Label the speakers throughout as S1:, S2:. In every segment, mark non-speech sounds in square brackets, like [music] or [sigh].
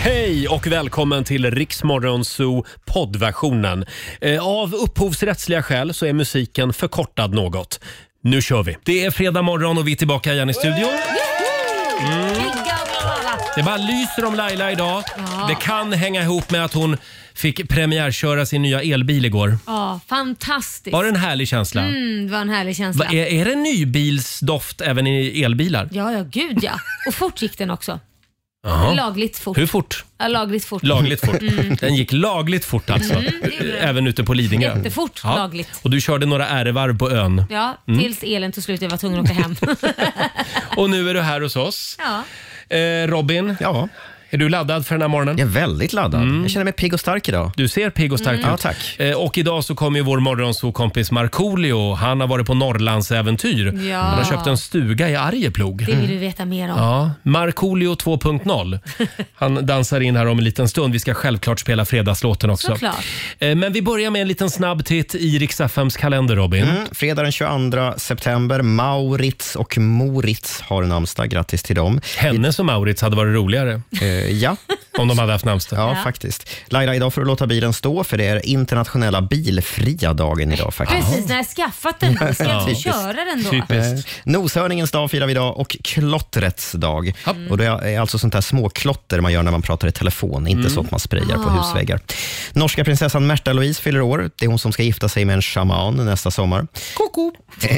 S1: Hej och välkommen till Riksmorgonzoo poddversionen. Eh, Av upphovsrättsliga skäl så är musiken förkortad något. Nu kör vi! Det är fredag morgon och vi är tillbaka igen i studion. Mm. Det bara lyser om Laila idag. Det kan hänga ihop med att hon fick premiärköra sin nya elbil igår.
S2: Ja, fantastiskt.
S1: Var det en härlig känsla?
S2: Mm, det var en härlig känsla.
S1: Va, är, är det nybilsdoft även i elbilar?
S2: Ja, ja, gud ja. Och fort gick den också.
S1: Jaha.
S2: Lagligt fort.
S1: Hur fort?
S2: Ja, lagligt fort. Mm.
S1: Lagligt fort. Den gick lagligt fort alltså. Även ute på Lidingö.
S2: Jättefort lagligt.
S1: Och du körde några ärevarv på ön.
S2: Ja,
S1: Mm.
S2: tills elen tog slut och jag var tvungen att åka
S1: [laughs]
S2: hem.
S1: Och nu är du här hos oss.
S2: ja.
S1: Eh, Robin, ja. är du laddad för den här morgonen? Jag är väldigt laddad. Jag känner mig pigg och stark idag. Mm. Du ser pigg och stark
S2: Mm.
S1: ut.
S2: Ja,
S1: tack. Eh, och idag så kommer ju vår morgonsåkompis Markoolio. Han har varit på Norrlandsäventyr.
S2: Ja.
S1: Han har köpt en stuga i Arjeplog. Mm.
S2: Det vill du veta mer om.
S1: Ja,
S2: [laughs]
S1: Markoolio 2.0. Han dansar in här om en liten stund. Vi ska självklart spela fredagslåten också.
S2: Såklart.
S1: Eh, Men vi börjar med en liten snabb titt i Rix FMs kalender, Robin.
S3: Mm, fredag den 22 september. Maurits och Moritz har namnsdag. Grattis till dem. Eh,
S1: Hennes och Maurits hade varit roligare.
S3: ja.
S1: [laughs] Om de hade haft namnsdag.
S3: Ja,
S2: Ja.
S3: faktiskt. Laila, idag får du låta bilen stå, för det är internationella bilfria dagen idag. faktiskt.
S2: Precis, när jag skaffat den då ska jag inte
S3: Typiskt.
S2: köra den då.
S3: Eh, noshörningens dag firar vi idag och klottrets dag. Och det är alltså sånt där småklotter man gör när man pratar i telefon, inte sånt man sprayar på
S4: Ah.
S3: husväggar. Norska prinsessan Märta Louise fyller år. Det är hon som ska gifta sig med en shaman nästa sommar. Eh,
S2: Koko.
S3: [laughs]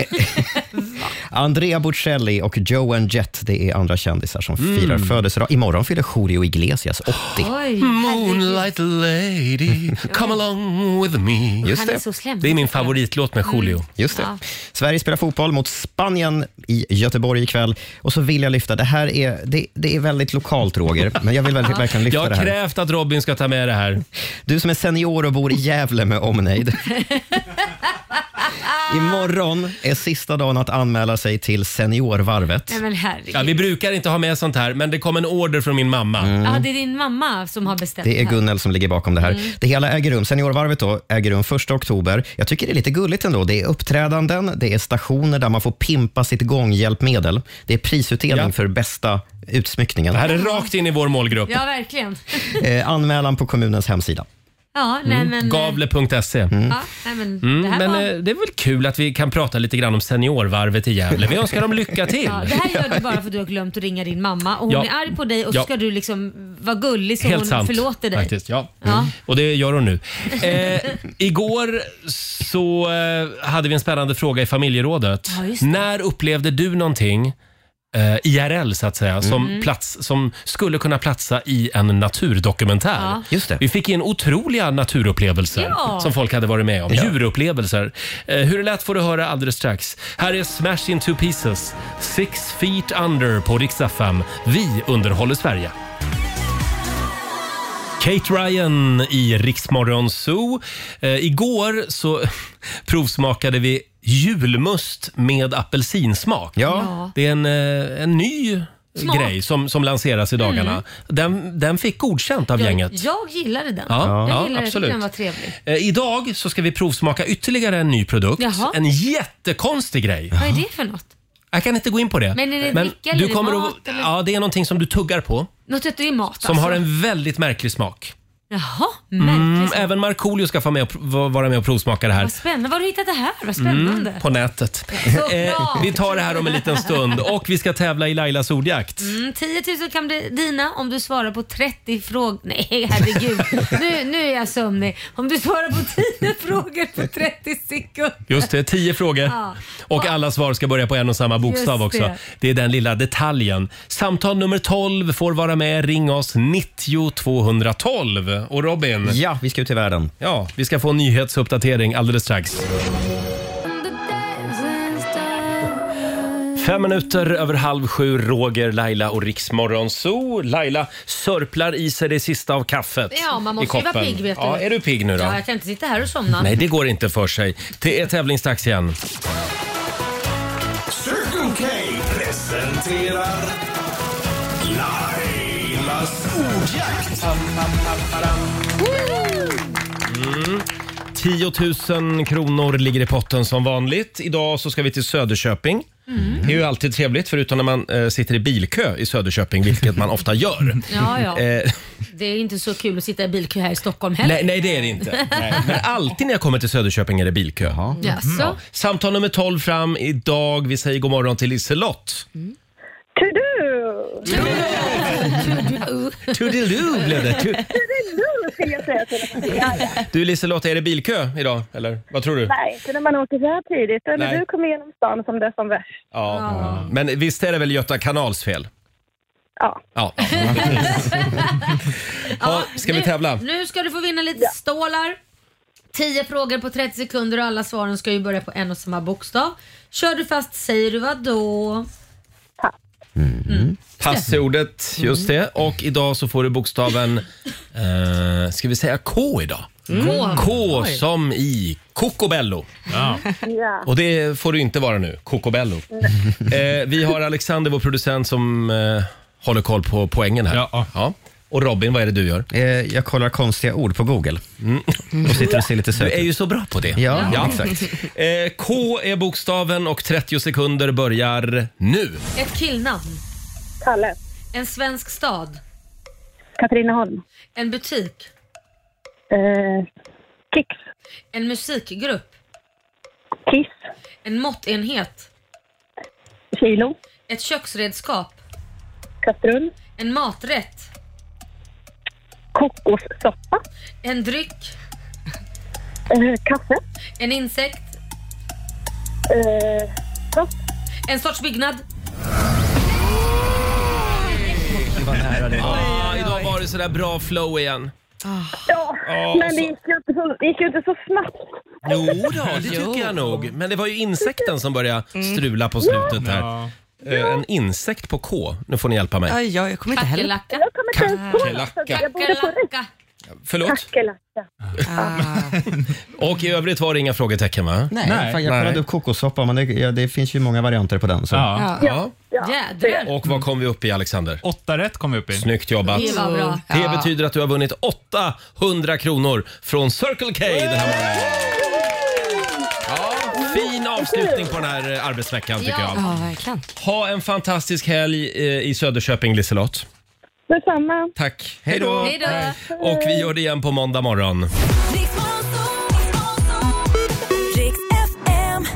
S3: Andrea Bocelli och Joan Jett, det är andra kändisar som
S5: Mm.
S3: firar födelsedag. Imorgon fyller Julio Iglesias 80. Mm,
S1: Moonlight [laughs] lady, come along with me.
S3: Just det.
S1: Det är min favoritlåt med Julio.
S3: Mm. Just det.
S1: Ja.
S3: Sverige spelar fotboll mot Spanien i Göteborg ikväll. Och så vill jag lyfta, det här är, det, det är väldigt lokalt Roger, men jag vill
S1: [laughs]
S3: väldigt, verkligen lyfta
S1: Jag har
S3: det här.
S1: krävt att Robin ska ta med det här.
S3: Du som är senior och bor i Gävle med
S1: [laughs]
S3: omnejd. Imorgon är sista dagen att anmäla sig till Seniorvarvet.
S2: Nej men herregud.
S1: Ja, vi brukar inte ha med sånt här, men det kom en order från min mamma.
S3: Mm.
S2: Ja, det är din mamma som har beställt
S3: Det är
S2: här.
S3: Gunnel som ligger bakom det här.
S2: Mm.
S3: Det hela äger rum, Seniorvarvet då, äger rum 1 oktober. Jag tycker det är lite gulligt ändå. Det är uppträdanden, det är stationer där man får pimpa sitt gånghjälpmedel. Det är prisutdelning för bästa utsmyckningen.
S1: Det här är rakt in i vår målgrupp.
S2: Ja, verkligen. [laughs]
S3: Eh, anmälan på kommunens hemsida. Mm.
S2: Ja,
S1: Mm.
S2: nej men... eh,
S1: Gavle.se.
S2: Ja, nej, men det
S1: Mm,
S2: här
S1: men
S2: var...
S1: eh, det är väl kul att vi kan prata lite grann om seniorvarvet i Gävle. Vi önskar dem lycka till.
S2: Ja, det här
S1: [laughs]
S2: gör du bara för att du har glömt att ringa din mamma och hon
S1: Ja.
S2: är arg på dig och
S1: Ja.
S2: så ska du liksom vara gullig så
S1: Helt
S2: hon
S1: sant.
S2: förlåter dig.
S1: Faktiskt, ja.
S2: Ja.
S1: Mm. Och det gör hon nu. Eh, igår så eh, hade vi en spännande fråga i familjerådet.
S6: Ja, just det.
S1: När upplevde du någonting eh, IRL så att säga, som,
S6: Mm.
S1: plats, som skulle kunna platsa i en naturdokumentär.
S6: Ja.
S3: Just det.
S1: Vi fick in otroliga naturupplevelser
S6: Ja.
S1: som folk hade varit med om.
S6: Ja.
S1: Djurupplevelser. Eh, hur det lät får du höra alldeles strax. Här är Smash in two pieces, Six feet under på Rix FM. Vi underhåller Sverige. Kate Ryan i Riksmorgon Zoo. Eh, igår så [laughs] provsmakade vi julmust med apelsinsmak.
S2: Ja.
S1: Det är en, eh, en ny
S2: Smak.
S1: grej som, som lanseras i dagarna.
S2: Mm.
S1: Den, den fick godkänt av
S2: Jag,
S1: gänget.
S2: jag gillade den.
S1: Ja, ja,
S2: jag gillade den.
S1: absolut.
S2: Den var trevlig.
S1: Eh, idag så ska vi provsmaka ytterligare en ny produkt.
S2: Jaha.
S1: En jättekonstig grej.
S2: Vad är det för något?
S1: Jag kan inte gå in på det.
S2: Men är det dricka eller är
S1: du
S2: det
S1: kommer
S2: mat
S1: att,
S2: eller?
S1: Ja, det är någonting som du tuggar på.
S2: Något att det är mat
S1: Som
S2: alltså.
S1: har en väldigt märklig smak.
S2: Jaha,
S1: Mm,
S2: märkligt.
S1: även Markoolio ska få med och, pr- va- vara med och provsmaka det här.
S2: Vad spännande. Var har du hittat det här? Vad
S1: Mm,
S2: spännande.
S1: på nätet.
S2: Såklart.
S1: Eh, [laughs] vi tar det här om en liten stund och vi ska tävla i Lailas ordjakt.
S2: Mm, 10 000 kan bli dina om du svarar på 30 frågor. Nej, herregud. nu, nu är jag sömnig. Om du svarar på 10 [laughs] frågor på 30 sekunder.
S1: Just det, tio frågor.
S2: Ja.
S1: Och alla svar ska börja på en och samma bokstav
S2: Just det.
S1: också. Det är den lilla detaljen. Samtal nummer 12 får vara med. Ring oss 90 212. Och Robin?
S3: Ja, vi ska ut i världen.
S1: Ja, vi ska få en nyhetsuppdatering alldeles strax. Fem minuter över halv sju, Roger, Laila och Riksmorgon Zoo. Laila sörplar i sig det sista av kaffet
S2: Ja, man
S1: i
S2: måste ju
S1: koppen.
S2: vara pigg vet du.
S1: Ja, är du pigg nu då?
S2: Ja, jag kan inte sitta här och somna.
S1: Nej, det går inte för sig. Det är tävlingsdags igen.
S6: Circle K presenterar Lailas ordjakt.
S1: Mm. 10 000 kronor ligger i potten som vanligt. Idag så ska vi till Söderköping.
S2: Mm.
S1: Det är ju alltid trevligt, förutom när man eh, sitter i bilkö i Söderköping, vilket man ofta gör.
S2: [laughs] Ja, ja.
S1: Eh,
S2: det är inte så kul att sitta i bilkö här i Stockholm heller.
S1: Nej, nej, det är det
S2: [laughs]
S1: inte. Men alltid när jag kommer till Söderköping är det bilkö. Mm.
S2: Jaså?
S1: Samtal nummer 12 fram idag. Vi säger god morgon
S2: [laughs]
S1: till Liselott.
S4: Tudu!
S1: Toodiloo blev det. Tu-
S4: Tudu skulle jag säga till dig.
S1: Du Liselott, är det bilkö idag? Eller vad tror du?
S4: Nej, inte när man åker så här tidigt. Eller
S1: Nej.
S4: du kommer igenom stan som det är som värst.
S1: Ja. Men visst är det väl Göta kanals fel?
S4: Ja.
S1: Ja. ja ska vi
S2: nu,
S1: tävla?
S2: Nu ska du få vinna lite stålar. 10 frågor på 30 sekunder och alla svaren ska ju börja på en och samma bokstav. Kör du fast säger du vad då?
S1: Passordet, just det. Och idag så får du bokstaven, eh, ska vi säga K idag?
S2: Gå.
S1: K som i Cocobello.
S4: ja.
S1: Och det får du inte vara nu, Cocobello. Eh, vi har Alexander, vår producent, som eh, håller koll på poängen här.
S5: Ja.
S1: Och Robin, vad är det du gör? Mm.
S3: Eh, jag kollar konstiga ord på Google och sitter och ser lite
S1: Du
S3: söt
S1: är
S3: ut.
S1: ju så bra på det.
S3: Ja,
S1: exakt. Eh, K är bokstaven och 30 sekunder börjar nu.
S2: Ett killnamn.
S4: Kalle.
S2: En svensk stad.
S4: Katrineholm.
S2: En butik.
S4: Eh, Kicks.
S2: En musikgrupp.
S4: Kiss.
S2: En måttenhet.
S4: Kilo.
S2: Ett köksredskap.
S4: Kastrull.
S2: En maträtt.
S4: Kokossoppa.
S2: En dryck.
S4: Eh, kaffe.
S2: En insekt.
S4: Eh, så.
S2: En sorts byggnad.
S1: Ah, idag var det sådär bra flow igen.
S4: ja. Men det gick ju inte så, det gick ju inte så snabbt.
S1: Jo då, det tycker jag nog. Men det var ju insekten som började strula på slutet här. Eh, En insekt på K. Nu får ni hjälpa mig.
S7: Aj, ja, jag kommer inte heller...
S2: Kackerlacka.
S4: Jag kommer inte ens på något, så
S1: Kackerlacka.
S4: Jag borde få rätt.
S2: Kackerlacka.
S1: Förlåt?
S4: Kackerlacka.
S1: Och i övrigt var det inga frågetecken va?
S7: Nej.
S5: Nej.
S3: Fan, jag
S1: Nej.
S3: kollade upp kokossoppa, men det, ja, det finns ju många varianter på den. Så.
S5: Ja.
S1: Ja.
S2: Jädrar.
S1: Och vad kom vi upp i Alexander?
S5: Åtta rätt kom vi upp i.
S1: Snyggt jobbat.
S2: Det var bra.
S1: Det betyder att du har vunnit 800 kronor från Circle K den här morgonen. Ja, fin avslutning på den här eh, arbetsveckan tycker jag.
S7: Ja, verkligen.
S1: Ha en fantastisk helg eh, i Söderköping Liselott.
S4: Detsamma.
S1: Tack. Hej då.
S2: Hej då.
S1: Och vi gör det igen på måndag morgon.
S8: Riks FM.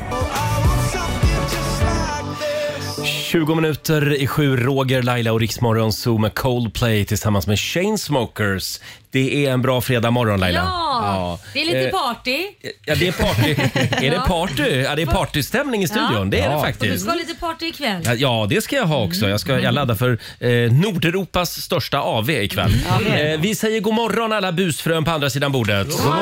S1: 20 minuter i sju, Roger, Laila och Riksmorgon Zoo med Coldplay tillsammans med Chainsmokers. Det är en bra fredagmorgon Laila.
S2: Ja, det är lite
S1: Eh,
S2: party.
S1: Ja, det
S2: [laughs]
S1: är party. är det
S2: Ja.
S1: party? Ja, det är partystämning i studion.
S2: Ja.
S1: Det är det
S2: Och du
S1: faktiskt.
S2: ska ha lite party ikväll.
S1: Ja, Ja, det ska jag ha också. Jag, ska, jag laddar för eh, Nordeuropas största AV ikväll. Eh, vi säger god morgon alla busfrön på andra sidan bordet. God morgon.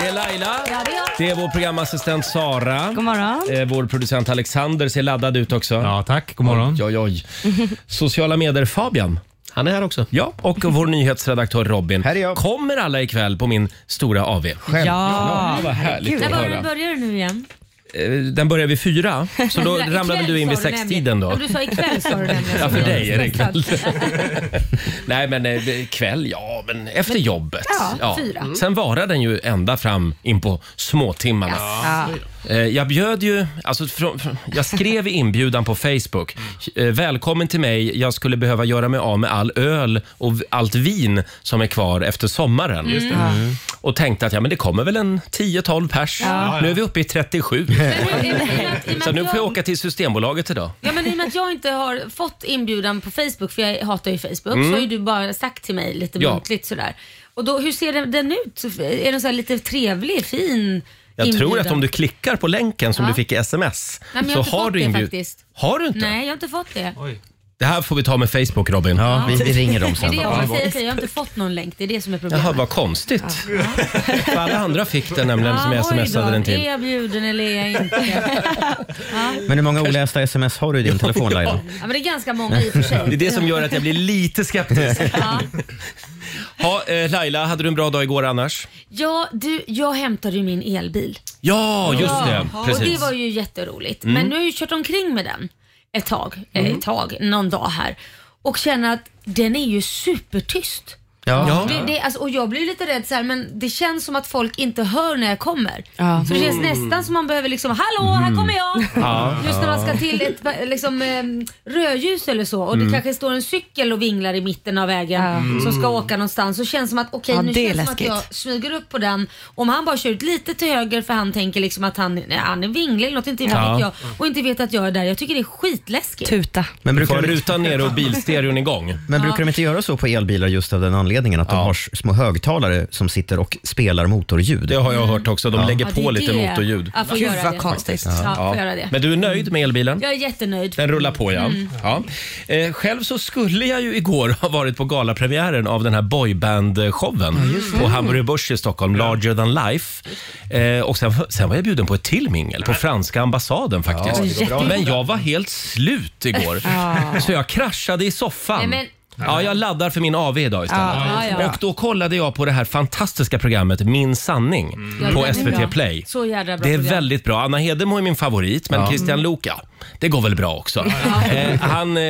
S1: Det är Laila.
S2: Ja, det är jag.
S1: Det är vår programassistent Sara.
S7: God morgon.
S1: Eh, vår producent Alexander ser laddad ut också.
S5: Ja, tack. God morgon.
S1: Oj, oj, oj.
S2: [laughs]
S1: Sociala medier Fabian. Han är här också. Ja, och vår nyhetsredaktör Robin.
S3: Här är jag.
S1: Kommer alla ikväll på min stora AV?
S7: Ja.
S1: Ja, vad härligt
S2: När
S1: att
S2: var-
S1: höra.
S2: börjar du nu igen?
S1: Eh, Den börjar vid fyra, så
S2: [laughs]
S1: då
S2: Ikväll
S1: ramlar väl du in vid
S2: sa du
S1: sextiden
S2: nämligen.
S1: då.
S2: Ja, du sa ikväll
S1: [laughs]
S2: sa du nämligen.
S1: Ja, för dig är det
S2: Stressad.
S1: kväll. [laughs] Nej, men eh, kväll, ja, men efter jobbet.
S2: Ja, fyra.
S1: Mm. Sen varar den ju ända fram in på småtimmarna.
S7: Ja.
S1: Eh, Jag bjöd ju, alltså, från, från, jag skrev i inbjudan på Facebook. eh, Välkommen till mig, jag skulle behöva göra mig av med all öl och v- allt vin som är kvar efter sommaren. Och tänkte att ja, men det kommer väl en 10-12 pers. Nu är vi uppe i 37.
S2: Men nu- i och med att- i och med
S1: Så
S2: att
S1: nu får jag
S2: jag-
S1: åka till Systembolaget idag.
S2: Ja men i och med att jag inte har fått inbjudan på Facebook, för jag hatar ju Facebook, så har ju du bara sagt till mig lite
S1: Mm. Ja.
S2: muntligt sådär. Och då, hur ser den- den ut? Är den så här lite trevlig, fin?
S1: Jag
S2: inbjudan?
S1: tror att om du klickar på länken som
S2: Ja.
S1: du fick i sms
S2: Nej, men jag
S1: så
S2: har inte
S1: har
S2: fått
S1: du
S2: det
S1: inbjud...
S2: faktiskt.
S1: Har du inte?
S2: Nej, jag har inte fått det.
S1: Det här får vi ta med Facebook Robin.
S3: Ja, vi, vi ringer
S2: [laughs]
S3: dem
S2: Det är
S3: sen.
S2: det jag säger till dig, jag har inte fått någon länk. Det är det som är problemet.
S1: Jaha, vad konstigt. För alla andra fick den nämligen som
S2: Ja,
S1: jag
S2: oj då.
S1: smsade den
S2: Är
S1: till.
S2: jag bjuden eller är jag
S1: [laughs]
S2: inte?
S3: Men hur många olästa sms har du i din telefon, Laila?
S2: Ja, men det är ganska många i och för sig.
S1: [laughs] Det är det som gör att jag blir lite skeptisk.
S2: [laughs] Ja.
S1: Ha, eh, Laila, hade du en bra dag igår annars?
S2: Ja, du, jag hämtade ju min elbil.
S1: Ja, just det.
S2: Och det
S1: Precis. Mm.
S2: var ju jätteroligt. Men nu har jag ju kört omkring med den ett tag, eh, ett tag, någon dag här. Och känner att den är ju supertyst.
S3: Ja.
S2: Det, det, alltså, och jag blir lite rädd så här, men det känns som att folk inte hör när jag kommer.
S7: Ja.
S2: Så det känns nästan som man behöver liksom, hallå här kommer jag!
S1: Mm. Ja. Mm.
S2: Just när man ska till ett eh, liksom, eh, rödljus eller så och det kanske står en cykel och vinglar i mitten av vägen som ska
S1: Mm.
S2: åka någonstans. Så känns det som att okej
S7: Ja,
S2: nu
S7: det är
S2: känns det som att
S7: läskigt.
S2: jag smyger upp på den. Om han bara kör ut lite till höger för han tänker liksom att han, nej, han är vinglig eller något, inte vet
S1: Ja.
S2: jag. Och inte vet att jag är där. Jag tycker det är skitläskigt.
S7: Tuta.
S3: Men
S1: Du får
S3: brukar, de,
S1: rutan ner och bilstereon igång.
S3: men brukar de inte göra så på elbilar just av den anledningen att de har s- små högtalare som sitter och spelar motorljud?
S1: Det har jag hört också. De lägger
S2: Ja,
S1: på
S2: det är
S1: lite
S2: det.
S1: motorljud.
S2: Ja, får
S7: Gud
S2: göra
S7: vad
S2: det.
S7: konstigt.
S2: Ja, får göra det.
S1: Men du är nöjd med elbilen?
S2: Jag är jättenöjd. Mm.
S1: Den rullar på ja. ja. Eh, själv så skulle jag ju igår ha varit på galapremiären av den här boyband-showen på Hamburger Börs i Stockholm, Larger than life. Eh, och sen, sen var jag bjuden på ett till mingel på franska ambassaden faktiskt.
S2: det går bra.
S1: men jag var helt slut igår. Så jag kraschade i soffan.
S2: Nej,
S1: Ja, jag laddar för min AV idag istället.
S2: Ja, ja, ja.
S1: Och då kollade jag på det här fantastiska programmet Min sanning
S2: Ja, det
S1: på
S2: är bra.
S1: SVT Play.
S2: Så jädra bra
S1: Det är
S2: program. Mm.
S1: väldigt bra. Anna Hedemo är min favorit, men Christian Luuk, ja, det går väl bra också. Eh, han eh,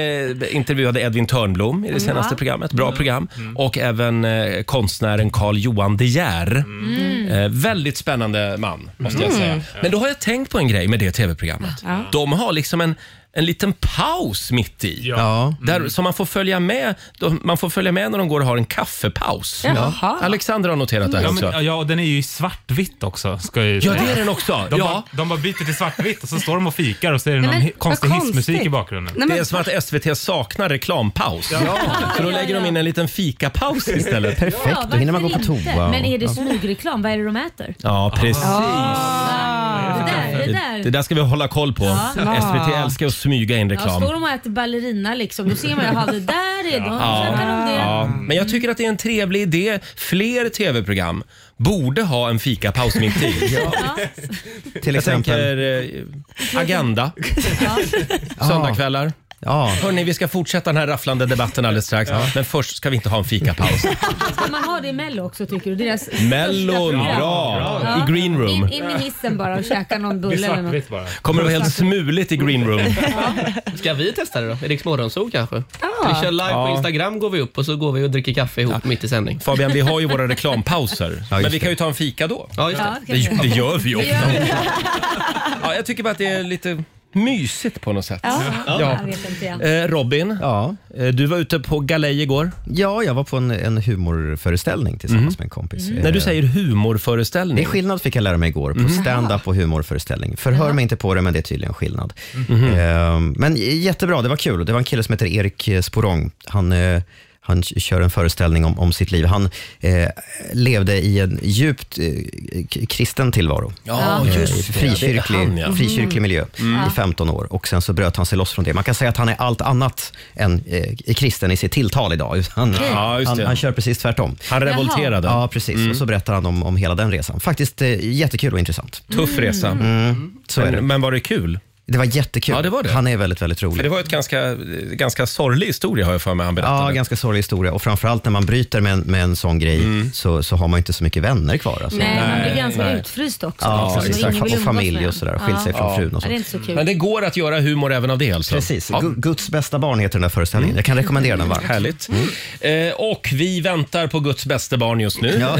S1: intervjuade Edvin Törnblom i det senaste
S2: Mm. Ja. Mm.
S1: programmet. Bra program. Och även eh, konstnären Carl Johan De Geer.
S2: Mm.
S1: Eh, väldigt spännande man, måste jag säga. Men då har jag tänkt på en grej med det tv-programmet. De har liksom en en liten paus mitt i.
S3: Ja.
S5: Mm.
S1: Där, så man får, följa med, de- man får följa med när de går och har en kaffepaus.
S7: Jaha.
S1: Alexander har noterat det här
S5: Ja,
S1: också.
S5: men, ja, och den är ju i svartvitt också. Ska jag ju
S1: Ja,
S5: säga.
S1: det är den också.
S5: De,
S1: Ja.
S5: bara, de bara byter till svartvitt och så står de och fikar och så är det
S7: Nej,
S5: någon
S7: men,
S5: hi-
S7: vad
S5: konstig
S7: konstigt.
S5: hissmusik i bakgrunden.
S7: Nej,
S1: Det är
S7: men,
S1: som att SVT saknar reklampaus. [laughs] Så
S2: Ja,
S1: då lägger
S2: ja.
S1: de in en liten fikapaus istället.
S3: Perfekt, då hinner man gå på
S2: varför inte?
S3: toa.
S2: Men är det smygreklam? Vad är det de äter?
S1: Ja, precis.
S2: Det där, det
S1: Det
S2: där.
S1: där ska vi hålla koll på. SVT älskar att smyga in
S2: Ja,
S1: reklam.
S2: står de och äter ballerina liksom, då ser man ju, jaha det där är de. Ja. Det.
S1: Ja, men jag tycker att det är en trevlig idé. Fler tv-program borde ha en fikapaus mitt i.
S3: Till
S1: Jag
S3: exempel.
S1: tänker
S2: [laughs]
S1: eh, Agenda, söndagkvällar.
S3: Ja.
S1: Hörni, vi ska fortsätta den här rafflande debatten alldeles strax. Men först ska vi inte ha en fikapaus.
S2: Ska man ha det i Mello också tycker du? Deras
S1: Mellon,
S2: största program.
S1: bra!
S2: Ja.
S1: I green room.
S2: In, in i hissen bara och käka någon
S5: Det är
S2: bulle eller något.
S5: svartvitt bara.
S1: Kommer det vara helt smuligt i green room.
S9: Ska vi testa det då? Riks Morgonzoo kanske? Vi kör live
S1: Ja.
S9: på Instagram går vi upp och så går vi och dricker kaffe ihop mitt i sändning.
S1: Fabian, vi har ju våra reklampauser. men vi kan ju ta en fika då.
S9: Ja, just
S2: Ja,
S9: det.
S2: det kan
S1: Det,
S2: vi göra.
S1: det gör vi ju
S2: Det gör
S1: ofta.
S2: vi.
S1: Ja, jag tycker bara att det är lite mysigt på något sätt.
S2: Ja, jag vet inte jag.
S1: Eh, Robin,
S3: Ja.
S1: eh, du var ute på galej igår. Mm.
S3: ja, jag var på en, en humorföreställning tillsammans med en kompis. Eh,
S1: När du säger humorföreställning. Mm.
S3: Det är skillnad fick jag lära mig igår på stand-up och humorföreställning. Förhör mig inte på det, men det är tydligen skillnad.
S1: Mm.
S3: Ehm, men j- jättebra, det var kul. Det var en kille som heter Erik eh, Sporong. Han, eh, han k- kör en föreställning om, om sitt liv. Han eh, levde i en djupt eh, k- kristen tillvaro.
S1: Ja,
S3: Eh,
S1: just det.
S3: frikyrklig,
S1: Det är han, ja. Mm.
S3: frikyrklig miljö i 15 år och sen så bröt han sig loss från det. Man kan säga att han är allt annat än eh, kristen i sitt tilltal idag. [laughs] Han,
S1: Ja, just
S3: han,
S1: det.
S3: han kör precis tvärtom.
S1: Han revolterade. Mm.
S3: Ja, precis. Och så berättar han om, om hela den resan. Faktiskt eh, jättekul och intressant.
S2: Mm.
S3: Mm.
S1: Tuff resa.
S3: Så är
S1: Men,
S3: det.
S1: men var det kul?
S3: Det var jättekul.
S1: Ja, det var det.
S3: Han är väldigt, väldigt
S1: För
S3: rolig.
S1: det var ett ganska, eh, ganska sorglig historia har jag för mig han berättade.
S3: Ja, ganska sorglig historia. Och framförallt när man bryter med en, med en sån grej så, så har man ju inte så mycket vänner kvar. Alltså.
S2: Nej, man blir
S1: Mm. Nej,
S2: ganska
S1: nej.
S2: utfryst också.
S3: Ja,
S2: liksom, så
S3: exakt.
S2: ingen vill
S3: Och
S2: umgås med
S3: familj
S2: en.
S3: och sådär. Skilt sig från frun och
S2: Ja, det är
S3: sånt.
S2: inte så kul.
S1: Men det går att göra humor även av det alltså?
S3: Precis.
S1: Ja, Mm.
S3: Gu- Guds bästa barn heter den där föreställningen. Jag kan rekommendera den varmt.
S1: härligt. Eh, och vi väntar på Guds bästa barn just nu.
S3: Ja.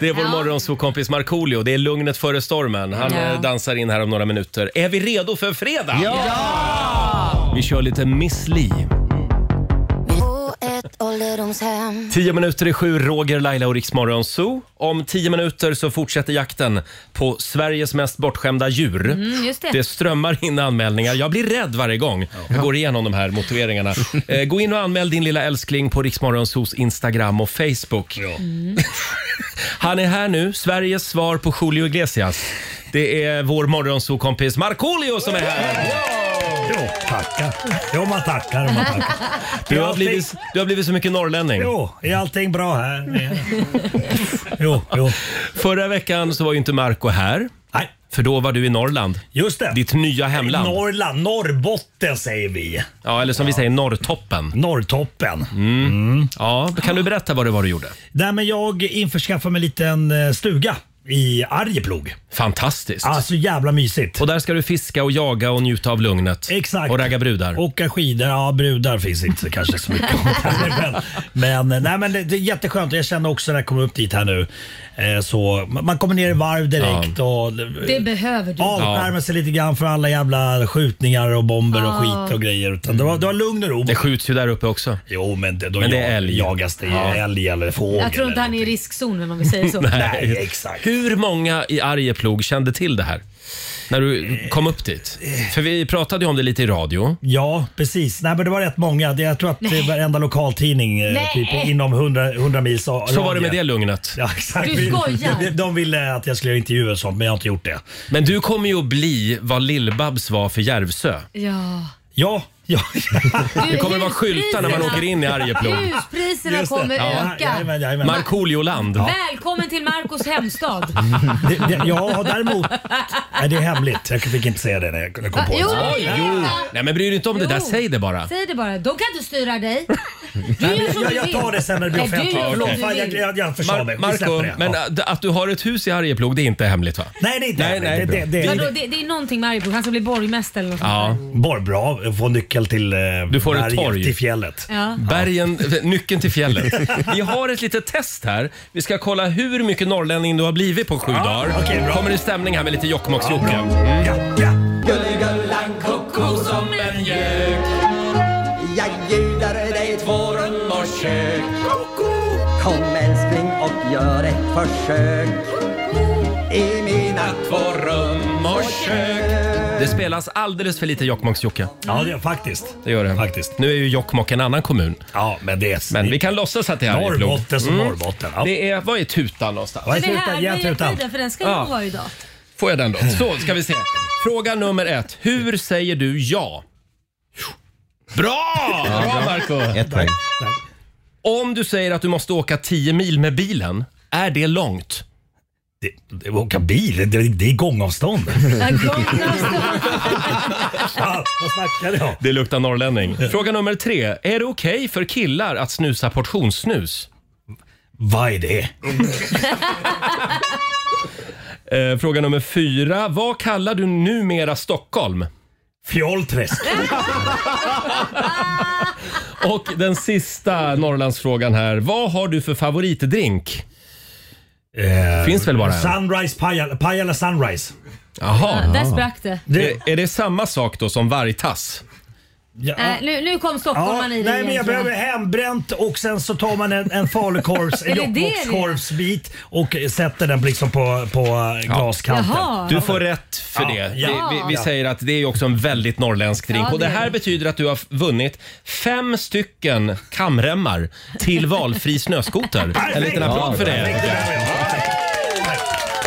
S1: Det är vår morgonsåkompis Markoolio. Det är lugnet före stormen. Han
S7: Ja.
S1: eh, dansar in här om några minuter. Är vi redo för fredag? Ja! Vi kör lite Miss Li.
S8: På ett ålderdomshem.
S1: Tio minuter i sju, Roger, Laila och Riksmorgon Zoo. Om tio minuter så fortsätter jakten på Sveriges mest bortskämda djur.
S2: Mm, just det.
S1: Det strömmar in anmälningar. Jag blir rädd varje gång jag går igenom de
S10: [laughs]
S1: här motiveringarna. Eh, gå in och anmäl din lilla älskling på Riksmorgonsos Instagram och Facebook.
S2: Mm.
S1: Han är här nu, Sveriges svar på Julio Iglesias. Det är vår morgonsokompis Markoolio som är här.
S10: Jo, tackar. Jo, man tackar. Man tackar.
S1: Du har blivit, du har blivit så mycket norrlänning.
S10: Jo, är allting bra här? Jo, jo.
S1: Förra veckan så var ju inte Marco här,
S10: Nej,
S1: för då var du i Norrland.
S10: just det.
S1: Ditt nya hemland.
S10: Norrland, Norrbotten säger vi.
S1: Ja, eller som vi säger, Norrtoppen.
S10: Norrtoppen. Mm.
S1: Ja, kan du berätta vad det var du gjorde?
S10: Nej, men jag införskaffade mig en liten eh, stuga i Arjeplog.
S1: Fantastiskt.
S10: Ah, så jävla mysigt.
S1: Och där ska du fiska och jaga och njuta av lugnet.
S10: Exakt.
S1: Och ragga brudar.
S10: Åka skidor, ja brudar finns inte kanske så
S1: [laughs]
S10: mycket om där, men, men, nej, men det, det är jätteskönt. Jag känner också när jag kom upp dit här nu. Eh, så, man man kommer ner i varv direkt och
S2: Det behöver du.
S10: avskärmar sig lite grann för alla jävla skjutningar och bomber och skit och grejer. Utan det, var, det var lugn och ro.
S1: Det skjuts ju där uppe också.
S10: Jo men det, då
S1: Men det är
S10: jag-
S1: älg.
S10: jagas det
S1: Ja.
S10: älg eller fågel.
S2: Jag tror inte han är i riskzonen om vi säger så.
S1: [laughs]
S10: eller- [laughs] Nej exakt.
S1: Hur många i Arjeplog kände till det här? När du kom upp dit?
S10: Eh.
S1: För vi pratade ju om det lite i radio.
S10: Ja, precis. Nej, men det var rätt många. Det- Jag tror att det varenda lokaltidning eh,
S2: Nej.
S10: typ, inom 100, 100 mils
S1: Så var det med det lugnet.
S10: Ja, exakt.
S2: Du skojar.
S10: De, de ville att jag skulle intervjua och sånt, men jag har inte gjort det.
S1: Men du kommer ju att bli vad Lill-Babs var för Järvsö.
S2: Ja.
S10: Ja, ja.
S1: [laughs] Det kommer att vara skyltar när man åker in i Arjeplog.
S2: Huspriserna
S10: just det.
S2: kommer
S10: Ja,
S2: öka.
S10: jajamän, jajamän.
S1: Markoolio-land.
S2: Välkommen till
S10: [laughs]
S2: Marcos hemstad.
S10: Det- det- Ja, däremot. Nej, det är hemligt. Jag fick inte säga det när jag kom på
S2: Jo,
S10: det.
S2: jo.
S1: Nej men bry dig inte om det där,
S2: Jo.
S1: säg det bara.
S2: Säg det bara. De kan inte styra dig. Du gör som
S10: Jag,
S2: du
S10: jag tar
S2: vill.
S10: det sen när det blir
S2: Nej, du
S10: offentligt.
S2: gör
S10: Förlåt,
S2: som du
S10: fan, jag,
S2: vill.
S10: jag, jag försade
S1: Mar-
S10: mig. Vi
S1: Marco,
S10: släpper det.
S1: men äh,
S10: Ja.
S1: att- att du har ett hus i Arjeplog, det är inte hemligt va?
S10: Nej, det är inte
S1: Nej,
S10: hemligt.
S1: nej,
S10: det, det, det,
S2: Vadå, det, det är någonting med Arjeplog. Han ska bli borgmästare eller något
S1: Ja.
S10: Bara bra. Få nyckel till eh,
S1: Du får ett
S10: berget,
S1: torg.
S10: till fjället.
S2: Ja.
S1: Bergen, eh, nyckeln
S10: [laughs]
S1: till fjället. Vi har ett litet test här. Vi ska kolla hur mycket norrlänning du har blivit på sju dagar.
S10: okej, bra.
S1: Kommer det stämning här med lite Jokkmokks-Jocke?
S10: Ja, ja.
S6: Gulligullan koko som en gök Jag bjuder dig två rum och kök Kom älskling och gör ett försök I mina två rum och kök
S1: Det spelas alldeles för lite Jokkmokks-Jocke.
S10: ja det, faktiskt.
S1: Det gör det.
S10: Faktiskt.
S1: Nu är ju Jokkmokk en annan kommun.
S10: Ja, men det är...
S1: Men vi kan låtsas att det är Arjeplog.
S10: Norrbotten som Norrbotten. Ja.
S1: Det är, vad är tutan någonstans?
S10: Vad är
S2: Det är
S10: tutan?
S2: här
S10: Ge en
S2: med
S10: tutan.
S2: hjärtskydden för den ska
S1: Ja.
S2: jag vara idag.
S1: Får jag den då? Så, ska vi se. Fråga nummer ett. Hur säger du ja? Bra! Bra Marco!
S3: Ett poäng.
S1: Om du säger att du måste åka 10 mil med bilen, är det långt?
S10: Det, det, åka bil, det, det är gångavstånd. ja, vad snackar jag om?
S1: Det luktar norrlänning. Fråga nummer tre. Är det okej för killar att snusa portionssnus?
S10: Vad är det?
S1: [laughs] Eh, fråga nummer fyra. Vad kallar du numera Stockholm?
S10: Fjollträsk.
S1: [laughs] Och den sista Norrlandsfrågan här. Vad har du för favoritdrink?
S10: Eh,
S1: Finns väl bara en?
S10: Sunrise Pajala, Pajala Sunrise.
S1: Jaha.
S2: Där sprack det.
S10: Det,
S1: Är, är det samma sak då som vargtass?
S10: ja,
S2: Äh, nu, nu kom
S10: ja,
S2: stockholmaren
S10: nej
S2: i det igen,
S10: men jag
S2: tror
S10: behöver hembränt och sen så tar man en, en falukorvs, en
S2: [laughs] Är det det det är?
S10: Jokkmokkskorvsbit och sätter den liksom på, på eh, glaskanten.
S2: Jaha.
S1: Du får rätt för
S10: Ja,
S1: det. Vi,
S10: ja.
S1: vi, vi
S10: Ja.
S1: säger att det är ju också en väldigt norrländsk drink.
S2: Ja,
S1: och det
S2: det är
S1: här
S2: det.
S1: betyder att du har vunnit fem stycken kamremmar till valfri snöskoter. En liten applåd för det.
S10: Perfekt, det där var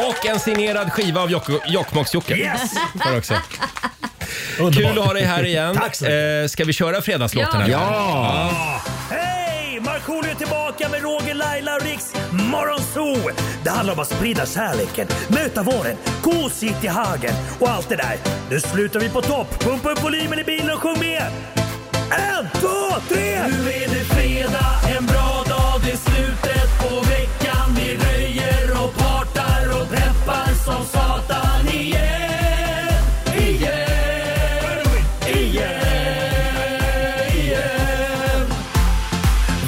S10: jag.
S1: Och en signerad skiva av Jok- Jokkmokks-Jocke.
S10: Yes!
S1: Får du också. Kul
S10: Underbart.
S1: att ha dig här igen.
S10: Tack så mycket.
S1: eh, ska vi köra fredagslåten?
S2: Ja.
S1: eller?
S10: Hej! Markoolio är tillbaka med Roger, Laila och Riks Morgonzoo! Det handlar om att sprida kärleken, möta våren, gosigt i hagen och allt det där. Nu slutar vi på topp! Pumpa upp volymen i bilen och sjung med! En, två, tre! Nu är det fredag, en bra dag, det är slutet på veckan. Vi röjer och partar och peppar som satan igen, igen, igen, igen.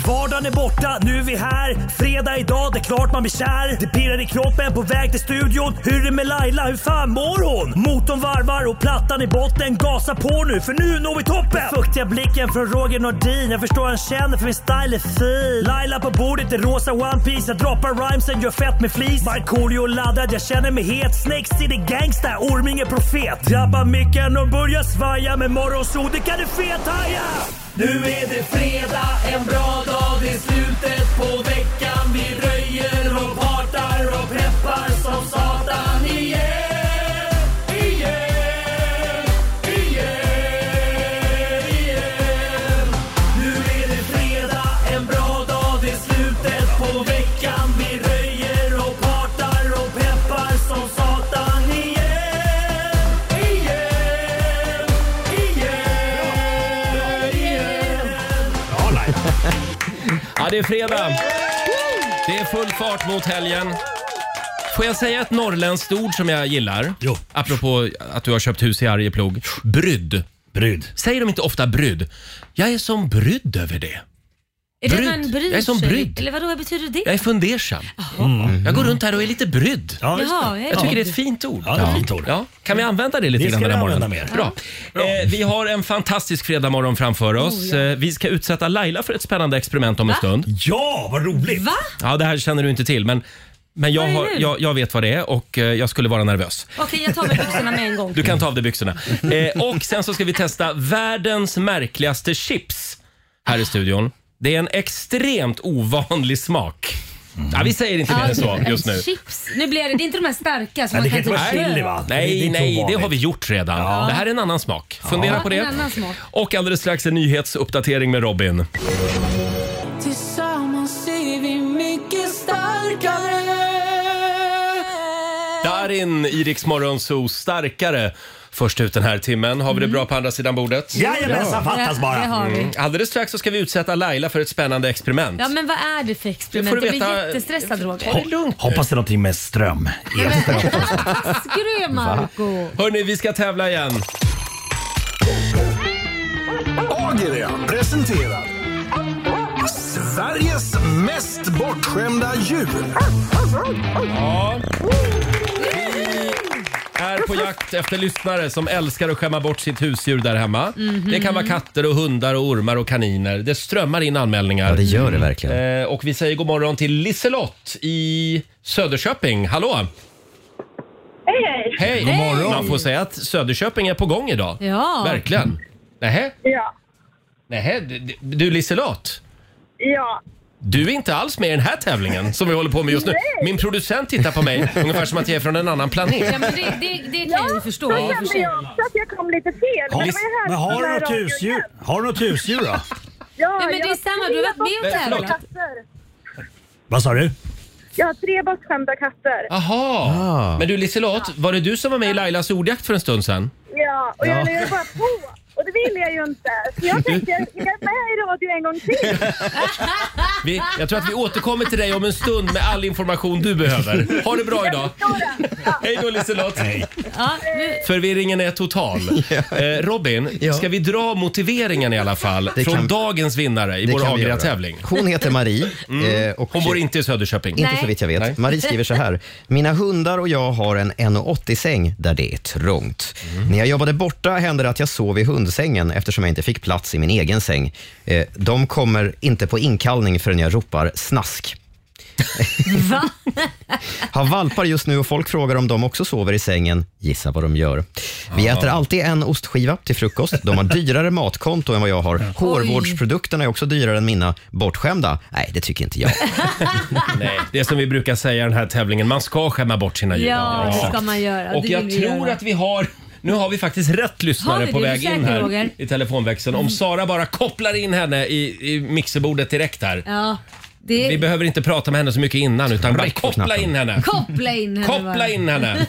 S10: Vardagen är borta, nu är vi här. Fredag idag, det är klart man blir kär. Det pirrar i kroppen på väg till studion. Hur är det med Laila, hur fan mår hon? Motorn varvar och plattan i botten. Gasa på nu, för nu når vi toppen! Den fuktiga blicken från Roger Nordin. Jag förstår han känner, för min style är fin. Laila på bordet i rosa One Piece Jag droppar rhymesen, gör fett med flis. Markoolio laddad, jag känner mig het. Snakes city gangsta, Orminge profet. Drabbar micken och börjar svaja. Med morgonsol, det kan du fethaja! Nu är det fredag, en bra dag, det är slutet på veckan. Vi röjer och partar och peppar som satan igen. Igen, igen, igen. Nu är det fredag, en bra dag, det är slutet på veckan. Vi röjer och partar och peppar som satan igen. Igen, igen, igen. Ja,
S1: [laughs]
S10: Laila.
S1: Ja, det är fredag. Det är full fart mot helgen. Får jag säga ett norrländskt ord som jag gillar? Jo. Apropå att du har köpt hus i Arjeplog. Brydd.
S10: Brud.
S1: Säger de inte ofta brydd? Jag är som brydd över det.
S2: Är det
S1: Brydd.
S2: man bryr
S1: Jag är som
S2: sig?
S1: brydd.
S2: Eller vadå, vad betyder det?
S1: Jag är fundersam. Mm. Jag går runt här och är lite brydd.
S10: Ja, just
S2: Jaha,
S10: det.
S2: är
S1: Jag tycker
S2: det?
S1: det är ett fint ord.
S10: Ja, det är ett fint ord.
S1: Ja. Kan vi använda det lite
S10: Det
S1: grann
S10: ska
S1: den här
S10: vi
S1: morgonen?
S10: använda
S1: Bra. Eh, vi har en fantastisk fredagmorgon framför oss. Eh, vi ska utsätta Laila för ett spännande experiment om en stund.
S10: Ja, vad roligt!
S2: Va?
S1: Ja, det här känner du inte till, men, men jag,
S2: Vad är
S1: har,
S2: det?
S1: jag, jag vet vad det är och eh, jag skulle vara nervös.
S2: Okej, jag tar med byxorna med en gång.
S1: Du kan ta av
S2: [laughs]
S1: dig byxorna. Eh, och sen så ska vi testa världens märkligaste chips här i studion. Det är en extremt ovanlig smak. Ja, vi säger inte mer än så just nu.
S2: Chips. Nu blir det, det är inte de här starka som
S10: Men det kan
S2: man
S10: inte
S2: kan
S10: vara
S2: typ-
S10: chili va? Det är
S1: Nej,
S10: inte
S1: nej, det
S10: ovanligt.
S1: har vi gjort redan. Det här är en annan smak. Fundera
S2: Ja,
S1: på det.
S2: en annan smak.
S1: Och alldeles strax en nyhetsuppdatering med Robin.
S6: Tillsammans är vi mycket starkare
S1: Darin i Rix Morgonzoo, starkare. Först ut den här timmen. Har vi det bra på andra sidan bordet? Mm.
S10: Jajamensan, fattas
S2: Ja, Det
S10: bara!
S2: har vi.
S1: Alldeles strax så ska vi utsätta Laila för ett spännande experiment.
S2: Ja, men vad är det för experiment?
S1: Det får
S2: Jag
S1: du
S2: blir
S1: veta-
S2: jättestressad
S1: Ta det
S2: Roger.
S1: lugnt.
S10: Hoppas det är någonting med ström.
S2: Skru Marco
S1: Hörni, vi ska tävla igen.
S7: Agria presenterar Sveriges mest bortskämda djur.
S1: Är på jakt efter lyssnare som älskar att skämma bort sitt husdjur där hemma.
S2: Mhm.
S1: Det kan vara katter och hundar och ormar och kaniner. Det strömmar in anmälningar.
S3: Ja, det gör det verkligen.
S1: Eh, och vi säger god morgon till Liselott i Söderköping. Hallå!
S4: Hej, hej!
S1: Hej! God morgon. Man får säga att Söderköping är på gång idag.
S2: Ja.
S1: Verkligen. Nähä?
S4: Ja,
S1: Nähä? d- d- Du Liselott?
S4: ja.
S1: Du är inte alls med i den här tävlingen som vi håller på med just nu. Min producent tittar på
S2: [laughs]
S1: mig ungefär som att jag är från en annan planet.
S2: Ja, men det, det, det kan jag ju förstå.
S4: så
S2: i och för
S4: kände
S2: sig.
S4: jag också att jag kom lite fel. Men, det var ju härligt
S10: Men har du
S4: med
S10: något
S4: radion.
S10: husdjur? Har du något
S1: [laughs]
S10: husdjur då?
S4: Ja,
S2: Nej, men
S4: jag
S2: det är
S4: har
S2: samma,
S4: tre
S2: du har varit med och
S1: Nej, förlåt.
S2: tävlat.
S4: katter.
S10: Vad sa du?
S4: Jag har tre bortskämda katter.
S1: Aha.
S3: Ah.
S1: Men du Liselott, var det du som var med i Lailas ordjakt för en stund sedan?
S4: Ja, och jag lurar bara på. Och det vill jag ju inte. Så jag tänkte, jag är med i radio en gång till.
S1: Vi, jag tror att vi återkommer till dig om en stund med all information du behöver. Ha det bra idag! Hej då Liselott!
S2: Ja, nu,
S1: Förvirringen
S3: [laughs]
S1: är total. Eh, Robin,
S3: Ja.
S1: ska vi dra motiveringen i alla fall
S3: Det
S1: från
S3: kan-
S1: dagens vinnare i
S3: Det
S1: vår
S3: kan vi göra.
S1: Agria-tävling?
S3: Hon heter
S1: [laughs]
S3: Marie. eh, och
S1: Hon bor inte i Söderköping.
S3: Inte
S2: Nej.
S3: så vitt jag vet.
S1: Nej.
S3: Marie skriver så här. Mina hundar och jag har en 1,80-säng där det är trångt.
S1: Mm.
S3: När jag jobbade borta hände det att jag sov i hundsängen eftersom jag inte fick plats i min egen säng. Eh, de kommer inte på inkallning förrän jag ropar snask.
S2: va?
S3: Har valpar just nu och folk frågar om de också sover i sängen. Gissa vad de gör. Vi äter alltid en ostskiva till frukost. De har dyrare matkonto än vad jag har. Hårvårdsprodukterna är också dyrare än mina. Bortskämda? Nej, det tycker inte jag.
S1: [laughs] Nej, det är som vi [laughs] brukar säga i den här tävlingen, man ska skämma bort sina djur.
S2: Ja, det ska man göra.
S1: Och
S2: det
S1: jag
S2: vill vi
S1: tror
S2: göra.
S1: att vi har nu har vi faktiskt rätt
S2: Har
S1: lyssnare
S2: vi det?
S1: på
S2: Är du
S1: väg in
S2: säker,
S1: här
S2: Roger? Mm.
S1: i telefonväxeln. Om Sara bara kopplar in henne i, i mixerbordet direkt här.
S2: Ja, det...
S1: Vi behöver inte prata med henne så mycket innan utan bara
S3: Rätt på
S1: koppla
S3: knappen.
S1: in henne.
S2: Koppla in henne bara.
S1: Koppla in henne!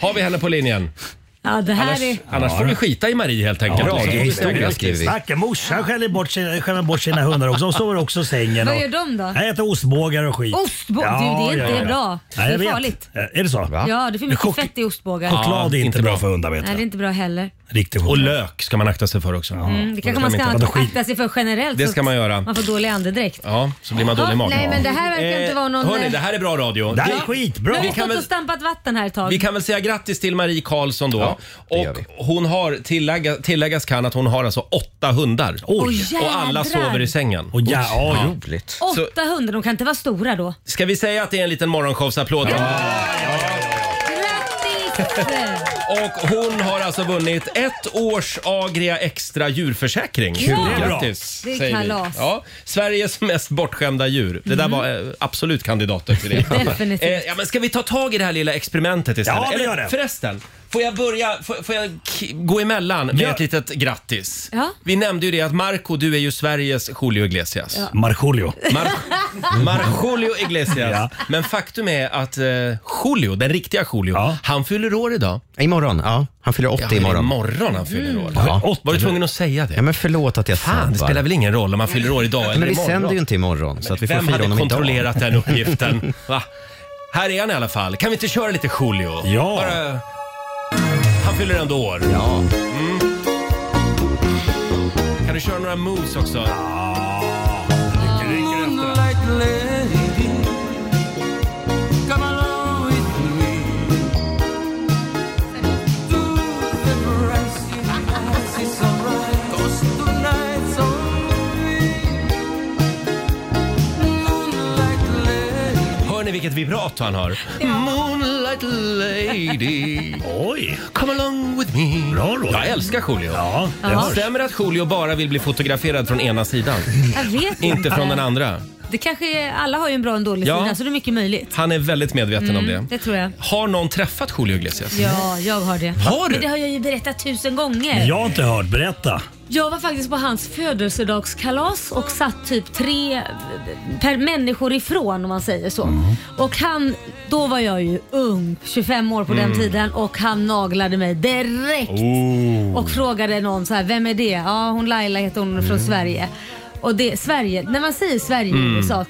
S1: Har vi henne på linjen?
S2: [laughs] Ja, det här
S1: Annars,
S2: är...
S1: annars får vi skita i Marie helt enkelt.
S10: Ja,
S1: Så får vi
S3: historia
S1: säga.
S3: skriver vi.
S10: Stackarn morsan skäller bort, sina- skäller bort sina hundar också. De sover också i sängen.
S2: Vad
S10: och-
S2: gör de då?
S10: Nej, äter ostbågar och skit.
S2: Ostbå- du, det är inte bra.
S10: Nej, jag
S2: Det är
S10: vet.
S2: farligt.
S10: Eh, Är det så?
S2: Ja, det är för mycket
S10: Chock-
S2: fett i ostbågar.
S10: Choklad är
S1: Ja,
S10: inte
S1: inte
S10: bra
S1: bra.
S10: för hundar vet
S2: Nej, det är
S10: jag.
S2: inte bra heller.
S10: Riktigt
S1: Och
S10: sjukt.
S1: lök ska man akta sig för också.
S2: Mm, det kanske man
S1: inte.
S10: Vadå,
S2: ska
S10: skit?
S2: akta sig för generellt.
S1: Det
S2: så
S1: ska man göra.
S2: Man får dålig andedräkt.
S1: Ja, så blir man dålig i
S2: Ja,
S1: magen.
S2: nej, men det här verkar inte
S1: Eh,
S2: vara någon-
S1: Hörni, det här är bra radio.
S10: Det här
S1: Vi-
S10: är
S2: Nu
S10: skitbra.
S2: har vi
S1: kan
S2: stått
S1: väl-
S2: och stampat vatten här ett tag.
S1: Vi kan väl säga grattis till Marie Karlsson då.
S3: Ja, det gör
S1: och hon har, tillägga, tilläggas kan att hon har alltså åtta hundar.
S10: Oj.
S2: Jädrar.
S1: Och alla sover i sängen.
S10: Och ja, ja, jo.
S3: Roligt.
S2: 800, de kan inte vara stora då.
S1: Ska vi säga att det är en liten morgonshowsapplåd?
S2: Grattis!
S1: Och hon har alltså vunnit ett års Agria Extra djurförsäkring.
S2: Ja. Det är
S10: bra.
S1: Grattis!
S2: Det är
S1: säger vi.
S2: kalas. Mm.
S1: Ja, Sveriges mest bortskämda djur. Det där var eh, absolut kandidater till
S2: [laughs]
S1: det.
S2: Definitivt.
S1: Eh, ja, men ska vi ta tag i det här lilla experimentet istället?
S10: Ja, vi
S1: Eller,
S10: gör det.
S1: Förresten, får jag börja, får, får jag k- gå emellan med
S10: Ja.
S1: ett litet grattis?
S2: Ja.
S1: Vi nämnde ju det att Marco, du är ju Sveriges Julio Iglesias.
S10: Markoolio.
S1: Mar
S6: Mm.
S1: Marjolio Iglesias.
S10: Ja.
S1: Men faktum är att eh, Julio, den riktiga Julio,
S10: Ja.
S1: han fyller år idag.
S3: Imorgon, ja. Han fyller 80
S1: Ja,
S3: imorgon.
S1: imorgon han fyller år.
S10: Ja.
S1: Var du tvungen att säga det?
S3: Ja, men förlåt att jag
S1: Fan, det
S3: sabbar.
S1: spelar väl ingen roll om han fyller år idag eller
S3: Men vi
S1: imorgon?
S3: sänder ju inte imorgon, så att vi får
S1: Vem
S3: fira
S1: hade
S3: honom idag. [laughs]
S1: kontrollerat den uppgiften? Va? Här är han i alla fall. Kan vi inte köra lite Julio? Ja. Bara... Han fyller ändå år. Ja. Mm. Kan du köra några moves också? Ja.
S6: Moonlight lady, come along with me. Do the price you ask, it's alright, 'cause tonight's only. Moonlight lady.
S1: Hör ni vilket vibrato han har? Moonlight lady. Oj! Come along with me. Bra, Jag älskar Julio. Ja,
S2: det hörs.
S1: Stämmer att Julio bara vill bli fotograferad från
S2: [laughs]
S1: ena sidan?
S2: Jag vet
S1: Inte från den andra.
S2: Det kanske, är- alla har ju en bra och en dålig
S1: Ja.
S2: sida så det är mycket möjligt.
S1: Han är väldigt medveten om
S2: Mm,
S1: det.
S2: Det tror jag.
S1: Har någon träffat Julio Iglesias?
S2: Ja, jag har det.
S1: Har du?
S2: Men det har jag ju berättat tusen gånger.
S1: har inte hört. Berätta.
S2: Jag var faktiskt på hans födelsedagskalas och satt typ tre per människor ifrån om man säger så.
S10: Mm.
S2: Och han, då var jag ju ung, 25 år på
S6: Mm.
S2: den tiden och han naglade mig direkt.
S10: Oh.
S2: Och frågade någon så här, vem är det? Ja, hon Laila heter hon från Sverige. Och det, Sverige, när man säger Sverige i
S10: Mm.
S2: USA,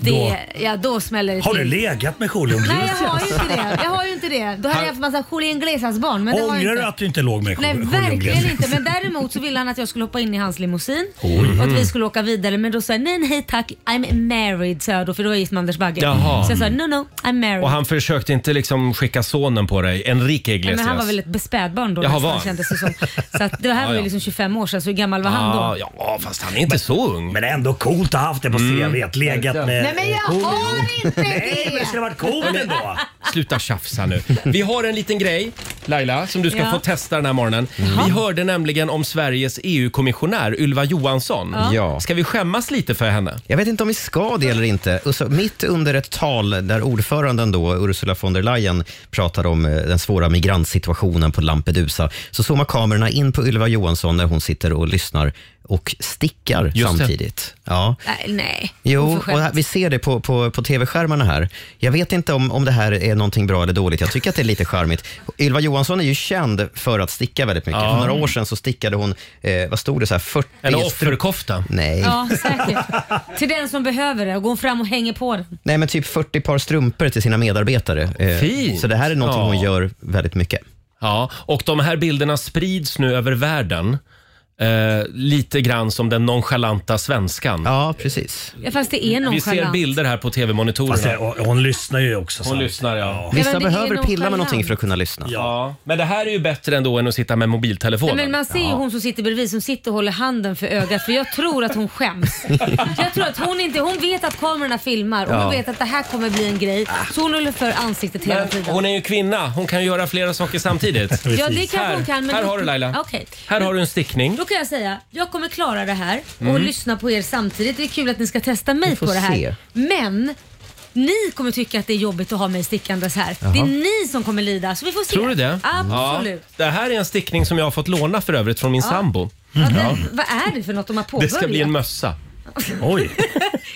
S2: det,
S10: Då-
S2: ja då smäller det
S10: Har du
S2: till.
S10: legat med Julio
S2: Nej, jag har ju
S10: Iglesias?
S2: inte det. Jag har ju inte det. Då hade
S10: Han-
S2: jag haft massa Julio Iglesias barn. Men det har jag
S10: Ångrar
S2: inte.
S10: du att du inte låg med
S2: Nej,
S10: Julio
S2: verkligen
S10: Iglesias?
S2: inte. Men däremot så ville han att jag skulle hoppa in i hans limousin
S10: Oj.
S1: Mm-hmm.
S2: och att vi skulle åka vidare. Men då sa jag nej, nej tack, I'm married sa jag då för då var jag gift med Anders Bagge.
S1: Jaha.
S2: Så jag sa no, no, I'm married.
S1: Och han försökte inte liksom skicka sonen på dig, Enrique
S2: Nej,
S1: Iglesias?
S2: men han var väl ett bespädbarn då
S1: alltså.
S2: nästan,
S1: Jaha, var.
S2: kändes det som. Så att det här
S1: Ja,
S2: var ju
S1: ja.
S2: liksom 25 år sedan, så hur gammal var han
S1: ah,
S2: då?
S1: Ja, fast han är inte så ung. Mm. Men
S10: ändå coolt att ha haft det på CV:t, legat med-
S2: Nej men
S1: Oh.
S2: jag har inte
S10: Nej, men det skulle ha varit coolt ändå.
S1: Sluta tjafsa nu. Vi har en liten grej, Laila, som du ska
S2: Ja.
S1: få testa den här morgonen. Vi hörde nämligen om Sveriges EU-kommissionär Ylva Johansson.
S3: Ja. Ja.
S1: Ska vi skämmas lite för henne?
S3: Jag vet inte om vi ska det eller inte. Och så, mitt under ett tal där ordföranden då, Ursula von der Leyen pratade om eh, den svåra migrantsituationen på Lampedusa så zoomar kamerorna in på Ylva Johansson när hon sitter och lyssnar och stickar
S2: Just det.
S3: samtidigt. Ja.
S2: Nej, nej.
S3: Jo,
S2: Hon
S3: och
S2: får skämt.
S3: här- vi ser det på, på, på tv-skärmarna här. Jag vet inte om, om det här är någonting bra eller dåligt. Jag tycker att det är lite charmigt. Ylva Johansson är ju känd för att sticka väldigt mycket.
S1: Ja.
S3: För några år sedan så stickade hon, eh, vad stod det, så här 40...
S1: En
S3: stru-
S1: offerkofta?
S3: Nej.
S2: Ja, säkert. Till den som behöver det. Och går hon fram och hänger på den.
S3: Nej, men typ 40 par strumpor till sina medarbetare. Eh,
S1: Fint.
S3: Så det här är någonting hon gör väldigt mycket.
S1: Ja, och de här bilderna sprids nu över världen. Eh, lite grann som den nonchalanta svenskan.
S3: Ja, precis.
S2: Ja, fast det är
S1: Vi ser
S2: nonchalant.
S1: bilder här på
S10: Fast det-
S1: tv-monitorerna.
S10: och- hon lyssnar ju också.
S1: Hon lyssnar, ja.
S2: Vissa Ja, men det behöver är nog pilla med galant. någonting för
S3: att kunna lyssna.
S1: Ja, men det här är ju bättre ändå än att sitta med mobiltelefonen.
S2: Nej, men man ser ju hon som sitter bredvid som sitter och håller handen för ögat för jag tror att hon
S1: [laughs]
S2: skäms. jag tror att hon inte, hon vet att kamerorna filmar och
S1: Ja. Ah.
S2: hon vet att det här kommer bli en grej så hon håller för ansiktet hela
S1: Men
S2: tiden.
S1: hon är ju kvinna, hon kan ju göra flera
S10: [laughs]
S1: saker samtidigt.
S2: Ja det kanske
S1: här,
S2: hon kan. Men
S1: här
S2: då-
S1: har du Laila.
S2: Okej.
S1: Här har du en stickning.
S2: Då kan jag säga, jag kommer klara det här och
S1: Mm.
S2: lyssna på er samtidigt. Det är kul att ni ska testa mig
S1: Vi får
S2: på det här.
S1: se.
S2: Men ni kommer tycka att det är jobbigt att ha mig stickandes här.
S1: Jaha.
S2: Det är ni som kommer lida så vi får se.
S1: Tror du det?
S2: Absolut.
S1: Ja. Det här är en stickning som jag har fått låna för övrigt från min
S2: Ja.
S1: sambo.
S2: Ja, det, Vad är det för något de har
S1: Det
S2: påbörjat?
S1: ska bli
S3: [laughs]
S1: en mössa. Oj!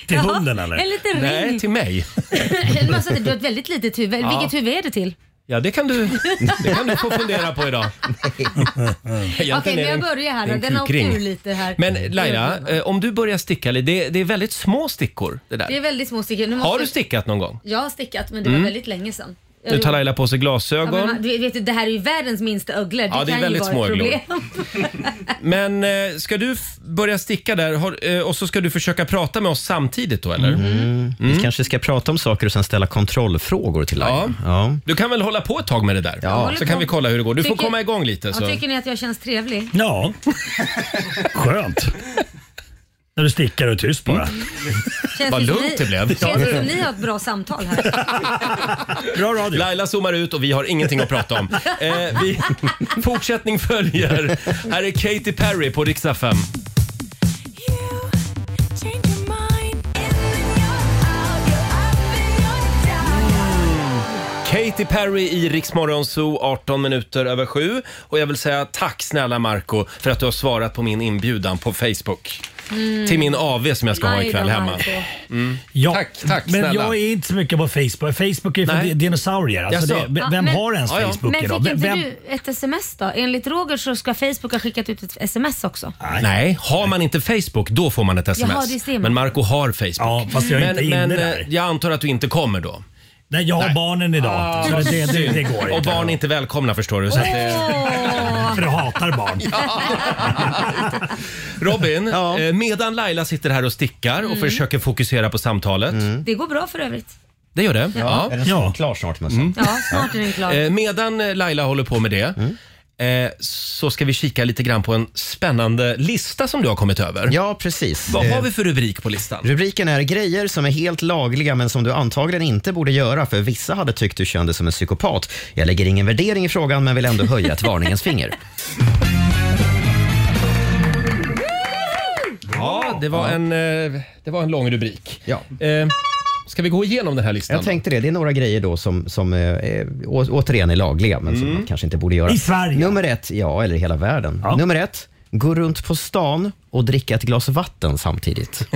S2: Till Jaha, hunden, eller? en liten
S1: Nej,
S2: ring.
S1: till mig.
S2: [coughs] en massa, du har ett väldigt litet huvud.
S1: Ja.
S2: Vilket huvud är det till?
S1: Ja, det
S2: [laughs]
S1: kan du, det kan du få fundera på idag. Egentligen
S2: Okej,
S1: är det
S2: men jag
S1: en-
S2: börjar här
S1: det är
S2: då.
S1: en
S2: Den har åkt
S1: kukring.
S2: ur lite här.
S1: Men Laila, eh, om du börjar sticka lite, det, det är väldigt små stickor det
S2: Det är
S1: där.
S2: väldigt små stickor. Nu måste-
S1: Har du stickat någon gång?
S2: Jag har stickat, men det
S1: Mm.
S2: var väldigt länge sedan. Jag
S1: Nu tar
S2: gjorde-
S1: Laila på sig
S2: Ja, men
S1: glasögon.
S2: man- du vet, ju, det här är ju världens minsta öglor. Det,
S1: Ja, det är
S2: kan ju
S1: väldigt
S2: vara
S1: små
S2: ett
S1: öglor.
S2: problem.
S1: Men eh, ska du f- börja sticka där har, eh, och så ska du försöka prata med oss samtidigt då eller?
S3: Mm.
S1: Mm.
S3: Vi kanske ska prata om saker och sen ställa kontrollfrågor till Laila. Ja.
S1: Du kan väl hålla på ett tag med det där?
S3: Ja.
S1: Så kan vi kolla hur det går. Du får
S2: Tycker-
S1: komma igång lite.
S2: Ja,
S1: Så.
S2: tycker ni att jag känns trevlig?
S10: Ja. Skönt. När du stickar och är tyst bara.
S2: Känns
S1: Vad
S2: som
S1: lugnt
S2: ni,
S1: det blev.
S2: Känns det som ni har ett bra samtal
S1: [laughs]
S2: här?
S1: Bra radio. Laila zoomar ut och vi har ingenting att prata [laughs] om. Eh, vi, fortsättning följer. Här är Katy Perry på riksdag 5. Katy Perry i Riksmorgon Zoo, 18 minuter över sju. Och jag vill säga tack snälla Marco för att du har svarat på min inbjudan på Facebook.
S10: Mm.
S1: Till min AV som jag ska ha
S10: Aj då,
S1: ikväll hemma.
S10: Marco.
S1: Mm.
S10: Ja,
S1: tack, tack
S10: men
S1: snälla.
S10: jag är inte så mycket på Facebook. Facebook är för
S1: Nej.
S10: di- dinosaurier. Alltså
S1: Jaså?
S10: det,
S2: Ja,
S10: v- vem
S2: men-
S10: har ens Facebook
S2: Men
S10: idag?
S2: fick
S10: Vem,
S2: inte du ett sms då? Enligt Roger så ska Facebook ha skickat ut ett sms också.
S1: Nej, har man inte Facebook då får man ett
S2: Jaha,
S1: sms.
S2: det ser man.
S1: Men Marco har Facebook.
S10: Ja, fast jag är
S1: men,
S10: inte inne
S1: men,
S10: där.
S1: eh, jag antar att du inte kommer då.
S10: Nej, jag har barnen idag.
S1: Ah,
S10: så
S1: vad
S10: det, det,
S1: synd.
S10: det går
S1: Och
S10: inte.
S1: barn är inte välkomna förstår du. Så att
S10: [laughs]
S1: eh, det...
S10: För du hatar barn.
S1: Robin, eh, medan Laila sitter här och stickar och
S2: Mm.
S1: försöker fokusera på samtalet.
S2: Det går bra för övrigt.
S1: Det gör det?
S2: Mm. Ja.
S3: Är den ja. klar snart? Mm.
S2: Ja, snart är den klar.
S1: Eh, Medan eh, Laila håller på med det eh, så ska vi kika lite grann på en spännande lista som du har kommit över.
S3: Ja, precis.
S1: Vad
S3: Eh,
S1: har vi för rubrik på listan?
S3: Rubriken är “Grejer som är helt lagliga men som du antagligen inte borde göra för vissa hade tyckt du kände som en psykopat. Jag lägger ingen värdering i frågan men vill ändå höja ett varningens
S1: [laughs]
S3: finger.”
S1: Ja, det var, En, eh, det var en lång rubrik.
S3: Ja.
S1: Eh, Ska vi gå igenom den här listan?
S3: Jag tänkte det. Det är några grejer då som, som eh, är- å, återigen är lagliga, men
S1: Mm.
S3: som man kanske inte borde göra.
S10: I Sverige?
S3: Nummer ett, ja, eller i hela världen. Nummer ett, gå runt på stan och dricka ett glas vatten
S1: [laughs]
S3: samtidigt.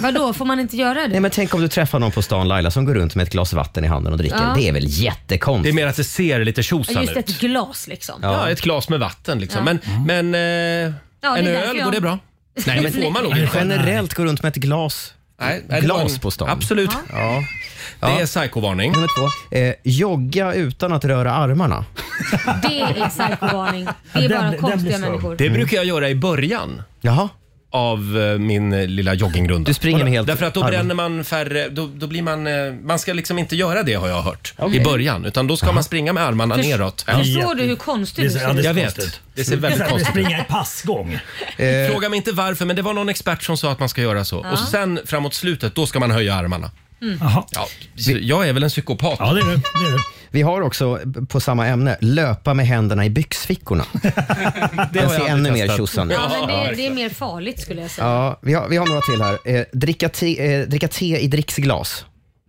S2: Vadå, får man inte göra det?
S3: Nej, men tänk om du träffar någon på stan, Laila, som går runt med ett glas vatten i handen och dricker.
S2: Ja.
S3: Det är väl
S1: Det är
S3: jättekonstigt?
S1: mer att det ser lite
S2: Ja,
S1: tjosan
S2: Just
S1: ut.
S2: ett glas liksom.
S1: Ja. ett glas med vatten liksom.
S2: Ja. Mm.
S1: Men, men eh,
S2: Ja, det är
S1: en
S2: därför
S1: öl,
S2: jag-
S1: går det bra? Nej, det får man nog
S3: Men
S1: inte.
S3: generellt gå runt med ett glas,
S1: Nej, det var
S3: glas
S1: en-
S3: på stan.
S1: Absolut.
S3: Ja.
S1: Det är psykovarning.
S3: Nummer två, eh, jogga utan att röra armarna.
S2: Det är psykovarning. Det är
S10: Ja, den-
S2: bara
S10: den blir
S2: konstiga
S10: svår.
S2: människor.
S1: Det brukar jag göra i början
S3: Jaha.
S1: av eh, min eh, lilla joggingrunda.
S3: Du springer med helt
S1: Därför att då
S3: armen.
S1: bränner man färre, då, då blir man, eh, man ska liksom inte göra det har jag hört
S3: Okej.
S1: i början. Utan då ska man springa med armarna
S2: Förs-
S1: neråt.
S2: Förstår du hur konstig du
S10: Det är så-
S2: ser
S10: ja,
S2: ut?
S10: det-
S1: Jag vet,
S10: konstigt.
S1: det ser väldigt
S10: Vi
S1: konstigt ut.
S10: springer i passgång.
S3: Eh,
S1: Fråga mig inte varför men det var någon expert som sa att man ska göra så. Och sen framåt slutet, då ska man höja armarna.
S2: Mm.
S10: Jaha.
S1: Ja, så jag är väl en psykopat.
S10: Ja, det är du. Det är du.
S3: Vi har också eh, på samma ämne, löpa med händerna i
S1: [laughs]
S3: byxfickorna.
S1: har
S3: Den
S1: jag
S3: ser
S1: aldrig
S3: ännu mer
S1: testat.
S3: tjosan ut.
S2: Ja, men det, det är mer farligt skulle jag säga.
S3: Ja, vi har, vi har några till här. Eh, dricka, te, eh, dricka te i dricksglas.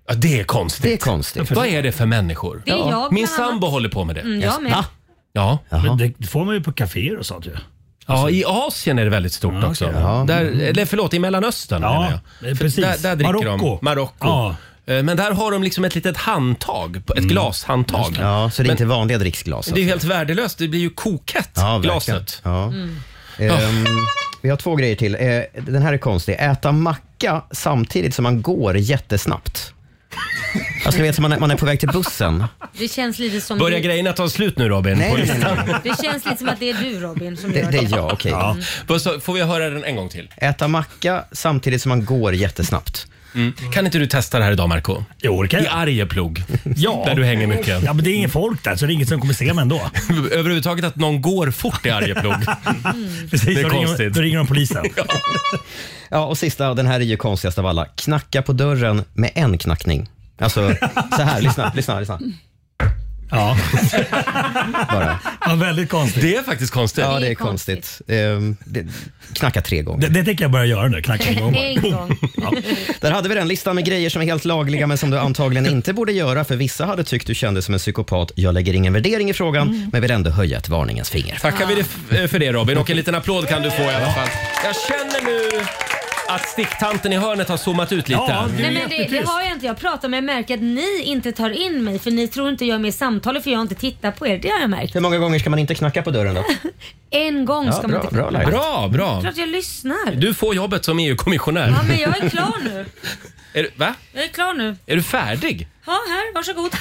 S1: Ja, det är
S3: Det är
S1: konstigt.
S3: konstigt.
S1: Vad är det för människor?
S2: Det är jag bland
S1: Min
S2: annat.
S1: sambo håller på med det.
S2: Mm, jag med.
S3: Va?
S1: Ja.
S10: Men det, det får man ju på kaféer och sånt ju.
S1: ja, i Asien är det väldigt stort
S10: okej.
S1: också. Där, eller förlåt, i Mellanöstern menar
S10: Ja,
S1: jag.
S10: eh, precis.
S1: Där, där dricker
S10: Marocko.
S1: de. Marocko.
S10: Ja. Mm.
S1: Eh, Men där har de liksom ett litet handtag, ett glashandtag.
S3: Ja, så det är inte vanliga dricksglas.
S1: Det är ju
S3: alltså.
S1: helt värdelöst, det blir ju kokhett,
S3: ja, verkligen.
S1: glaset.
S3: Ja.
S2: Mm.
S3: Ehm, vi har två grejer till. Eh, den här är konstig. Äta macka samtidigt som man går jättesnabbt. Alltså, ni vet, som man är, man är på väg till bussen.
S2: Det känns lite som...
S1: Börjar
S2: Det,
S1: grejerna ta slut nu Robin?
S3: Nej,
S1: På
S3: nej,
S1: listan.
S3: nej, nej.
S2: det känns lite som att det är du Robin som
S3: Det,
S2: gör
S3: det
S2: det.
S3: är jag, okej.
S1: Vad sa- Får vi höra den en gång till?
S3: Äta macka samtidigt som man går jättesnabbt.
S1: Mm. Kan inte du testa det här idag Marco?
S10: Jo, det kan
S1: I
S10: jag.
S1: Arjeplog,
S10: Ja.
S1: där du hänger mycket.
S10: Ja, men det är ingen folk där så det är inget som kommer se mig ändå.
S1: [laughs] Överhuvudtaget att någon går fort i Arjeplog.
S10: [laughs] Precis,
S1: Det är
S10: då, ringer,
S1: konstigt.
S10: då ringer de polisen.
S3: [laughs] Ja, och sista, den här är ju konstigast av alla. Knacka på dörren med en knackning. Alltså, så här, lyssna, lyssna, lyssna.
S10: Ja.
S3: Bara.
S10: ja, väldigt konstigt.
S1: Det är faktiskt konstigt.
S3: Ja,
S2: Det
S3: det
S2: är
S3: är konstigt. Ehm, det, knacka tre gånger.
S10: Det, det tänker jag börja göra nu. Knacka igång bara.
S2: En gång.
S3: Där hade vi den listan med grejer som är helt lagliga men som du
S1: [laughs]
S3: antagligen inte borde göra för vissa hade tyckt du kände som en psykopat. Jag lägger ingen värdering i frågan men vill ändå höja ett varningens finger.
S1: Mm. Tackar vi dig f- eh, för det Robin och en liten applåd kan du få i alla fall. Jag känner nu att sticktanten i hörnet har zoomat ut lite.
S10: Ja, du är
S2: Nej men det, det
S10: jättetyst.
S2: har jag inte. Jag pratar med märker att ni inte tar in mig för ni tror inte jag är med i samtalet för jag har inte tittat på er. Det har jag märkt.
S3: Hur många gånger ska man inte knacka på
S1: [laughs]
S3: dörren då?
S2: En gång
S3: Ja,
S2: ska man
S3: bra,
S2: inte...
S3: bra Laila.
S1: Bra, bra.
S2: Klart jag lyssnar.
S1: Du får jobbet som EU-kommissionär.
S2: Ja men jag är klar nu.
S1: Är, du- va?
S2: Jag är klar nu.
S1: Är du färdig?
S2: Ja här, varsågod.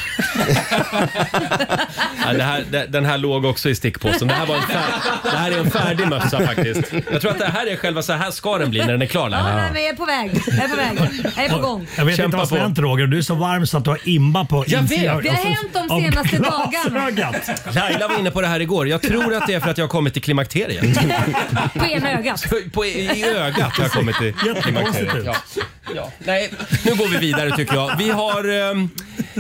S1: Ja, det här, det, den här låg också i stickpåsen. Det här, var en fär, det här är en färdig mössa faktiskt. Jag tror att det här är själva, så här ska den bli när den är klar
S2: Ja,
S1: Laila.
S2: nej, men jag är på väg. Jag är på väg. Jag är på gång.
S10: Jag vet
S1: Kämpa
S10: inte vad som
S1: på.
S10: hänt Roger. Du är så varm så att du har imma på
S1: Jag vet.
S10: insidan
S2: Det har
S10: av-
S2: hänt de
S10: Alltså, av
S2: senaste
S10: glasögat.
S1: Laila var inne på det här igår. Jag tror att det är för att jag har kommit till klimakteriet.
S2: På ena ögat.
S1: På, I ögat har jag kommit till
S10: Jättekonstigt ut.
S1: klimakteriet. Ja. Ja. Nej, nu går vi vidare tycker jag. Vi har, ehm,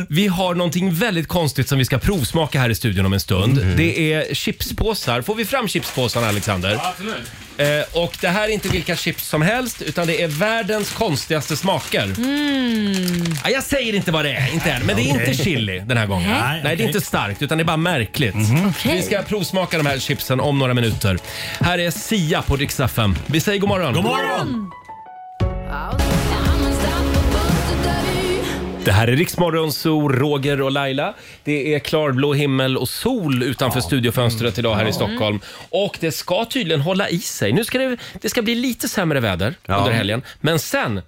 S1: vi har någonting väldigt konstigt som vi ska provsmaka här i studion om en stund. Det är chipspåsar. Får vi fram chipspåsarna Alexander?
S5: Absolut.
S1: Eh, och det här är inte vilka chips som helst utan det är världens konstigaste smaker.
S2: Mm.
S1: Ja, jag säger inte vad det är, inte än. Men det är inte chili den här gången.
S2: Nej,
S1: Nej, det
S10: okej.
S1: är inte starkt utan det är bara märkligt. Vi ska provsmaka de här chipsen om några minuter. Här är Sia på Rix FM. Vi säger god morgon.
S10: God morgon!
S1: Det här är Riksmorgon, Zoo, Roger och Laila. Det är klarblå himmel och sol utanför studiofönstret idag här i Stockholm. Och det ska tydligen hålla i sig. Nu ska det, det ska bli lite sämre väder under helgen, men sen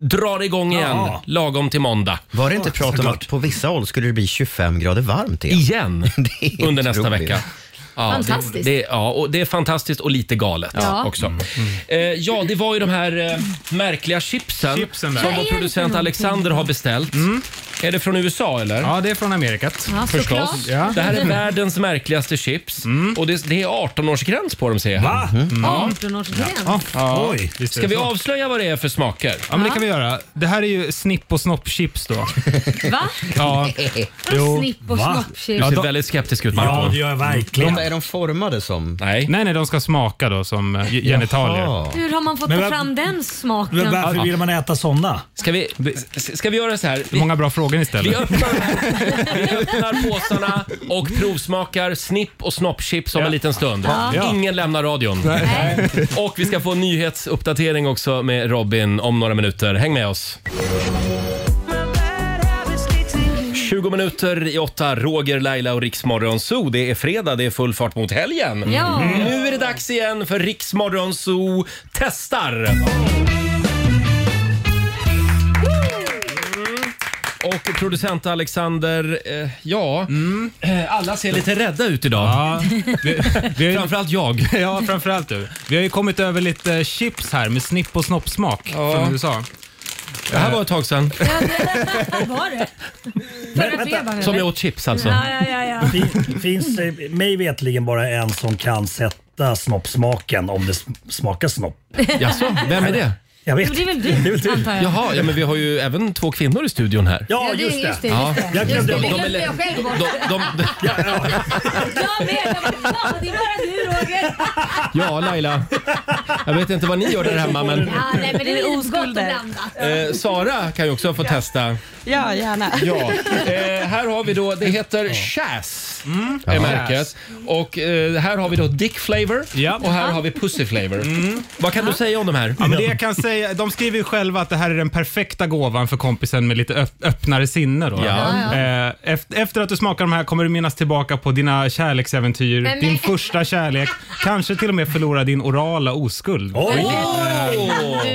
S1: drar igång igen
S3: Ja.
S1: lagom till måndag.
S3: Var det inte prat om att på vissa håll skulle det bli 25 grader varmt igen? [laughs]
S1: Igen? Under nästa
S3: otroligt.
S1: vecka. Ja,
S2: Fantastiskt.
S1: Det, det, ja, och det är fantastiskt och lite galet
S2: Ja.
S1: också. Eh, ja, det var ju de här eh, märkliga chipsen,
S5: Chipsen där.
S1: som
S5: Vad
S1: vår
S5: är det för
S1: producent
S5: någonting?
S1: Alexander har beställt. Är det från USA eller?
S5: Ja, det är från Amerikat.
S1: Ja,
S5: förstås. Ja.
S1: Det här är världens märkligaste chips och det, det är 18-årsgräns på dem ser jag. Mm.
S5: Va?
S1: Ja.
S2: 18-årsgräns.
S5: Ja.
S1: Oj.
S5: Visst är
S1: Ska
S5: det
S1: vi [laughs]
S5: så.
S1: avslöja vad det är för smaker?
S5: Ja, men det kan vi göra. Det här är ju snipp och snoppchips
S1: [laughs]
S5: då.
S2: Va?
S5: Ja.
S2: Jo. Snipp och Va? snoppchips.
S1: Du
S5: Ja,
S1: ser
S5: de-
S1: väldigt skeptisk ut Marco.
S3: De, är de formade som?
S1: Nej.
S5: Nej, nej, de ska smaka då som eh, ge- genitalier.
S2: Hur har man fått
S5: Men
S2: ta
S5: vad-
S2: fram den smaken?
S5: varför vill
S10: man äta sådana?
S1: Ska vi, ska vi göra så här? Vi,
S5: Många bra frågor ni ställer.
S1: vi öppnar, vi öppnar påsarna och provsmakar snipp och snoppchips om en liten stund.
S5: Ja.
S1: Ingen lämnar radion. [laughs] Och vi ska få en nyhetsuppdatering också med Robin om några minuter. Häng med oss. 20 minuter i åtta, Roger, Laila och Riksmorgon Zoo. Det är fredag, det är full fart mot helgen.
S2: Ja.
S1: Nu är det dags igen för Riksmorgon Zoo testar! Och producent Alexander, eh, ja, eh, alla ser lite rädda ut idag.
S5: Ja, vi, vi har,
S1: Framförallt jag.
S5: ju- [laughs] ja, framförallt du. Vi har ju kommit över lite chips här med snipp och snoppsmak från USA.
S1: Det här var ett tag sedan
S2: Ja, det- Vad var det? Förra fredagen?
S1: som
S2: eller?
S1: jag åt chips alltså.
S2: Ja, ja, ja, ja.
S10: Fin- Finns det mig vetligen bara en som kan sätta snoppsmaken om det sm- smakar snopp?
S1: Jaså, vem är det?
S10: Jag vet
S2: Jo, det är väl du,
S10: [laughs]
S2: antar jag.
S1: Jaha, ja, men vi har ju även två kvinnor i studion här.
S10: Ja,
S2: Ja, det är-
S10: just det.
S2: just det. Just det.
S10: Jag
S2: Just
S10: glömde
S2: det,
S10: bort-
S2: det glömde
S1: de är-
S2: jag själv bort.
S1: De, de,
S2: Jag vet, jag bara, "Ja, det är bara du Roger.
S1: ja, Laila. Jag vet inte vad ni gör där hemma, men
S2: Ja, nej, men det är lite gott och blandat.
S1: eh, Sara kan ju också få testa.
S11: Ja, gärna.
S1: Ja. Eh, här har vi då, det heter Chas,
S5: mm.
S1: är märket. Och eh, här har vi då Dick Flavor
S5: Ja. Mm.
S1: och här har vi Pussy Flavor. Vad kan du säga om de här?
S5: Ja, men det jag kan säga, de skriver ju själva att det här är den perfekta gåvan för kompisen med lite öpp- öppnare sinne. Då.
S1: Ja. Ja,
S5: Eh, eft- Efter att du smakar de här kommer du minnas tillbaka på dina kärleksäventyr,
S2: Men-
S5: din första kärlek, kanske till och med förlora din orala oskuld.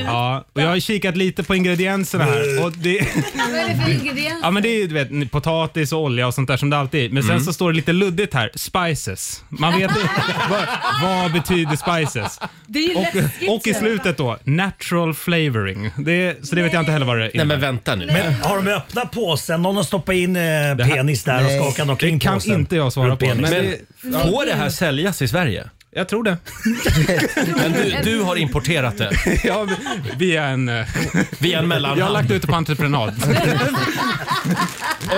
S5: Ja, och jag har kikat lite på ingredienserna
S1: Mm.
S5: här. Och det, [laughs]
S2: Vad är det för ingredienser?
S5: ja, men det är ju du vet, potatis och olja och sånt där som det alltid är. Men sen
S1: Mm.
S5: så står det lite luddigt här, spices. Man vet inte [laughs] vad, vad betyder spices.
S2: Det är ju läskigt.
S5: Och, och i slutet då, natural flavoring. Det, är- så det vet jag inte heller vad det
S1: Nej
S5: innebär.
S1: men vänta nu.
S10: Men har de öppnat påsen? Någon har stoppat in eh, penis där och skakat någon kring
S5: Det kan
S10: påsen?
S5: inte jag svara
S10: Runt
S5: på.
S10: penis.
S5: Men
S1: Men får det här säljas i Sverige?
S5: jag tror det.
S1: [laughs] Men du, du har importerat det
S5: [laughs] Ja, via en... eh,
S1: via en
S5: Jag har lagt
S1: mellanhand?
S5: ut det på
S1: [laughs]
S5: entreprenad.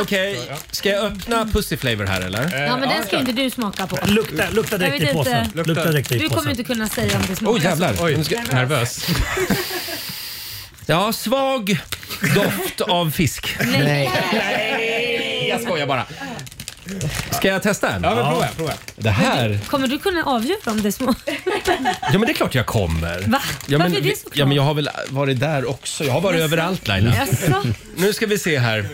S1: Okej, ska jag öppna Pussy Flavor här eller?
S2: Ja, men den ska inte du smaka på.
S10: Lukta, lukta direkt
S2: Jag vet
S10: i påsen.
S2: inte.
S10: Lukta direkt i
S2: Du kommer
S10: påsen.
S2: inte kunna säga om det smakar
S1: Åh oh, jävlar. Nu ska-
S5: Nervös.
S1: Ja, svag doft av fisk.
S2: så. Nej.
S1: Jag skojar bara. Ska jag testa en?
S5: Ja, men prova, prova.
S1: Det här?
S2: Kommer du kunna avgöra om det smakar?
S1: Ja, men det är klart jag kommer.
S2: Va?
S1: Ja, men,
S2: Varför är det så
S1: ja, men jag har väl varit där också. Jag har varit överallt Laila.
S2: Jaså?
S1: Nu ska vi se här.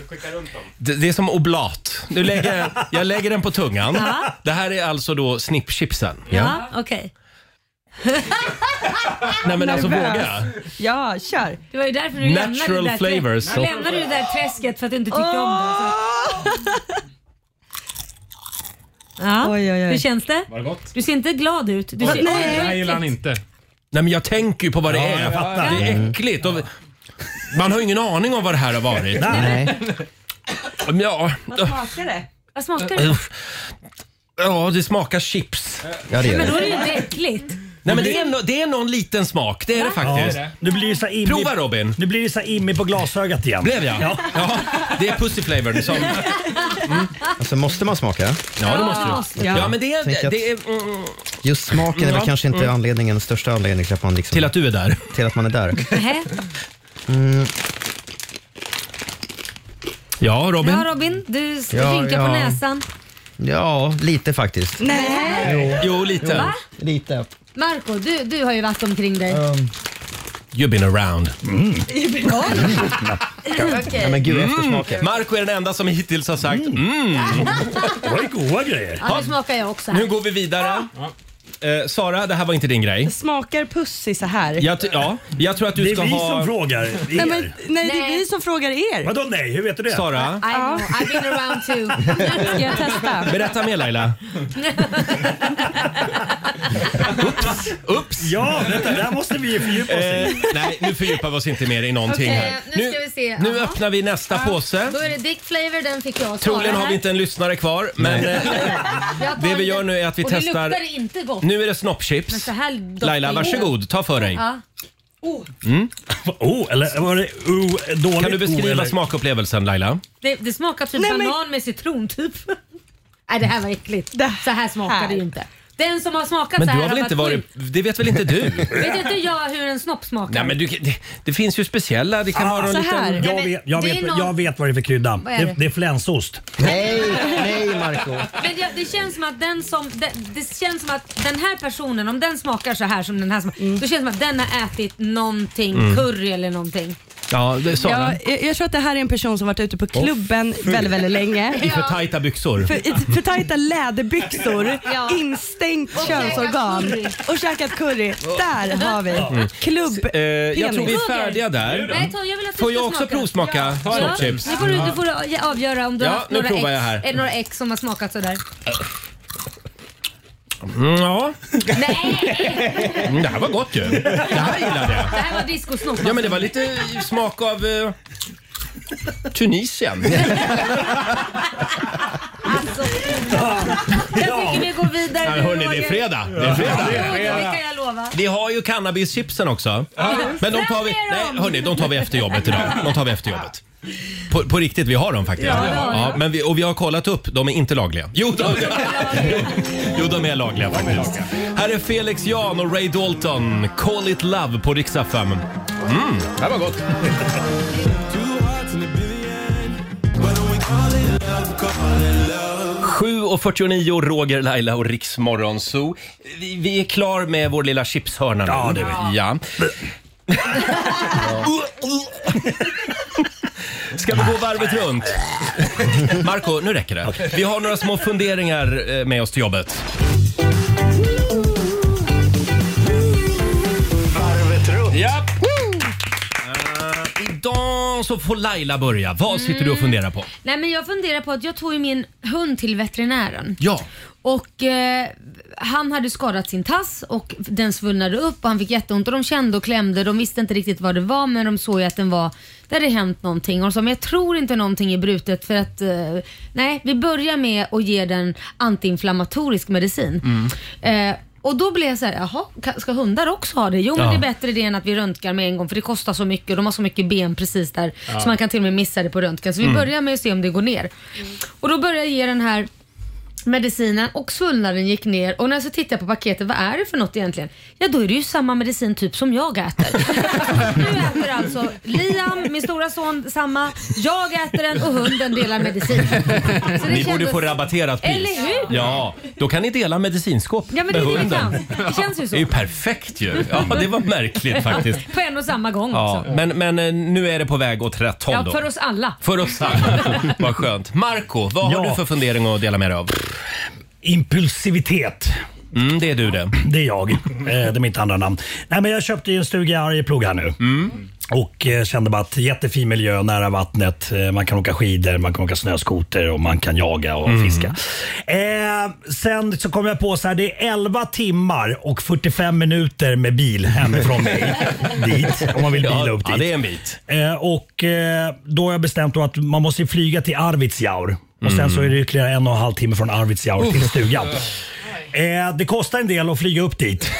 S1: Det, det är som oblat. Nu lägger, jag- jag lägger den på tungan.
S2: Ja.
S1: Det här är alltså då snippchipsen.
S2: Ja, okej.
S1: Nej men alltså
S11: Nervös.
S1: vågar jag?
S11: Ja, kör.
S2: Det var ju därför du lämnade
S1: Natural
S2: det där trä-
S1: flavors.
S2: Du lämnade det där träsket för att du inte tyckte om det. Så. Ja.
S11: Ah. Oj, oj, oj.
S2: Hur känns det?
S5: Var det gott?
S2: Du ser inte glad ut. Du ser,
S5: Det
S2: nej.
S5: här gillar han inte.
S1: Nej men jag tänker ju på vad det är.
S10: jag fattar.
S1: Det
S5: Mm.
S1: är äckligt. Och man har ju ingen aning om vad det här har varit.
S3: Nej.
S1: Men Ja,
S11: Vad smakar det?
S2: Vad smakar det?
S1: uff. ja det smakar chips.
S3: Ja, det gör
S2: Men då
S3: det.
S2: är det ju inte äckligt.
S1: Nej men det är, no, det är någon liten smak, det är det faktiskt.
S10: Ja. Nu blir det så här immig-
S1: Prova Robin.
S10: Nu blir det så här immig på glasögat igen.
S1: Blev jag?
S10: Ja.
S1: Ja, det är pussy flavorn som...
S3: Alltså, måste man smaka?
S1: Mm. Ja, det
S2: Ja,
S1: måste
S2: måste
S1: du.
S11: jag.
S1: Ja, men det
S3: Tänk
S1: är...
S3: att-
S1: Det är mm,
S3: Just smaken är väl kanske inte anledningen, största anledningen till att man, liksom,
S1: till att du är där.
S3: till att man är
S1: [laughs]
S3: där. Mm.
S2: Nähä.
S1: Ja, Robin.
S2: Ja Robin, du s-
S3: Ja,
S2: rynkar på
S3: ja.
S2: näsan.
S3: Ja, lite faktiskt.
S11: Nej.
S1: Jo, lite.
S2: Va?
S3: Lite.
S2: Marco, du, du har ju varit omkring dig.
S5: Um.
S1: You've been around.
S3: Ja, men gud, eftersmaken.
S1: Mm. Marco är den enda som hittills har sagt mm.
S10: Det var ju goda grejer.
S2: Ja, nu smakar jag också.
S1: Nu
S2: Här.
S1: går vi vidare. eh, Sara, det här var inte din grej.
S6: Smakar pussy så här?
S1: Jag, t- ja, jag tror att du
S10: Det är
S1: ska
S10: vi
S1: ha...
S10: som frågar er.
S6: Nej, men, nej, det är vi som frågar er.
S10: Vadå nej? Hur vet du det?
S1: Sara?
S6: I know. I've been around too. [laughs] Ska jag testa?
S1: [laughs] Berätta mer Laila. Ups. Ups.
S10: Ja, vänta, där måste vi fördjupa oss i.
S1: Eh, nej, nu fördjupar vi oss inte mer i någonting
S2: Okej,
S1: här.
S2: nu ska vi se.
S1: Nu
S2: Jaha.
S1: öppnar vi nästa påse.
S2: Då är det Dick Flavor, den fick jag. Sara
S1: Troligen har
S2: här.
S1: vi inte en lyssnare kvar, men eh,
S2: Jag tar
S1: det vi
S2: den.
S1: gör nu är att vi
S2: och det
S1: testar-
S2: luktar inte gott.
S1: nu är det
S2: Men
S1: snoppchips.
S2: så här doftar
S1: Laila,
S2: ingen.
S1: varsågod. Ta för dig.
S2: Ja. Oh,
S1: Mm.
S10: Oh, eller var det oh, dåligt?
S1: Kan du
S10: oh,
S1: beskriva
S10: eller?
S1: smakupplevelsen Laila?
S2: det, det smakar typ
S6: Nej, men-
S2: banan med citron typ. [laughs] Nej det här var äckligt. så här smakar det ju inte. Den som har smakat
S1: Men
S2: så
S1: du
S2: här
S1: har väl inte
S2: varit
S1: varit... Det vet väl inte du?
S2: sjuk. [laughs] Vet inte jag hur en snopp smakar?
S1: Nej, men du, det, det finns ju speciella. Det kan
S10: Ah,
S1: vara en
S2: så här.
S1: liten...
S10: Jag vet, jag,
S2: Det är
S10: vet,
S2: någon-
S10: jag vet vad det är för krydda.
S2: Vad är det?
S10: Det, det är flänsost.
S3: Nej, nej Marco
S2: Men det, det känns som att den som det, det känns som att den här personen om den smakar så här som den här smakar,
S6: Mm.
S2: då känns det som att den har ätit någonting
S1: Mm.
S2: curry eller någonting.
S1: Ja, det, Sara.
S6: Jag, jag, jag tror att det här är en person som varit ute på klubben väldigt, väldigt länge.
S1: I för tajta byxor.
S6: För, i för tajta läderbyxor,
S2: Ja.
S6: instängt
S2: Och
S6: könsorgan
S2: käkat curry.
S6: och käkat curry. Där har vi
S1: Mm.
S6: klubb...
S1: Eh, jag tror vi är
S2: Roger.
S1: färdiga där.
S2: Nej, ta, jag vill att du
S1: Får
S2: ska
S1: jag också
S2: smaka.
S1: provsmaka
S2: Ja.
S1: snoppchips?
S2: Nu får du, du får du avgöra om du
S1: Ja,
S2: har haft
S1: nu
S2: några
S1: provar
S2: ex,
S1: jag här.
S2: Är det några ex som har smakat sådär.
S1: Mm, ja.
S2: Nej!
S1: Mm, det här var gott ju. Det här gillade jag.
S2: Det här var discosnopp.
S1: Ja, men det var lite smak av eh, Tunisien.
S2: Alltså, [laughs] jag tycker vi går vidare
S1: Ja,
S2: nu,
S1: hörni, det är
S2: Roger.
S1: fredag. Det är fredag.
S2: Jo, det kan jag lova.
S1: Vi har ju cannabischipsen också.
S2: Ja.
S1: Men de tar vi,
S2: Fram med dem!
S1: nej, hörni, de tar vi efter jobbet idag. De tar vi efter jobbet. På, på riktigt, vi har dem faktiskt.
S2: Ja, det har vi.
S1: men vi, och vi har kollat upp, de är inte lagliga. Jo, de, [laughs] jo, de är lagliga faktiskt. Här är Felix Jan och Ray Dalton. Call it love på Rix FM. Mm, det här var gott.
S12: Sjukt.
S1: 7.49, Roger, Laila och Rix Morgonzoo. Vi, vi är klar med vår lilla chipshörna nu. Ja, det är vi. Ja. Ska vi gå varvet runt? Marco, nu räcker det. Vi har några små funderingar eh, med oss till jobbet.
S12: Varvet runt.
S1: Ja. Eh, Idag så får Laila börja. Vad sitter du och funderar på?
S2: Nej, men jag funderar på att jag tog ju min hund till veterinären.
S1: Ja.
S2: Och eh, Han hade skadat sin tass och den svullnade upp och han fick jätteont. Och de kände och klämde. De visste inte riktigt vad det var men de såg ju att den var, det hade hänt någonting. Och de sa, men jag tror inte någonting är brutet för att, eh, nej vi börjar med att ge den antiinflammatorisk medicin.
S4: Mm.
S2: Eh, och då blev jag så här, jaha, ka- ska hundar också ha det? Jo men
S4: Ja.
S2: det är bättre det än att vi röntgar med en gång för det kostar så mycket och de har så mycket ben precis där
S4: Ja.
S2: så man kan till och med missa det på röntgen. Så vi
S4: Mm.
S2: börjar med att se om det går ner. Och då börjar jag ge den här medicinen och svullnaden gick ner och när jag så tittar jag på paketet, vad är det för något egentligen? Ja då är det ju samma medicin typ som jag äter.
S1: [laughs]
S2: nu äter alltså Liam, min stora son, samma. Jag äter den och hunden delar
S1: [laughs]
S2: medicin. Så Alltså, det
S1: Ni borde
S2: kändes-
S1: få rabatterat pris.
S2: Eller hur?
S1: Ja, då kan ni dela medicinskåp
S2: Ja, men det
S1: med
S2: är det
S1: hunden.
S2: jag kan. Det känns ju så.
S1: Det är ju perfekt ju. Ja, det
S2: [laughs]
S1: var märkligt faktiskt.
S2: På en och samma gång
S1: Ja,
S2: också.
S1: men, men eh, nu är det på väg åt rätt håll
S2: Ja,
S1: då.
S2: för oss alla.
S1: För oss alla. [laughs] Vad skönt. Marco, vad har
S10: Ja.
S1: du för fundering att dela med dig av?
S10: Impulsivitet.
S1: Mm, det är du det.
S10: Det är jag. Eh, Det är mitt andra namn. Nej, men jag köpte ju en stuga i Arjeplog här nu.
S1: Mm.
S10: Och eh, kände bara att jättefin miljö nära vattnet. Eh, Man kan åka skidor, man kan åka snöskoter och man kan jaga
S1: Mm.
S10: och fiska. Eh, sen så kom jag på så här, det är 11 timmar och 45 minuter med bil hemifrån
S1: [laughs]
S10: mig dit. Om man vill bila
S1: Ja,
S10: upp dit.
S1: ja, det är en bit.
S10: Eh, och eh, då har jag bestämt då att man måste ju flyga till Arvidsjaur. Och sen
S1: Mm.
S10: så är det ytterligare en och en halv timme från Arvidsjaur till
S1: Uff.
S10: stugan. Eh, det kostar en del att flyga upp
S2: [laughs]
S10: dit.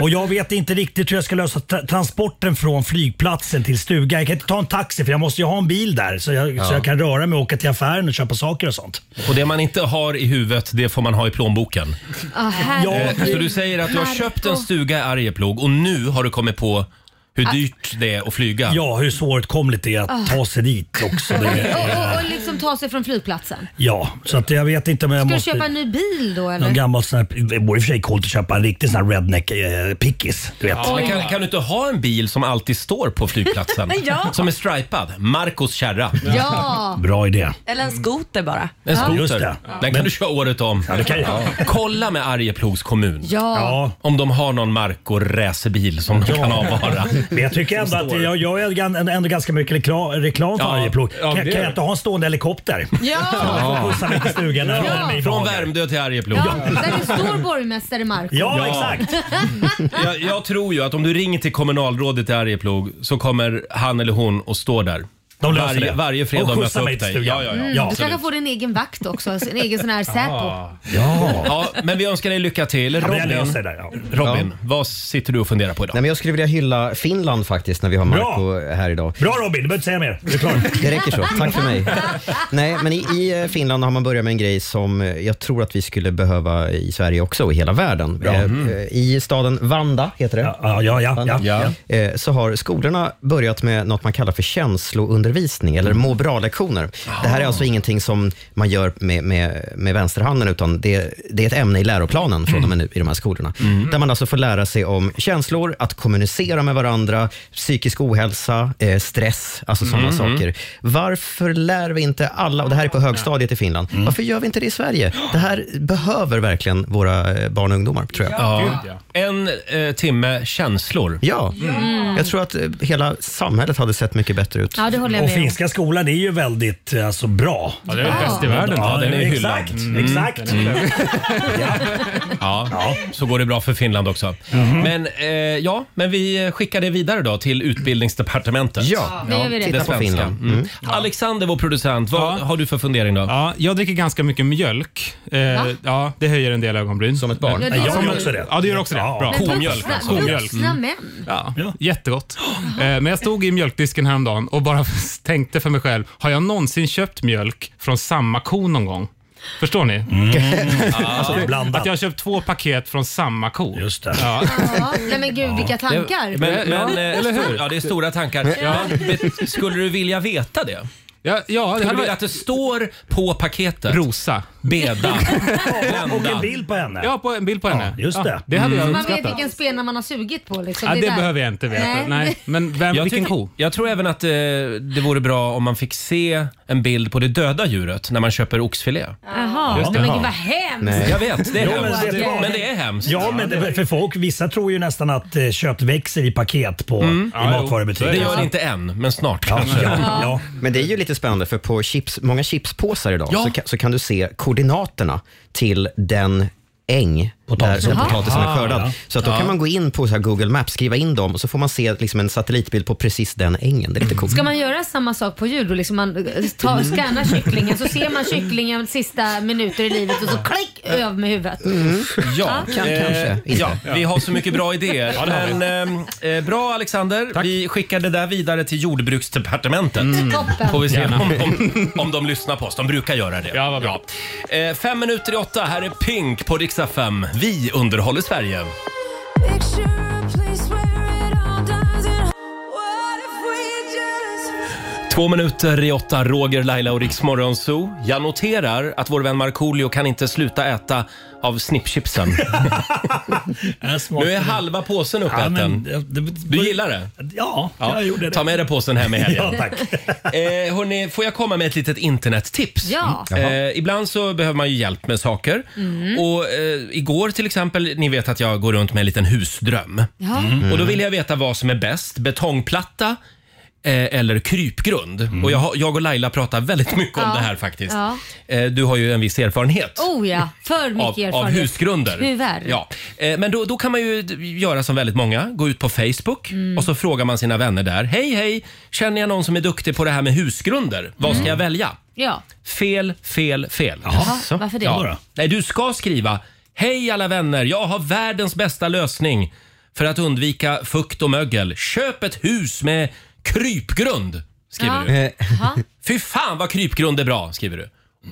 S10: Och jag vet inte riktigt hur jag ska lösa tra- transporten från flygplatsen till stugan. Jag kan inte ta en taxi för jag måste ju ha en bil där så jag,
S1: Ja.
S10: så jag kan röra mig och åka till affären och köpa saker och sånt.
S1: Och det man inte har i huvudet, det får man ha i plånboken.
S2: Ah,
S1: Eh,
S2: herregud.
S1: Så du säger att du har köpt en
S2: Marco.
S1: stuga i Arjeplog och nu har du kommit på hur
S2: Att-
S1: dyrt det är att flyga.
S10: Ah. Ja, hur svårtkomligt det är att ta sig dit också.
S2: Ah. [laughs] Och, och, och liksom som tar sig från flygplatsen.
S13: Ja, så att jag vet inte om jag
S2: Ska du
S13: måste...
S2: köpa en ny bil då eller?
S13: Någon gammal sån här, det vore i och för sig coolt att köpa en riktig sån här redneck eh, pickis. Du vet.
S1: Men kan, kan du inte ha en bil som alltid står på flygplatsen?
S11: Ja.
S1: Som är stripad? Marcos kärra.
S11: Ja.
S13: Bra idé.
S11: Eller en skoter bara.
S1: En skoter.
S13: Just det.
S1: Den kan du köra året om.
S13: det kan jag.
S1: Kolla med Arjeplogs kommun.
S11: Ja. Ja.
S1: Om de har någon Marco-racerbil som de kan avvara.
S13: Men jag tycker ändå att jag gör ju gan- ändå ganska mycket rekla- reklam för
S1: Ja.
S13: Arjeplog.
S1: Ja,
S13: kan,
S1: det
S13: kan
S1: gör
S13: jag
S1: du.
S13: inte ha en stående helikopter? [laughs]
S2: Ja.
S13: Jag får skjutsa mig till stugan när jag kommer mig
S1: Från
S13: ifrån.
S1: Värmdö till Arjeplog.
S2: Ja, där det står borgmästare Marko.
S1: Ja, exakt. Jag, jag tror ju att om du ringer till kommunalrådet i Arjeplog så kommer han eller hon att stå där.
S13: De löser
S1: varje,
S13: det.
S1: varje fredag
S13: Och
S1: och
S13: skjutsa
S1: möta
S13: mig
S1: upp
S13: till
S1: dig.
S13: stugan.
S1: Ja, ja, ja.
S2: Mm, du
S1: Absolut.
S2: kanske får en egen vakt också, en egen sån här Säpo.
S1: Ja, men vi önskar dig lycka till.
S13: men jag
S1: Robin,
S13: löser det, ja.
S1: Robin vad sitter du och funderar på idag?
S3: Nej, men jag skulle vilja hylla Finland faktiskt när vi har
S13: Bra.
S3: Marco här idag.
S13: Bra Robin, du behöver inte säga mer. Det är klart.
S3: Det räcker så. Tack för
S1: [laughs]
S3: mig. Nej, men i, i Finland har man börjat med en grej som eh, jag tror att vi skulle behöva i Sverige också och i hela världen.
S13: Bra.
S3: Eh,
S13: Mm.
S3: eh, I staden Vanda heter det.
S13: Ja, ja, ja, ja, ja.
S3: Eh, Så har skolorna börjat med något man kallar för känsloundervisning
S13: Mm.
S3: eller må bra-lektioner. Det
S13: Ah.
S3: här är alltså ingenting som man gör med, med, med vänsterhanden utan det, det är ett ämne i läroplanen
S13: Mm.
S3: från och med nu i de här skolorna. Där man alltså får lära sig om känslor, att kommunicera med varandra, psykisk ohälsa, eh, stress, alltså sådana
S14: Mm.
S3: saker. Varför lär vi inte alla, och det här är på högstadiet i Finland,
S1: Mm.
S3: varför gör vi inte det i Sverige? Det här behöver verkligen våra eh, barn och ungdomar, tror jag.
S1: Ja. En eh, timme känslor.
S3: Ja,
S2: Mm.
S3: jag tror att eh, hela samhället hade sett mycket bättre ut.
S2: Ja, det håller jag
S13: Och
S2: med om.
S13: finska skolan är ju väldigt eh, alltså, bra. Ja,
S1: den är Ja. bäst i världen. Ja, den är ju hyllad.
S13: Exakt,
S1: Mm.
S13: exakt.
S1: Mm. Ja, så går det bra för Finland också.
S5: Mhm.
S1: Men, eh, ja, men vi skickar det vidare då till utbildningsdepartementet.
S3: Ja,
S2: det gör vi det. Titta på
S1: svenska.
S2: Finland.
S1: Mm. Alexander, vår producent, vad har du för fundering då?
S5: Ja, jag dricker ganska mycket mjölk. Eh,
S2: Va?
S5: ja, det höjer en del ögonbryn. Som ett
S1: barn.
S2: Ja, det gör
S13: Jag gör också det.
S5: Ja, du gör också det.
S13: Ja.
S5: Bra.
S2: Men
S5: Komjölk.
S2: vuxna-
S5: alltså. Komjölk.
S2: Vuxna
S5: Mm.
S2: män.
S5: Ja, jättegott. Eh, Men jag stod i mjölkdisken häromdagen och bara [laughs] tänkte för mig själv, har jag någonsin köpt mjölk från samma ko någon gång? Förstår ni?
S13: Mm.
S5: [laughs]
S13: Alltså, blandat.
S5: Att jag har köpt två paket från samma ko.
S13: Just det.
S5: Ja.
S2: Ja, nej men gud vilka tankar.
S1: Det, men, men,
S5: Ja,
S1: eh,
S5: eller hur?
S1: stor- Ja, det är stora tankar.
S5: Ja.
S1: Men, bet- skulle du vilja veta det?
S5: Ja, ja, det
S1: Skulle
S5: hade
S1: du vilja
S5: varit
S1: att det står på paketet?
S5: rosa.
S1: Beda.
S13: Och en
S1: Vända.
S13: bild på henne.
S5: [laughs] Ja, på en bild på henne.
S13: just det.
S5: det hade jag
S2: Mm. man vet
S5: uppskattat.
S2: vilken spena man har sugit på liksom.
S5: Ja,
S2: är
S5: det
S2: där.
S5: behöver jag inte veta.
S2: Nej.
S5: Nej. Men vem,
S1: Jag,
S5: vilken
S1: tycker-
S5: ko?
S1: jag tror även att eh, det vore bra om man fick se en bild på det döda djuret när man köper oxfilé.
S2: Jaha,
S1: Just det.
S2: men gud
S1: Ja.
S2: vad hemskt.
S3: Nej.
S1: Jag vet, det är
S13: Jo, men
S1: hemskt.
S13: det är bra.
S1: Men det är hemskt.
S13: Ja, men det, för folk, vissa tror ju nästan att eh, kött växer i paket på Mm. i
S5: Ja, jo.
S13: matvarubutiker.
S1: Mm. Det gör det inte än, men snart
S13: Ja,
S1: kanske.
S13: ja, ja.
S3: Men det är ju lite spännande för på chips, många chipspåsar idag
S1: Ja.
S3: så, kan, så kan du se koordinaterna till den äng
S13: Potatisen.
S3: där
S13: Jaha.
S3: potatisen är skördad.
S13: Ah, ja.
S3: Så att då kan man gå in på så här Google Maps, skriva in dem och så får man se liksom en satellitbild på precis den ängen. Det är lite coolt.
S2: Ska man göra samma sak på djur då? Liksom man eh, ta, scannar kycklingen så ser man kycklingen sista minuter i livet och så klick över med huvudet.
S1: Mm. Ja,
S3: Kan- kanske. Inte.
S1: Eh, ja, vi har så mycket bra idéer. men, eh, bra Alexander, vi skickar det där vidare till jordbruksdepartementet.
S2: Toppen.
S1: Får vi se
S5: Gärna.
S1: om, om, om de lyssnar på oss. De brukar göra det.
S5: Ja, vad bra.
S1: Eh, fem minuter i åtta, här är Pink på riksdag 5. Vi underhåller Sverige. Två minuter i åtta, Roger, Laila och Riks Morgonzoo. Jag noterar att vår vän Markoolio kan inte sluta äta av
S13: [laughs]
S1: snippchipsen. [laughs]
S13: Jag smakar-
S1: Nu är halva påsen
S13: Ja,
S1: uppäten.
S13: men, eh, det-
S1: Du gillar det?
S13: Ja,
S1: Ja,
S13: jag gjorde det.
S1: Ta med dig påsen hem i helgen.
S13: Ja, tack.
S1: [laughs] Eh, hörni, får jag komma med ett litet internettips?
S2: Ja.
S1: Mm. Eh, ibland så behöver man ju hjälp med saker. Och eh, Igår till exempel, ni vet att jag går runt med en liten husdröm.
S2: Ja.
S1: Mm.
S6: Mm.
S1: Och Då vill jag veta vad som är bäst, betongplatta eh, eller krypgrund. Och jag, har- jag och Laila pratar väldigt mycket om
S2: Ja.
S1: det här faktiskt.
S2: Ja.
S1: Eh, du har ju en viss erfarenhet
S2: Oh ja, för mycket
S1: av,
S2: erfarenhet.
S1: av husgrunder.
S2: Tyvärr.
S1: Ja. Eh, Men då, då kan man ju d- göra som väldigt många, gå ut på Facebook
S2: Mm.
S1: och så frågar man sina vänner där. Hej, hej! Känner jag någon som är duktig på det här med husgrunder? Vad
S2: Mm.
S1: ska jag välja?
S2: Ja.
S1: Fel, fel, fel.
S2: Jaha, varför det?
S1: Ja. Nej, du ska skriva Hej alla vänner, jag har världens bästa lösning för att undvika fukt och mögel. Köp ett hus med krypgrund, skriver
S2: Ja.
S1: du.
S3: Eh,
S2: Jaha.
S1: Fy fan vad krypgrund är bra, skriver du.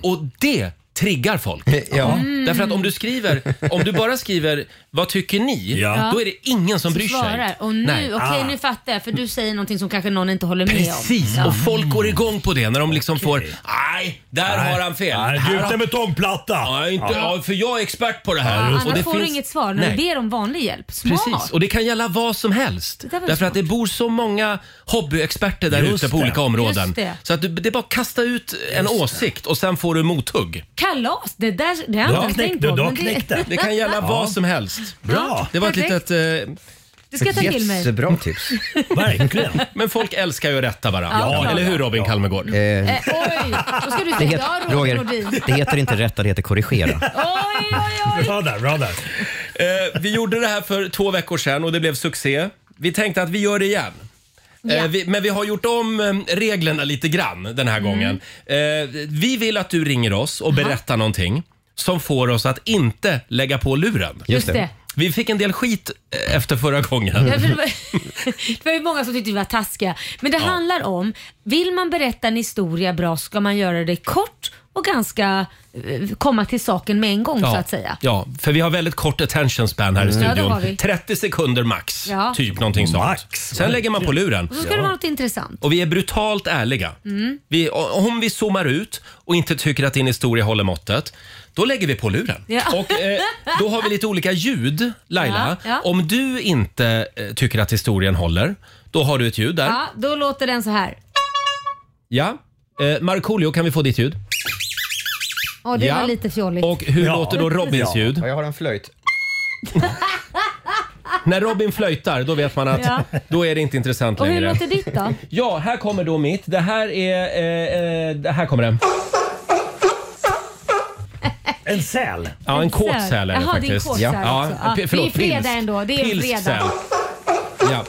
S1: Och det triggar folk.
S3: Ja.
S2: Mm.
S1: Därför att om du skriver, om du bara skriver “Vad tycker ni?”
S2: Ja.
S1: då är det ingen som bryr sig.
S2: svarar. Och nu,
S1: Nej. Ah.
S2: okej nu fattar jag för du säger någonting som kanske någon inte håller med
S1: Precis,
S2: om.
S1: och folk går igång på det när de liksom får “Nej, där
S13: Nej.
S1: har han fel”.
S13: Nej,
S1: Här
S13: gjut
S1: har-
S13: en betongplatta!
S1: Ja, inte,
S13: Ja.
S1: ja. för jag är expert på det här.
S2: Ja,
S1: Och
S2: Ah, annars
S1: det
S2: får
S1: finns-
S2: du inget svar när du
S1: Nej.
S2: ber om vanlig hjälp. Smart.
S1: Precis, och det kan gälla vad som helst.
S2: Det där var
S1: Därför att
S2: smart.
S1: det bor så många hobbyexperter där
S13: Just
S1: ute på
S13: det.
S1: olika områden.
S2: Just det.
S1: Så att du, det är bara att kasta ut en åsikt och sen får du mothugg.
S2: Kalas! Det där det har jag inte tänkt på. men
S1: Det kan gälla
S2: [laughs] Ja.
S1: vad som helst.
S2: Bra.
S1: Det var ett
S2: Perfekt.
S1: litet... Eh,
S2: Det ska jag ta till mig.
S3: Jättebra tips.
S13: Verkligen.
S1: Men folk älskar ju att rätta varandra.
S3: Ja,
S1: eller
S3: ja.
S1: hur Robin Kalmegård?
S3: Eh,
S2: Eh, oj, då ska du
S3: det,
S2: säga ja,
S3: heter,
S2: Roger
S3: Roger,
S2: Nordin.
S3: det heter inte rätta, det heter korrigera.
S2: Oj, oj, oj.
S13: Bra där, bra där.
S1: Eh, vi gjorde det här för två veckor sedan och det blev succé. Vi tänkte att vi gör det igen. Eh,
S2: Ja.
S1: vi, men vi har gjort om eh, reglerna lite grann den
S2: Mm.
S1: här gången. Eh, vi vill att du ringer oss och berättar någonting som får oss att inte lägga på luren.
S2: Just det.
S1: Vi fick en del skit eh, efter förra gången.
S2: Därför det, var, det var [laughs] ju många som tyckte vi var taskiga. Men det handlar om, vill man berätta en historia bra ska man göra det kort och ganska eh, komma till saken med en gång så att säga. Mm.
S1: Ja, för vi har väldigt kort attention span här i
S2: Ja, det har
S1: studion.
S2: vi.
S1: 30 sekunder max.
S2: Ja.
S1: Typ någonting sånt. Sen lägger man på luren.
S2: Och så ska det vara något intressant.
S1: Och vi är brutalt ärliga.
S2: Mm.
S1: Vi, om vi zoomar ut och inte tycker att din historia håller måttet, då lägger vi på luren.
S2: Ja.
S1: Och eh, då har vi lite olika ljud, Laila.
S2: Ja, ja.
S1: Om du inte eh, tycker att historien håller, då har du ett ljud där.
S2: Ja, då låter den så här.
S1: Ja. Eh, Markoolio, kan vi få ditt ljud?
S2: Åh, det
S1: Ja.
S2: var lite fjolligt.
S1: Och hur låter då Robins
S3: Ja.
S1: ljud?
S3: Ja, jag har en flöjt.
S1: [laughs] När Robin flöjtar, då vet man att
S2: Ja.
S1: då är det inte intressant
S2: Och hur
S1: längre.
S2: låter ditt då?
S1: Ja, här kommer då mitt. Det här är... Eh, eh, det här kommer den.
S13: En säl?
S1: Ja, en kåt säl är det
S2: Jaha, det är en
S1: faktiskt.
S2: kåt säl också. Ja,
S1: p- förlåt,
S2: det är fredag
S1: pilsk.
S2: ändå, det är en
S1: Pilsk
S2: fredag.
S1: säl. Ja.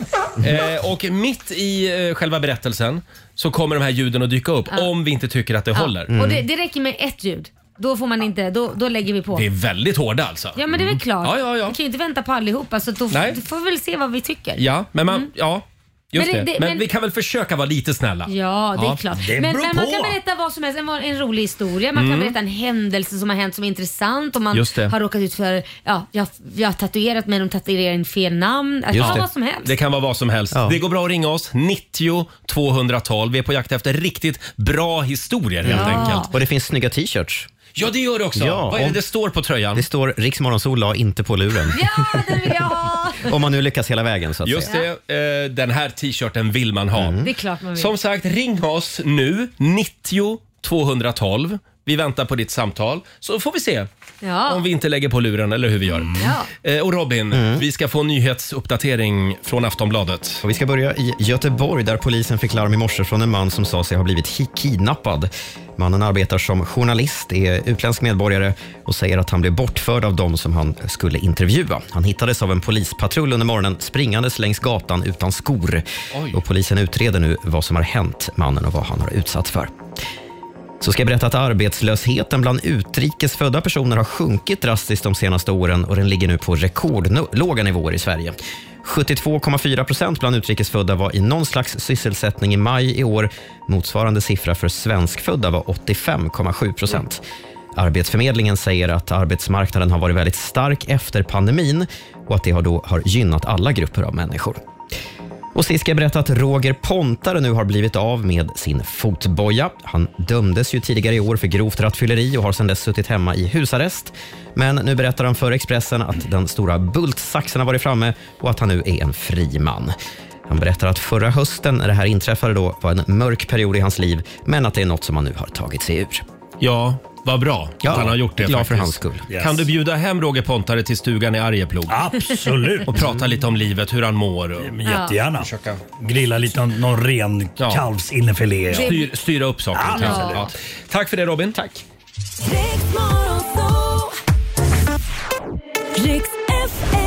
S1: Eh, och mitt i eh, själva berättelsen så kommer de här ljuden att dyka upp om vi inte tycker att det håller. Mm.
S2: Och
S3: Mm.
S2: det, det räcker med ett ljud. Då får man inte, då, då lägger vi på.
S1: Vi är väldigt hårda alltså.
S2: Ja men det är väl klart.
S1: Ja, ja, ja.
S2: Vi kan ju inte vänta på allihopa så då
S1: Nej.
S2: f- då får vi väl se vad vi tycker.
S1: Ja, men man... Ja, just
S2: Mm. Men
S1: men
S2: det-
S1: det,
S2: det-
S1: Men,
S2: men-
S1: vi kan väl försöka vara lite snälla?
S2: Ja, det är klart.
S1: Det
S2: men,
S1: beror
S2: men man
S1: på.
S2: kan berätta vad som helst, en, en rolig historia, man kan
S1: Mm.
S2: berätta en händelse som har hänt som är intressant, om man
S1: Just det.
S2: har råkat ut för, ja, jag, jag har tatuerat mig, de tatuerar in fel namn. Alltså, ja, vad som helst.
S1: Det kan vara vad som helst. Det går bra att ringa oss, 90 212. Vi är på jakt efter riktigt bra historier helt
S2: Ja.
S1: enkelt.
S3: Och det finns snygga t-shirts.
S1: Ja, det gör det också. Vad är det det står på tröjan?
S3: Det står Rix Morgonzoo la inte på luren.
S2: [laughs] Ja, den vill jag ha!
S3: Om man nu lyckas hela vägen så att
S1: Just
S3: säga.
S1: det, eh, den här t-shirten vill man ha.
S2: Det är klart man vill.
S1: Mm. Som sagt, ring oss nu, 90 212. Vi väntar på ditt samtal, så får vi se
S2: Ja.
S1: om vi inte lägger på luren eller hur vi gör.
S2: Ja.
S1: Eh, Och Robin,
S3: Mm.
S1: vi ska få en nyhetsuppdatering från Aftonbladet.
S3: Och vi ska börja i Göteborg där polisen fick larm i morse från en man som sa sig ha blivit hi- kidnappad. Mannen arbetar som journalist, är utländsk medborgare och säger att han blev bortförd av dem som han skulle intervjua. Han hittades av en polispatrull under morgonen springandes längs gatan utan skor. Och polisen utreder nu vad som har hänt mannen och vad han har utsatts för. Så ska jag berätta att arbetslösheten bland utrikesfödda personer har sjunkit drastiskt de senaste åren och den ligger nu på rekordlåga nivåer i Sverige. 72,4 procent bland utrikesfödda var i någon slags sysselsättning i maj i år. Motsvarande siffra för svenskfödda var 85,7 procent. Arbetsförmedlingen säger att arbetsmarknaden har varit väldigt stark efter pandemin och att det har, då, har gynnat alla grupper av människor. Och sist ska jag berätta att Roger Pontare nu har blivit av med sin fotboja. Han dömdes ju tidigare i år för grovt rattfylleri och har sedan dess suttit hemma i husarrest. Men nu berättar han för Expressen att den stora bultsaxen har varit framme och att han nu är en fri man. Han berättar att förra hösten när det här inträffade då var en mörk period i hans liv, men att det är något som han nu har tagit sig ur.
S1: Ja, vad bra att
S3: Ja,
S1: han har gjort det.
S3: glad för
S1: faktiskt.
S3: hans skull. Yes.
S1: Kan du bjuda hem Roger Pontare till stugan i Arjeplog?
S13: Absolut.
S1: Och prata lite om livet, hur han mår. Och...
S13: Men Jättegärna. Grilla lite någon, någon ren kalvsinnerfilé.
S1: Styr, styra upp saker och ting.
S13: Ja.
S1: Ja. Tack för det Robin. Tack.
S14: Riks FM.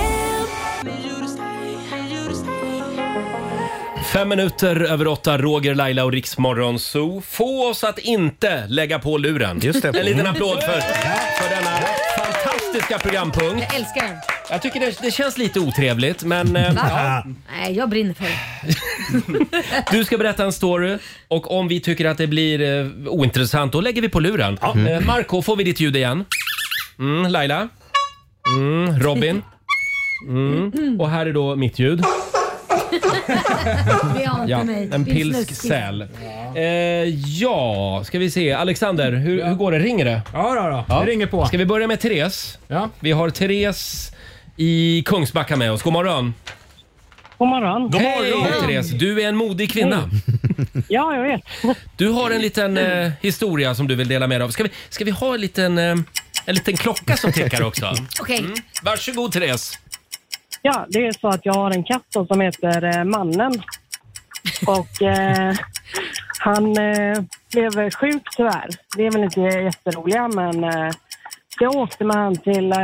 S1: Fem minuter över åtta, Roger, Laila och Riksmorgon Zoo. Få oss att inte lägga på luren.
S3: Just det.
S1: En liten applåd för, för denna fantastiska programpunkt.
S2: Jag älskar den.
S1: Jag tycker det, det känns lite otrevligt, men... eh,
S2: Va?
S1: ja.
S2: Nej, jag brinner för det.
S1: Du ska berätta en story och om vi tycker att det blir eh, ointressant, då lägger vi på luren.
S6: Mm.
S1: Eh, Marco, får vi ditt ljud igen? Mm, Laila? Mm, Robin? Mm. Och här är då mitt ljud.
S2: Vi har inte
S1: Ja,
S2: mig.
S1: en
S2: Det är
S1: pilsk
S2: snuskigt.
S1: säl. Ja. Eh, ja, ska vi se. Alexander, hur, hur går det? Ringer det? Ja, då, då.
S5: Det ringer på.
S1: Ska vi börja med Therese? Ja. Vi har Therese i Kungsbacka med oss. God morgon.
S15: God morgon.
S1: Hej Therese, du är en modig kvinna.
S15: Ja, jag vet.
S1: Du har en liten eh, historia som du vill dela med dig av. Ska vi, ska vi ha en liten, eh, en liten klocka som tickar [laughs] också?
S2: Okej.
S1: Mm. Varsågod Therese.
S15: Ja, det är så att jag har en katt då som heter eh, Mannen. Och eh, han eh, blev sjuk tyvärr. Det är väl inte jätteroliga, men eh, så jag åkte med han till eh,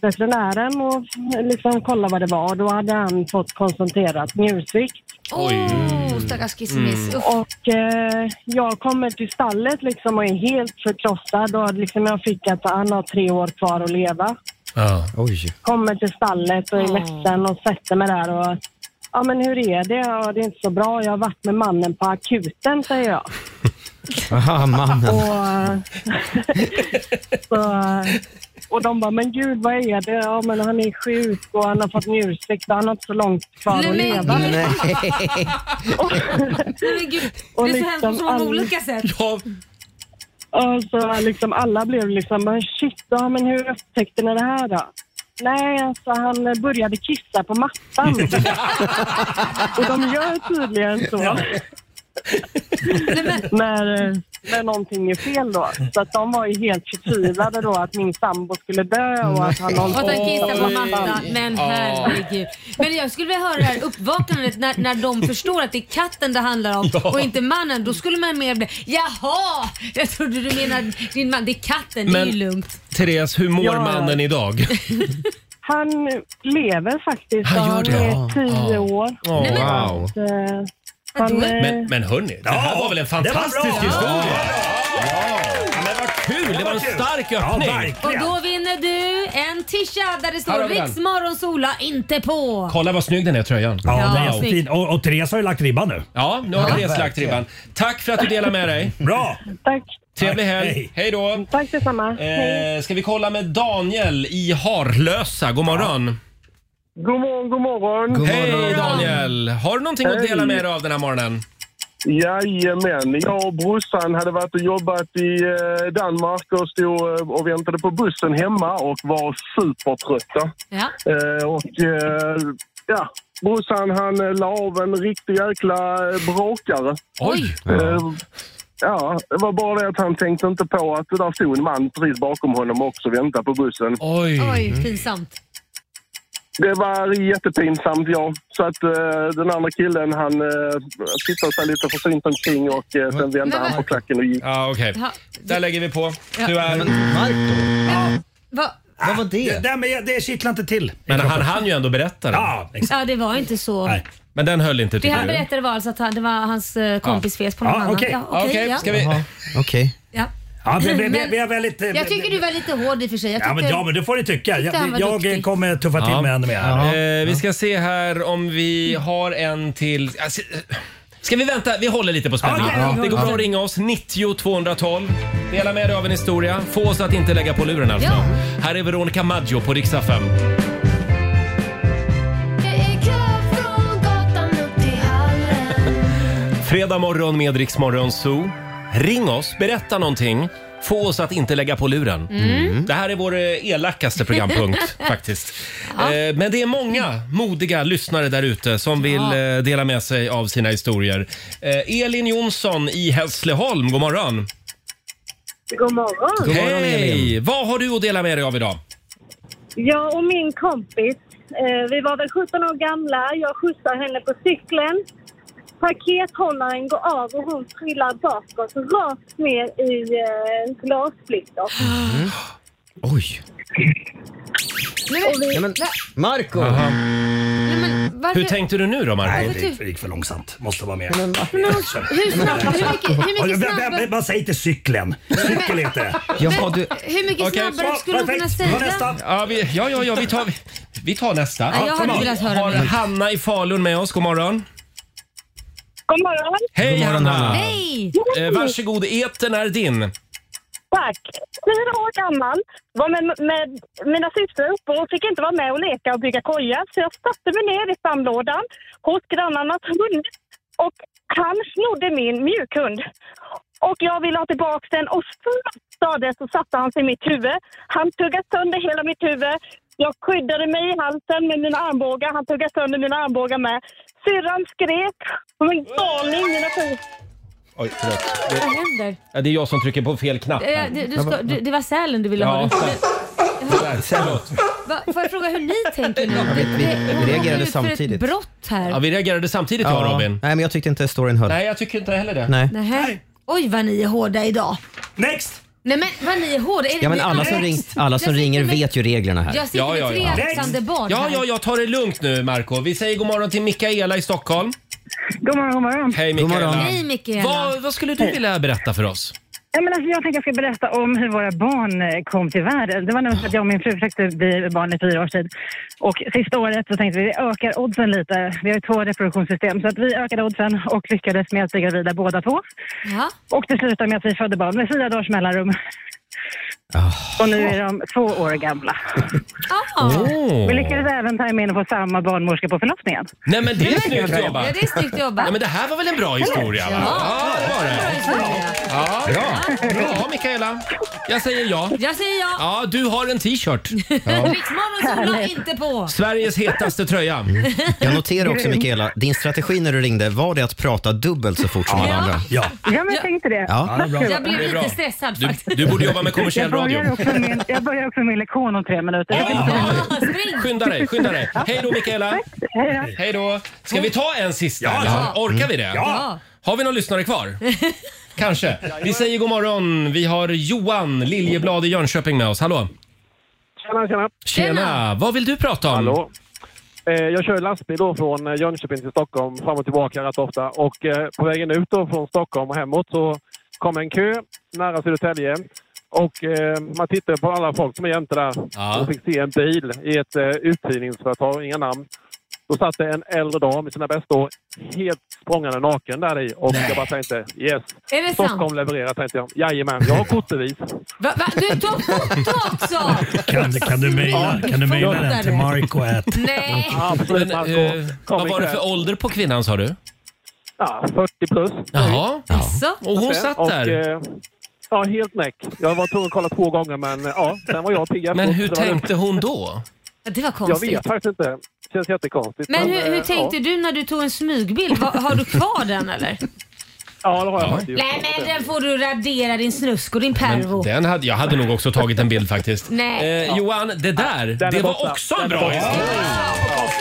S15: veterinären och liksom kollade vad det var. Då hade han fått konstaterat njursvikt.
S2: Oj. Oh, stackars
S1: Mm.
S2: kissemiss. Uff.
S15: Och eh, jag kommer till stallet liksom och är helt förkrossad och liksom jag fick att han har tre år kvar att leva.
S1: Ja.
S3: Oj.
S15: kommer till stallet och är ledsen och sätter mig där och Ja men hur är det? Ja, det är inte så bra. Jag har varit med mannen på akuten säger jag.
S3: Aha, [laughs] mannen.
S15: Och, [laughs] så, och de bara, men gud vad är det? Ja men han är sjuk och han har fått njursvikt och han har inte så långt kvar att
S2: Nej,
S15: leva.
S2: men- Nej. Men gud, det
S15: Och
S2: är så
S15: liksom
S2: hemskt på så många
S15: all-
S2: olika sätt.
S15: Och så liksom alla blev liksom, men shit, ja, men hur upptäckte ni det här då? Nej, alltså han eh, började kissa på mattan. och de gör tydligen så. när, eh, när någonting är fel då. Så att de var ju helt förtvivlade då att min sambo skulle dö
S1: Mm.
S15: och att han
S2: Och
S15: håller
S2: att han kissar på
S15: Oj.
S2: mattan. Men herregud. Men jag skulle vilja höra det här uppvaknandet när, när de förstår att det är katten det handlar om
S1: Ja.
S2: och inte mannen. Då skulle man mer bli “Jaha, jag trodde du menade din man. Det är katten, det är ju
S1: Men-
S2: lugnt”.
S1: Therese, hur mår
S15: Ja.
S1: mannen idag?
S15: Han lever faktiskt.
S1: Han gör det?
S15: är tio år.
S1: Åh, Nej, men- wow.
S15: Så att, eh, han, eh,
S1: Men, men hörni, det här var väl en fantastisk historia? Kul, det var en stark öppning.
S2: Och då vinner du en t-shirt där det
S1: Här
S2: står
S1: har vi den.
S2: “Riks morgonsola inte på”.
S1: Kolla vad snygg den är tröjan.
S2: Ja, Ja, den är snygg.
S10: Fin. Och, och Therese har ju lagt ribban nu.
S1: Ja, nu har
S10: Ja,
S1: Therese lagt
S10: verkligen.
S1: ribban. Tack för att du delar med dig.
S10: Bra!
S15: Tack.
S1: Trevlig
S10: Tack,
S1: helg.
S10: hej.
S1: Hej då.
S15: Tack detsamma.
S1: Eh, ska vi kolla med Daniel i Harlösa? God morgon.
S13: God morgon, god morgon.
S1: Hej Daniel! Har du någonting att
S13: Hej.
S1: dela med dig av den här morgonen?
S13: Jajamän, jag och brorsan hade varit och jobbat i eh, Danmark och stod eh, och väntade på bussen hemma och var supertrötta.
S2: Ja.
S13: Eh, och eh, ja, brorsan han eh, la av en riktig jäkla eh, bråkare.
S1: Oj!
S13: Eh, ja, det var bara det att han tänkte inte på att det där stod en man precis bakom honom också och väntade på bussen.
S2: Oj, pinsamt.
S13: Det var jättepinsamt, ja. Så att eh, den andra killen han uh, tittade sig lite försynt omkring och eh, sen vände han på klacken och gick.
S1: Ja, okej.
S2: Ha-
S1: Där lägger vi på.
S2: Ja.
S1: Tyvärr.
S2: Va?
S10: Vad var det? Det, det, det kittlar inte till.
S1: Men han hann ju ändå berätta det.
S10: Ja,
S2: Ja, det var inte så.
S1: Men den höll inte
S2: Det
S1: tycker
S2: han
S1: du?
S2: berättade var alltså att han, det var hans eh, kompis fes på någon annan.
S10: okej.
S2: Ja,
S10: Ja, okej,
S2: ja.
S10: ska vi-
S3: Jaha, Okej.
S2: Ja.
S10: Ja, men vi- vi-
S2: Men-
S10: vi är väldigt, eh,
S2: jag tycker du var lite hård i och för sig. Jag
S10: Ja men,
S2: tyckte-
S10: ja, men det får ni tycka.
S2: tyckte han var
S10: Jag, jag eh,
S2: duktig.
S10: kommer tuffa till mig ännu mer. här.
S1: Eh, vi ska se här om vi har en till. Alltså, eh, Ska vi vänta? Vi håller lite på spänningen.
S10: Ja, ja, ja.
S1: Det går
S10: Ja.
S1: bra att ringa oss. 90 212. Dela med dig av en historia. Få oss att inte lägga på luren alltså.
S16: Ja.
S1: Här är Veronica Maggio på riksdag 5. Fredag morgon med Rix Morgon Zoo. Ring oss, berätta någonting. Få oss att inte lägga på luren.
S16: Mm.
S1: Det här är vår eh,
S2: [laughs]
S1: elakaste programpunkt faktiskt. Eh, Men det är många modiga lyssnare där ute som vill eh, dela med sig av sina historier. Eh, Elin Jonsson i Hässleholm, god morgon.
S4: God morgon.
S1: Hej! Vad har du att dela med dig av idag?
S4: Jag och min kompis, eh, vi var väl 17 år gamla. Jag skjutsar henne på cykeln. Pakethållaren går av och hon trillar bakåt rakt ner i eh, glassplitter. Mm.
S3: Oj.
S2: Nej, men,
S3: Ja, men, Marco
S2: nej, men, varför,
S1: Hur tänkte du nu då, Marco?
S10: Nej, det gick, det gick för långsamt. Måste vara med.
S2: hur snabbt- hur mycket- hur mycket
S10: Och jag-
S2: snabbare-
S10: vem- vem- Man säger inte cykeln. Cykel inte.
S3: Jaha, du...
S2: hur mycket
S1: Okej,
S2: snabbare
S1: så-
S2: skulle hon kunna
S1: perfekt.
S2: säga?
S1: Vad nästa? Ja, vi, ja, ja, ja vi, tar, vi tar nästa.
S2: Ja, jag hade
S1: Kom
S2: velat höra
S1: Har
S2: mer.
S1: Hanna i Falun med oss. God morgon.
S4: God morgon.
S1: Hej Hanna!
S4: Hej!
S1: Eh, varsågod, etern är din.
S4: Tack. Fyra år gammal var med, med mina systrar uppe och fick inte vara med och leka och bygga koja. Så jag satte mig ner i sandlådan hos grannarnas hund och han snodde min mjukhund. Och jag ville ha tillbaka den och snabbt så satte han sig i mitt huvud. Han tuggade sönder hela mitt huvud. Jag skyddade mig i halsen med mina armbågar. Han tuggade sönder mina armbågar med. Syrran skrek som en galning. Mina föräldrar-
S1: Oj, förlåt.
S2: Vad händer?
S1: Ja, det är jag som trycker på fel knapp.
S2: Eh, du, du ska, du, det var sälen du ville
S1: Ja.
S2: ha. Du skulle,
S1: Där, förlåt.
S2: va, får jag fråga
S3: [laughs]
S2: hur ni tänker? nu?
S3: vi- vi-
S2: Det-
S3: vi
S2: hon
S3: reagerade
S2: råkade ut för ett
S3: samtidigt.
S2: brott här.
S1: vi reagerade samtidigt
S3: ja, Robin. Nej, men jag tyckte inte storyn höll.
S1: Nej, jag tycker inte heller det.
S3: Nej.
S2: Nähä. Oj vad ni är hårda idag.
S13: Next!
S2: Nej men vad ni är hårda. Är
S3: Ja, men
S2: det-
S3: alla som, ring, alla som
S2: Jag sitter
S3: Alltså, ringer
S2: med-
S3: vet ju reglerna här.
S2: Jag sitter med tre axande barn
S1: Ja,
S2: här.
S1: ja, ja, ta det lugnt nu Marco. Vi säger god morgon till Mikaela i Stockholm.
S4: God morgon, god morgon.
S1: Hej Mikaela.
S2: Hej Mikaela.
S1: Vad, vad skulle du vilja berätta för oss?
S17: Ja, men alltså, jag tänkte jag ska berätta om hur våra barn eh, kom till världen. Det var nog så att jag och min fru försökte bli barn i fyra års tid. Och sista året så tänkte vi vi ökar oddsen lite. Vi har ju två reproduktionssystem. Så att vi ökade oddsen och lyckades med att bli gravida båda två. Och det slutade med att vi födde barn med fyra dagars mellanrum.
S1: Ah.
S17: Och nu är de två år gamla.
S1: Åh. Oh.
S17: Vi lyckades även ta in och få samma barnmorska på förlossningen.
S1: Nej men det är snyggt
S17: bra.
S1: jobbat.
S17: Ja, det är snyggt jobbat.
S1: Ja, men det här var väl en bra historia? va? Ja, det var det. Ja, bra. Bra Mikaela. Jag säger ja.
S2: Jag säger ja.
S1: Ja, du har
S2: [laughs]
S1: en t-shirt.
S2: Riksmorgon solar inte på.
S1: Sveriges hetaste tröja.
S3: Mm. Jag noterar också
S2: Grym.
S3: Mikaela, din strategi när du ringde, var det att prata dubbelt så fort som alla andra?
S13: Ja.
S17: Ja, men jag tänkte det.
S3: Ja. Ja, det är bra.
S17: Tack.
S2: Jag blev
S3: Det är bra.
S2: lite stressad
S1: Du-
S2: faktiskt.
S1: du borde jobba med kommersiell
S17: jag börjar
S1: radio.
S17: Också min, jag börjar också min lektion om tre minuter. Jag kan inte vänta.
S1: Skynda dig, skynda dig. Hej då Mikaela. Hej då. Ska vi ta en sista?
S14: Ja, ja.
S1: eller? Orkar vi det?
S14: Ja.
S1: Har vi någon
S2: [laughs]
S1: lyssnare kvar? Kanske. Vi säger god morgon. Vi har Johan Liljeblad i Jönköping med oss. Hallå.
S18: Tjena, tjena.
S1: Tjena. Vad vill du prata om?
S18: Hallå. Eh, Jag kör lastbil då från eh, Jönköping till Stockholm fram och tillbaka rätt ofta. Och eh, på vägen ut då från Stockholm och hemåt så kom en kö nära Södertälje. Och eh, man tittade på alla folk som är jämte där och fick se en bil i ett eh, uthyrningsföretag, inga namn. Då satt det en äldre dam i sina bästa år helt språngande naken där i och jag bara tänkte yes.
S2: Är det sant?
S18: Stockholm levererar tänkte jag. Jajamän, jag har kortbevis.
S2: Va, va, du tog foto också!
S13: Kan, kan du mejla kan du mejla den till Marco at...
S2: [laughs] Nej.
S1: Men, eh, vad var det för ålder på kvinnan sa du?
S18: Ja, 40 plus.
S1: Jaha.
S2: Jaså?
S1: Och hon satt där?
S18: eh, ja, helt näck. Jag var tvungen att kolla två gånger, men eh, ja, sen var jag pigg
S1: Men
S18: efteråt,
S1: hur
S18: så det var
S1: tänkte
S18: lugnt.
S1: hon då?
S2: Ja, Det var
S18: Jag
S2: konstigt.
S18: vet faktiskt inte. Känns jättekonstigt.
S2: Men hur, hur
S18: eh,
S2: tänkte
S18: ja.
S2: du när du tog en smygbild? Va, har du kvar den
S18: [laughs]
S2: eller?
S18: Ja, det har jag faktiskt gjort.
S2: Nej men den får du radera din snusk och din pervo.
S1: Den hade, jag hade nog också tagit en bild faktiskt.
S2: Nej.
S1: Eh, Johan, det där, det var
S2: borta.
S1: också
S2: Den
S1: en
S2: är
S1: bra
S2: borta.
S1: historia.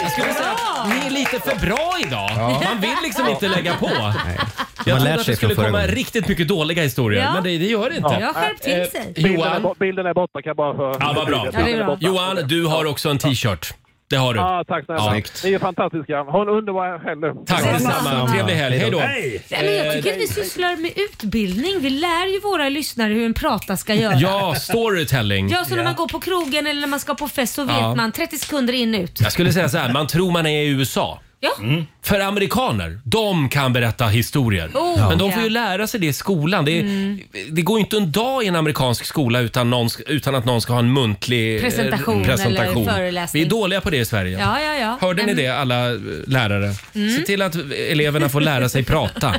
S1: Jag skulle säga att ni är lite för bra idag.
S3: Ja.
S1: Man vill liksom inte lägga på. Jag
S3: Man
S1: trodde
S3: lär
S1: att
S3: sig
S1: det
S3: från
S1: skulle
S3: förra
S1: komma
S3: gången.
S1: riktigt mycket dåliga historier,
S2: Ja.
S1: men det, det gör det inte.
S2: Jag har skärpt till sig.
S1: Eh,
S18: Bilden är
S1: Johan,
S18: bo- Bilden är borta kan jag bara för...
S1: ja, vad bra.
S2: Ja, det är bra.
S1: Johan, du har också en t-shirt. Det har du.
S18: Ja, tack snälla. Ni är fantastiska. Ha en underbar helg nu.
S1: Tack detsamma. Trevlig helg. Hej då.
S2: Nej, men jag tycker att vi sysslar med utbildning. Vi lär ju våra lyssnare hur en prata ska göra.
S1: Ja, storytelling.
S2: Ja, så när man går på krogen eller när man ska på fest så vet
S1: Ja.
S2: man 30 sekunder in ut.
S1: Jag skulle säga så här, man tror man är i USA.
S2: Ja.
S3: Mm.
S1: För amerikaner, de kan berätta historier.
S2: Oh,
S1: Men
S2: ja.
S1: de
S2: Mm.
S1: får ju lära sig det i skolan. Det, är, det går ju inte en dag i en amerikansk skola utan, någon, sk- utan att någon ska ha en muntlig eh,
S2: Presentation eller
S1: presentation.
S2: föreläsning.
S1: Vi är dåliga på det i Sverige.
S2: Ja, ja, ja.
S1: Hörde ni
S2: Men-
S1: det alla eh, lärare?
S2: Mm.
S1: Se till att eleverna får lära
S2: [laughs]
S1: sig prata.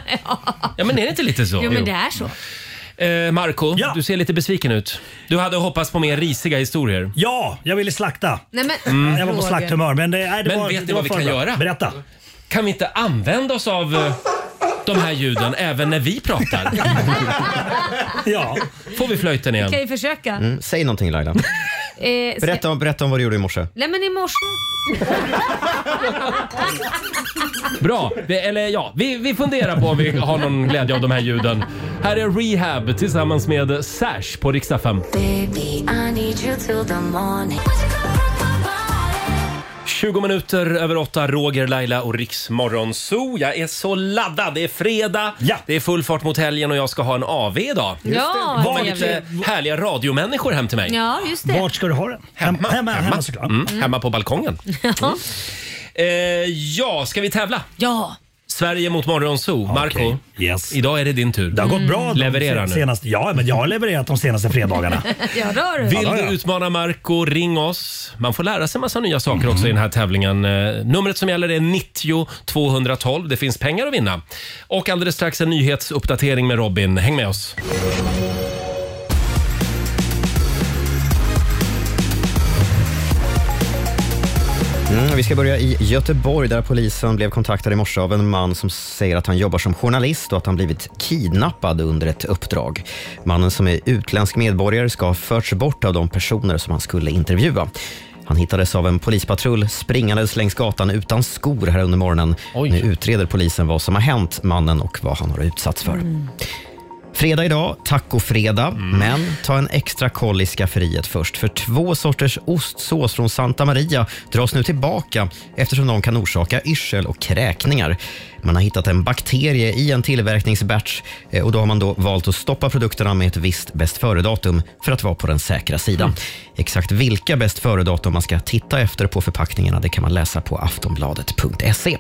S1: Ja men är det inte lite så?
S2: Jo, men det är så.
S1: Eh, Marco, du ser lite besviken ut. Du hade hoppats på mer risiga historier.
S13: Ja, jag ville slakta.
S2: Nej, men,
S1: Mm.
S13: Jag var på slakthumör. Men, det, nej, det
S1: Men
S13: var,
S1: vet
S13: det
S1: ni
S13: var
S1: vad vi
S13: för
S1: kan
S13: bra.
S1: göra?
S13: Berätta.
S1: Kan vi inte använda oss av eh, de här ljuden även när vi pratar?
S13: ja.
S1: Får vi flöjten
S2: Vi
S1: igen?
S2: kan ju försöka.
S3: Mm, säg någonting
S2: [laughs]
S3: Laila.
S2: Eh, ska-
S3: Berätta om, berätta om vad du gjorde i morse.
S2: Nej men i morse...
S1: Bra, vi, eller ja, vi, vi funderar på om vi har någon glädje av de här ljuden. Här är Rehab tillsammans med Sash på riksdag 5.
S8: Baby, I need you till the morning.
S1: 20 minuter över åtta, Roger, Laila och Riksmorgon Zoo. Jag är så laddad. Det är fredag, det är full fart mot helgen och jag ska ha en AV idag.
S2: Just det. Ja,
S1: det kommer
S2: vad
S1: lite härliga radiomänniskor hem till mig.
S2: Ja, just det.
S13: ska du ha den?
S1: Hemma, hemma,
S13: hemma
S2: Mm.
S13: såklart. Mm.
S1: Mm, hemma på balkongen.
S2: Ja.
S1: Eh, ja, ska vi tävla?
S2: Ja.
S1: Sverige mot Morgonzoo. Marco, idag är det din tur.
S13: Det har gått bra de
S1: Leverera
S13: sen-
S1: nu.
S13: senaste... Ja, men jag har levererat de senaste
S1: [laughs]
S13: fredagarna.
S2: [laughs] Ja, det har du.
S1: Vill du utmana Marco, ring oss. Man får lära sig massa nya saker också i den här tävlingen. Eh, Numret som gäller är 90 212. Det finns pengar att vinna. Och alldeles strax en nyhetsuppdatering med Robin. Häng med oss.
S3: Mm, vi ska börja i Göteborg där polisen blev kontaktad i morse av en man som säger att han jobbar som journalist och att han blivit kidnappad under ett uppdrag. Mannen som är utländsk medborgare ska ha förts bort av de personer som han skulle intervjua. Han hittades av en polispatrull springandes längs gatan utan skor här under morgonen. Nu utreder polisen vad som har hänt mannen och vad han har utsatts för. Fredag idag, tacofredag. Men ta en extra koll i skafferiet först. För två sorters ostsås från Santa Maria dras nu tillbaka eftersom de kan orsaka yrsel och kräkningar. Man har hittat en bakterie i en tillverkningsbatch eh, och då har man då valt att stoppa produkterna med ett visst bäst före-datum för att vara på den säkra sidan. Exakt vilka bäst före-datum man ska titta efter på förpackningarna det kan man läsa på aftonbladet.se.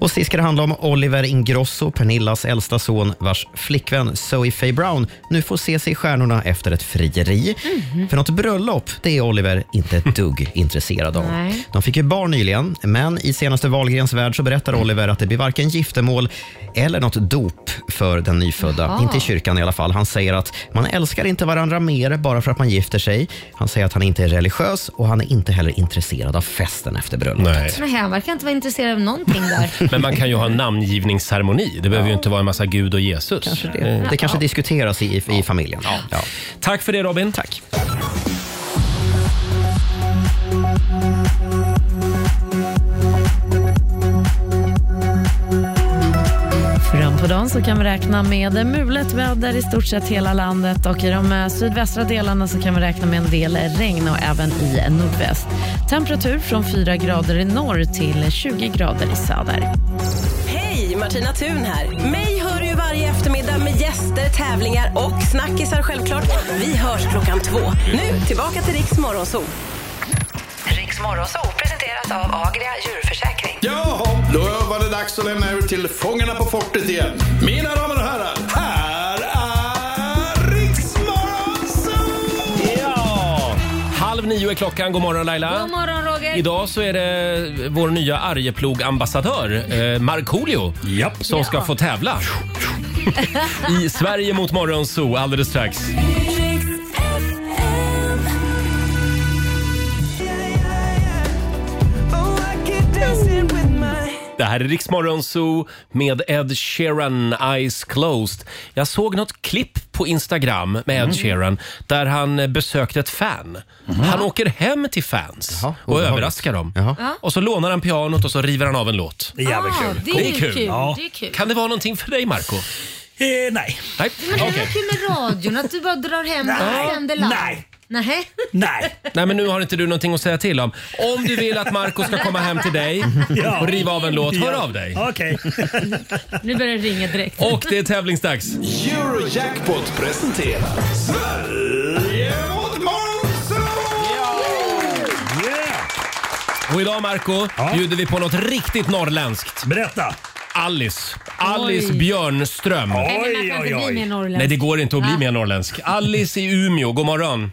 S3: Och sist ska det handla om Oliver Ingrosso, Pernillas äldsta son vars flickvän Zoe Faye Brown nu får se sig i stjärnorna efter ett frieri.
S14: Mhm.
S3: För något bröllop, det är Oliver inte
S14: [laughs]
S3: ett dugg intresserad av.
S14: Nej.
S3: De fick ju barn nyligen, men i senaste Wahlgrens värld så berättar
S14: Mm.
S3: Oliver att det blir varken giftermål eller något dop för den nyfödda.
S14: Jaha.
S3: Inte i kyrkan i alla fall. Han säger att man älskar inte varandra mer bara för att man gifter sig. Han säger att han inte är religiös och han är inte heller intresserad av festen efter bröllopet.
S2: Nej, han verkar inte vara intresserad av någonting där.
S1: Men man kan ju ha en namngivningsceremoni. Det behöver ju inte vara en massa Gud och Jesus. Kanske
S3: Det, det kanske diskuteras i, i, i familjen. Ja.
S1: Tack för det Robin. Tack.
S19: Fram på dagen så kan vi räkna med mulet väder i stort sett hela landet och i de eh, sydvästra delarna så kan vi räkna med en del regn och även i nordväst. Temperatur från 4 grader i norr till 20 grader i söder.
S20: Hej, Martina Thun här. Mig hör du ju varje eftermiddag med gäster, tävlingar och snackisar självklart. Vi hörs klockan två. Nu tillbaka till Riks Morgonzoo.
S21: Riks Morgonzoo presenteras av Agria djurförsäkring.
S7: Jaha, då var det dags att lämna över till Fångarna på fortet igen. Mina damer och herrar, här är Riksmorgon
S1: Ja! Halv nio är klockan. God morgon Laila.
S2: God morgon Roger.
S1: Idag så är det vår nya Arjeplog-ambassadör eh, Markoolio som ska
S2: Ja. [laughs]
S1: få tävla. I Sverige mot Morgonzoo alldeles strax. Det här är Riksmorgon Zoo med Ed Sheeran, Eyes Closed. Jag såg något klipp på Instagram med Ed
S13: Mhm.
S1: Sheeran där han eh, besökte ett fan. Han åker hem till fans och
S3: obehagligt.
S1: överraskar dem.
S2: Ja.
S1: Och så lånar han pianot och så river han av en låt.
S13: Det är jävligt
S2: Ah,
S13: kul.
S2: det är ju kul. Det är kul.
S1: Kan det vara någonting för dig, Marco?
S13: Eh, nej.
S1: Nej,
S2: Men det
S1: okej.
S2: är kul med radion, att du bara drar hem
S1: Nej.
S2: och sänder live. Nej. Nej.
S13: Nej.
S1: Nej, men nu har inte du någonting att säga till om. Om du vill att Marco ska komma hem
S2: [laughs]
S1: till dig
S13: [laughs] Ja.
S1: och riva av en låt, hör
S13: Ja.
S1: av dig. [laughs]
S13: Okej.
S2: Nu börjar det ringa direkt.
S1: Och det är tävlingsdags.
S7: Eurojackpot presenterar Sverige mot Morgonzoo!
S1: Och idag Marco bjuder vi på något riktigt norrländskt.
S13: Berätta!
S1: Alice. Alice
S2: Oj.
S1: Björnström.
S2: Nej, men man kan inte bli mer norrländsk.
S1: Nej, det går inte att bli
S2: Va?
S1: mer norrländsk. Alice i Umeå, god morgon.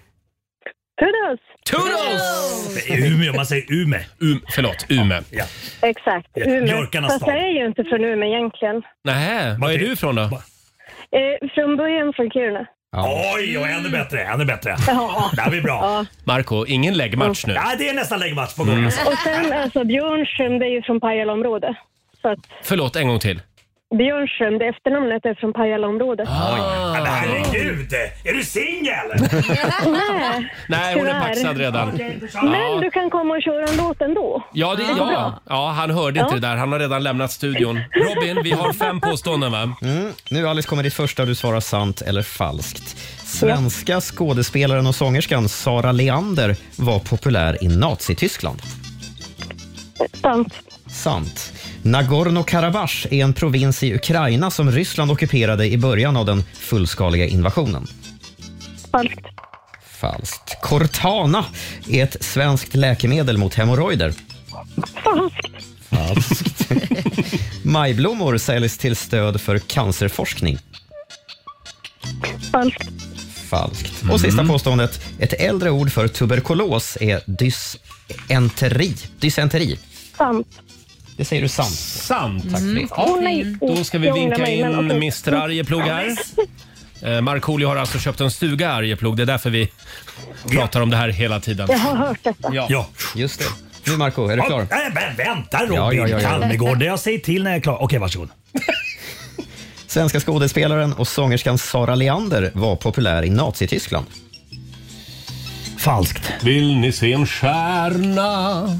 S22: Toodles!
S1: Toodles!
S13: Umeå, man säger Ume.
S1: Um, förlåt, Ume. Ja.
S22: Exakt, Umeå.
S1: Björkarnas
S22: Fast
S1: stad.
S22: jag är ju inte från Umeå egentligen.
S1: Nähä, var är du ifrån då?
S22: Eh, från början från Kiruna.
S13: Oj, oj, ännu bättre, ännu bättre.
S22: Ja.
S13: Det här blir bra.
S22: Ja.
S1: Marco, ingen läggmatch nu.
S13: Ja, det är nästan läggmatch på gång.
S1: Mm.
S13: Alltså.
S22: Och sen alltså Björnström, det är ju från Pajalaområdet. Så att
S1: Förlåt, en gång till.
S22: Björnström, det efternamnet är från Pajalaområdet.
S1: Ah.
S13: Men herregud! Är
S2: [laughs]
S13: du singel?
S22: Nej,
S1: Nej,
S22: Eh,
S1: hon är
S22: tyvärr.
S1: paxad redan.
S22: Men
S1: Ja,
S22: du kan komma och köra en låt ändå.
S1: ja, det, ja. ja han hörde inte
S22: Ja.
S1: det där. Han har redan lämnat studion. Robin, vi har fem påståenden va?
S3: Mm. Nu Alice kommer ditt första och du svarar sant eller falskt. Svenska skådespelaren och sångerskan Sara Leander var populär i Nazityskland.
S22: Sant.
S3: Sant. Nagorno-Karabach är en provins i Ukraina som Ryssland ockuperade i början av den fullskaliga invasionen.
S22: Falskt.
S3: Falskt. Cortana är ett svenskt läkemedel mot hemorrojder.
S22: Falskt.
S3: Falskt. [laughs] Majblommor säljs till stöd för cancerforskning.
S22: Falskt.
S3: Falskt. Och
S1: Mm.
S3: sista påståendet. Ett äldre ord för tuberkulos är dysenteri. Dysenteri.
S22: Sant.
S3: Det säger du sant. Mm.
S1: Sant.
S3: Tack för det.
S22: Åh, nej.
S1: Då ska vi
S22: Jag ångrar
S1: vinka
S22: mig, men
S1: in
S22: okej.
S1: Mr Arjeplog här. Eh, Markoolio har alltså köpt en stuga i Arjeplog. Det är därför vi pratar om det här hela tiden.
S22: Jag har hört detta.
S1: Ja.
S3: Just det. Nu Marco, är du klar?
S13: Nej, men vänta Robin
S3: Ja, ja, ja, ja.
S13: Calmegård. Jag säger till när jag är klar. Okej, varsågod.
S3: Svenska skådespelaren och sångerskan Sara Leander var populär i Nazityskland.
S13: Falskt.
S1: Vill ni se en stjärna?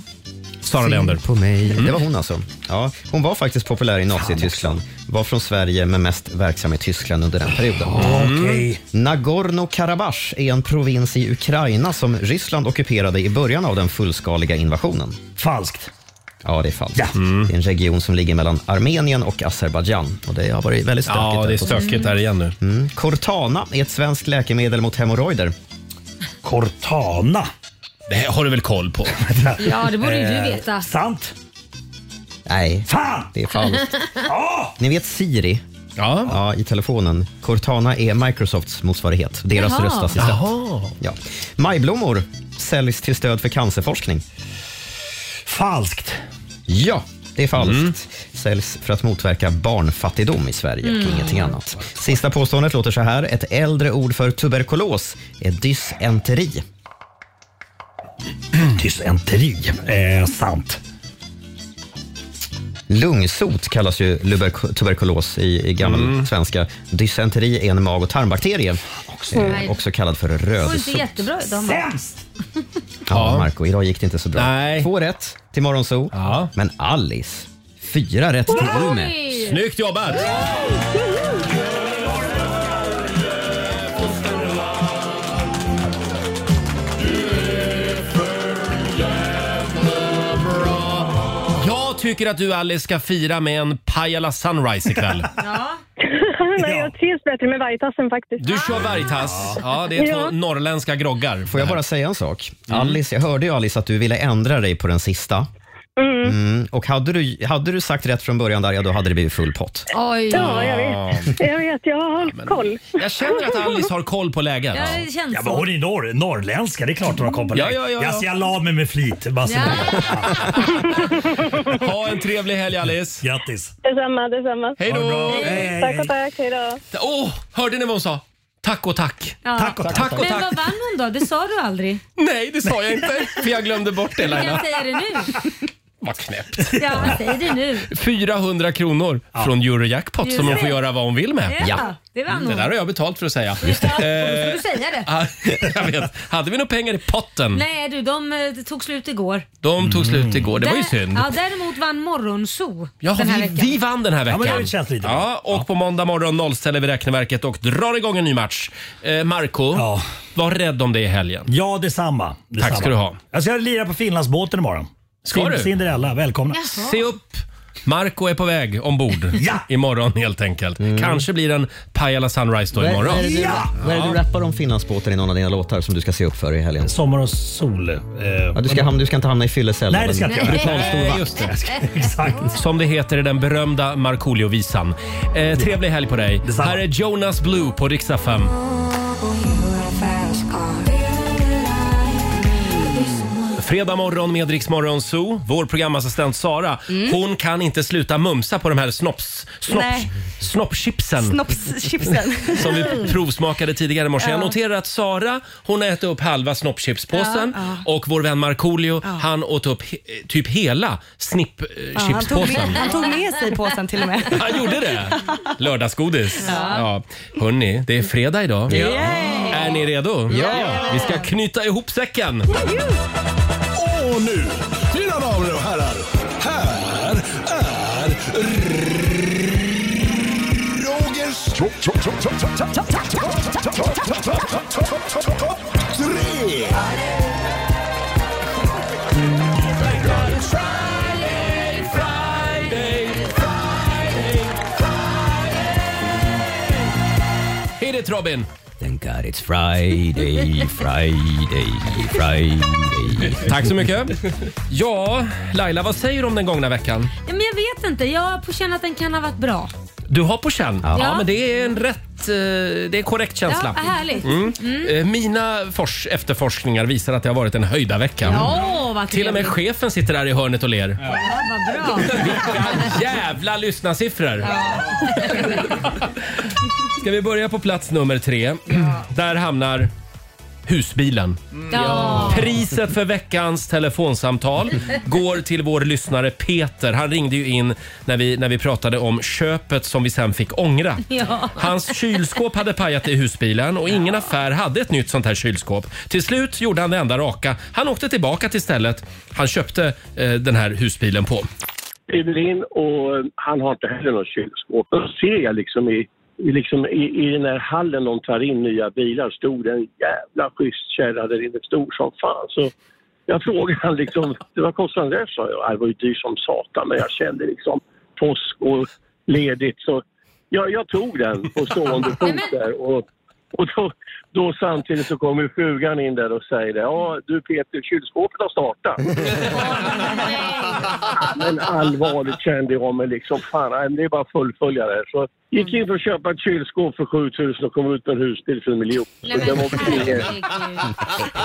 S1: Sara Leander.
S3: på mig.
S1: Mm.
S3: Det var hon alltså. Ja, hon var faktiskt populär i Nazityskland. Var från Sverige men mest verksam i Tyskland under den perioden.
S1: Ah,
S13: Mm. Okej.
S3: Nagorno-Karabach är en provins i Ukraina som Ryssland ockuperade i början av den fullskaliga invasionen.
S13: Falskt.
S3: Ja, det är falskt.
S1: Mm.
S3: Det är en region som ligger mellan Armenien och Azerbajdzjan. Och det har varit väldigt stökigt.
S1: Ja,
S3: där
S1: det är
S3: på sistone.
S1: stökigt där igen nu.
S3: Mm. Cortana är ett svenskt läkemedel mot hemorrojder.
S13: Cortana?
S1: Det här har du väl koll
S13: [laughs]
S1: på?
S2: Ja, det borde ju
S1: Eh,
S2: du veta.
S13: Sant. [clears throat]
S3: Nej.
S13: Fan!
S3: Det är
S2: [laughs]
S3: falskt. Ni vet Siri? Ja. I telefonen. Cortana är Microsofts motsvarighet. Deras
S13: Jaha.
S3: röstassistent.
S13: Jaha.
S3: Ja. Majblommor säljs till stöd för cancerforskning.
S13: Falskt.
S3: Ja, det är falskt.
S13: Mm.
S3: Säljs för att motverka barnfattigdom i Sverige och
S13: Mm.
S3: ingenting annat. Sista påståendet låter så här. Ett äldre ord för tuberkulos är dysenteri.
S13: Dysenteri. Eh, sant.
S3: Lungsot kallas ju luberk- tuberkulos i, i gammal
S1: Mm.
S3: svenska. Dysenteri är en mag och tarmbakterie, också,
S2: Mm.
S3: också kallad för
S2: Det går
S3: rödsot.
S2: inte jättebra idag. Sämst!
S3: Ja, Marco, idag gick det inte så bra. Två rätt till Morgonzoo, men Alice, fyra rätt till Umeå.
S1: Snyggt jobbat! Jag tycker att du Alice ska fira med en Pajala Sunrise ikväll.
S22: [laughs] Nej, jag trivs bättre med vargtassen faktiskt.
S1: Du kör vargtass. Ja, det är två
S22: Ja.
S1: norrländska groggar. Mm.
S3: Får jag bara säga en sak? Alice, jag hörde ju Alice att du ville ändra dig på den sista. Mm, och hade du, hade du sagt rätt från början där, ja då hade det blivit full pott.
S2: Oj.
S22: Ja, jag vet. Jag vet, jag har koll.
S1: Jag känner att Alice har koll på läget.
S22: Ja, det känns
S13: Ja, men hon är norr, norrländska. Det är klart hon har koll på
S1: Ja,
S13: det.
S1: ja, ja, ja.
S13: Jag, jag la mig med flit. Bara så.
S1: Ha en trevlig helg Alice.
S13: Grattis.
S22: Detsamma, detsamma.
S1: Hej då. Ha det bra.
S22: Hej, Tack och tack, hej då.
S1: Åh, hörde ni vad hon sa? Tack och tack.
S2: Ja.
S1: tack. och
S2: Men
S1: tack.
S2: vad vann hon då? Det sa du aldrig.
S1: Nej, det sa jag inte. För jag glömde bort det
S2: Jag
S1: Laila.
S2: säger det nu.
S1: Vad knäppt.
S2: Ja, vad säger du nu?
S1: 400 kronor från Eurojackpot som hon
S2: Just
S1: får
S2: det.
S1: göra vad hon vill med.
S2: Ja, det vann
S1: Mm, Det
S2: hon.
S1: där har jag betalt för att säga.
S2: Just det.
S1: Eh,
S2: Får du säga det?
S1: [laughs] ah, jag vet. Hade vi några pengar i potten?
S2: Nej du, de eh, tog slut igår.
S1: De tog
S13: Mm.
S1: slut igår. Det var ju
S2: Där-
S1: synd.
S2: Ja, däremot vann Morgonzoo
S1: Ja,
S2: den här
S1: vi,
S2: veckan.
S1: vi vann den här
S13: Ja,
S1: veckan.
S13: men det känns lite bra.
S1: ja, och på måndag morgon nollställer vi räkneverket och drar igång en ny match. Eh, Marco, var rädd om dig i helgen.
S13: Ja, detsamma. detsamma.
S1: Tack ska du ha.
S13: Jag ska lira på Finlandsbåten imorgon.
S1: Ska
S13: Cin-
S1: du?
S13: Cinderella, välkomna.
S1: Se upp! Marco är på väg ombord
S13: Ja!
S1: imorgon helt enkelt. Kanske blir en Pajala Sunrise då imorgon.
S3: Vad är det du, vad är det du rappar om Finlandsbåten i någon av dina låtar som du ska se upp för i helgen?
S13: Sommar och sol. ja,
S3: du, ska hamna, du ska inte hamna i fyllecellen.
S1: eh, Nej, det ska
S3: men
S1: inte jag.
S3: Brutal stor vakt.
S1: Just det. Exakt. Som det heter i den berömda Markoolio-visan. Eh, trevlig helg på dig. Här är Jonas Blue på riksdag 5. Fredag morgon med Rix Morgon Zoo. Vår programassistent Sara, hon kan inte sluta mumsa på de här snops... Snops...
S11: Mm. Nej.
S1: Snoppchipsen.
S11: Snoppschipsen.
S1: [laughs] Som vi provsmakade tidigare i morse. Jag
S11: Ja.
S1: noterar att Sara, hon har ätit upp halva snoppchipspåsen
S11: Ja,
S1: och vår vän Markoolio,
S11: Ja.
S1: han åt upp he- eh, typ
S11: Ja,
S1: hela
S11: han, tog med,
S1: snippchipspåsen.
S11: han tog med sig påsen till och med.
S1: Han gjorde det? Lördagsgodis. Ja.
S11: Ja.
S1: Hörni, det är fredag idag.
S11: Ja.
S1: Är ni redo?
S7: Ja.
S1: Vi ska knyta ihop säcken.
S7: Och nu, mina damer och herrar, här är Rogers... Tre!
S1: Hit it Robin!
S3: Thank God it's Friday, Friday, Friday.
S1: Tack så mycket. Ja, Laila, vad säger du om den gångna veckan?
S2: Ja, men jag vet inte, jag har på känn att den kan ha varit bra.
S1: Du har på känn. Ja.
S2: Ja.
S1: men det är en rätt... eh, Det är en korrekt känsla.
S2: Ja, vad härligt.
S1: Mm.
S2: Mm.
S1: Eh, Mina fors- efterforskningar visar att det har varit en höjda vecka.
S2: Ja, vad
S1: Till och med
S2: trevligt.
S1: chefen sitter där i hörnet och ler.
S2: Ja, vad bra.
S1: [laughs] Jävla lyssnarsiffror! Ska vi börja på plats nummer tre? Där hamnar husbilen.
S14: Ja.
S1: Priset för veckans telefonsamtal går till vår lyssnare Peter. Han ringde ju in när vi, när vi pratade om köpet som vi sen fick ångra.
S14: Ja.
S1: Hans kylskåp hade pajat i husbilen och ingen affär hade ett nytt sånt här kylskåp. Till slut gjorde han det enda raka. Han åkte tillbaka till stället han köpte eh, den här husbilen på.
S23: kliver in och han har inte heller något kylskåp. Då ser jag liksom i, i liksom i, i den här hallen de tar in nya bilar stod det en jävla schysst kärra där inne, stor som fan. Så jag frågade han liksom, "Det, vad kostar den där? sa jag. "Ja, Det var ju dyr som satan men jag kände liksom påsk och ledigt så jag, jag tog den på stående fot där. Och, och då, då samtidigt så kommer frugan in där och säger det. Ja du Peter, kylskåpet har startat. Men allvarligt kände jag mig liksom, fan nej, men det är bara att fullfölja det här. Så gick in för att köpa ett kylskåp för 7000 och kom ut med en husbil för en miljon. Så det var inget.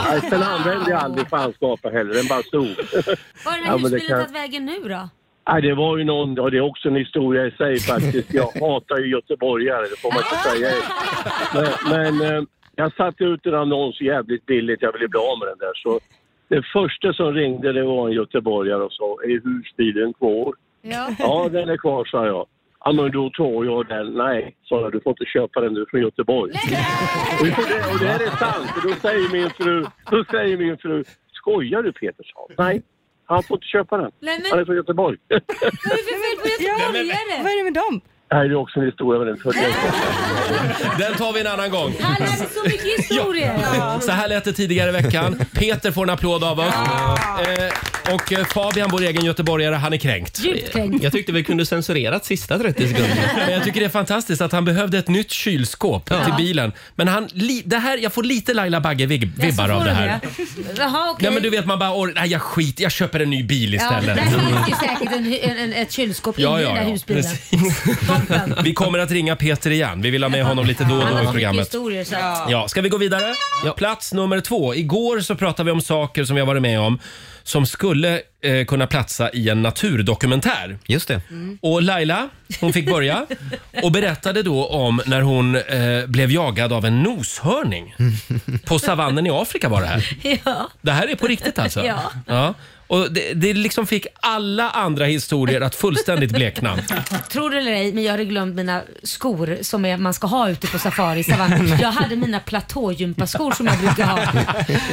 S23: Nej, Sen använde jag aldrig fanskapet heller, den bara stod.
S2: Var har den här
S23: Ja, men det
S2: husbilen
S23: kan-
S2: tagit vägen nu då?
S23: Nej, det var ju någon, ja, det är också en historia i sig faktiskt. Jag hatar ju göteborgare, det får man inte säga. Men, men eh, jag satte ut en annons jävligt billigt, jag ville bli av med den där. Så det första som ringde det var en göteborgare och sa, är husbilen kvar?
S14: Ja.
S23: Ja, den är kvar, sa jag. Ja, men då tar jag den. Nej, sa jag, du får inte köpa den, du är från Göteborg. Och det, och det här är sant, för då säger min fru, då säger min fru, skojar du Peter, sa hon. Nej, han får inte köpa den.
S14: Nej, men-
S23: Han är från Göteborg. [laughs]
S11: Vad är det med dem?
S23: Nej, det är också en historia med den följande.
S1: Den tar vi en annan gång.
S2: Han lärde så mycket historier.
S1: Så här lät det tidigare i veckan. Peter får en applåd av oss. Eh, och eh, Fabian, vår egen göteborgare, han är kränkt.
S2: Djupt kränkt.
S1: Jag tyckte vi kunde censurerat sista 30 sekunderna. Men jag tycker det är fantastiskt att han behövde ett nytt kylskåp
S2: Ja.
S1: till bilen. Men han, li, det här, jag får lite Laila Bagge-vibbar av det här.
S2: Jaha, okej.
S1: Nej men du vet man bara, or- nej jag skit, jag köper en ny bil
S2: Ja,
S1: istället. Mm.
S2: där finns ju säkert en, hy- en, en, ett kylskåp inne i den där husbilen.
S1: precis. Vi kommer att ringa Peter igen. Vi vill ha med honom lite då och
S2: Han
S1: då
S2: har
S1: i
S2: så mycket
S1: programmet.
S2: historier så att...
S1: Ja, ska vi gå vidare? Plats nummer två. Igår så pratade vi om saker som vi har varit med om som skulle eh, kunna platsa i en naturdokumentär. Mm.
S3: Just det.
S1: Och Laila, hon fick
S3: [laughs]
S1: börja och berättade då om när hon eh, blev jagad av en noshörning. På savannen i Afrika var det här.
S2: Ja.
S1: Det här är på riktigt alltså?
S2: Ja.
S1: ja. Och det, det liksom fick alla andra historier att fullständigt
S2: [laughs]
S1: blekna.
S2: Tror det eller ej, men jag hade glömt mina skor som är, man ska ha ute på safari i
S1: [laughs]
S2: savannen. Jag hade mina platågympaskor som jag brukar ha.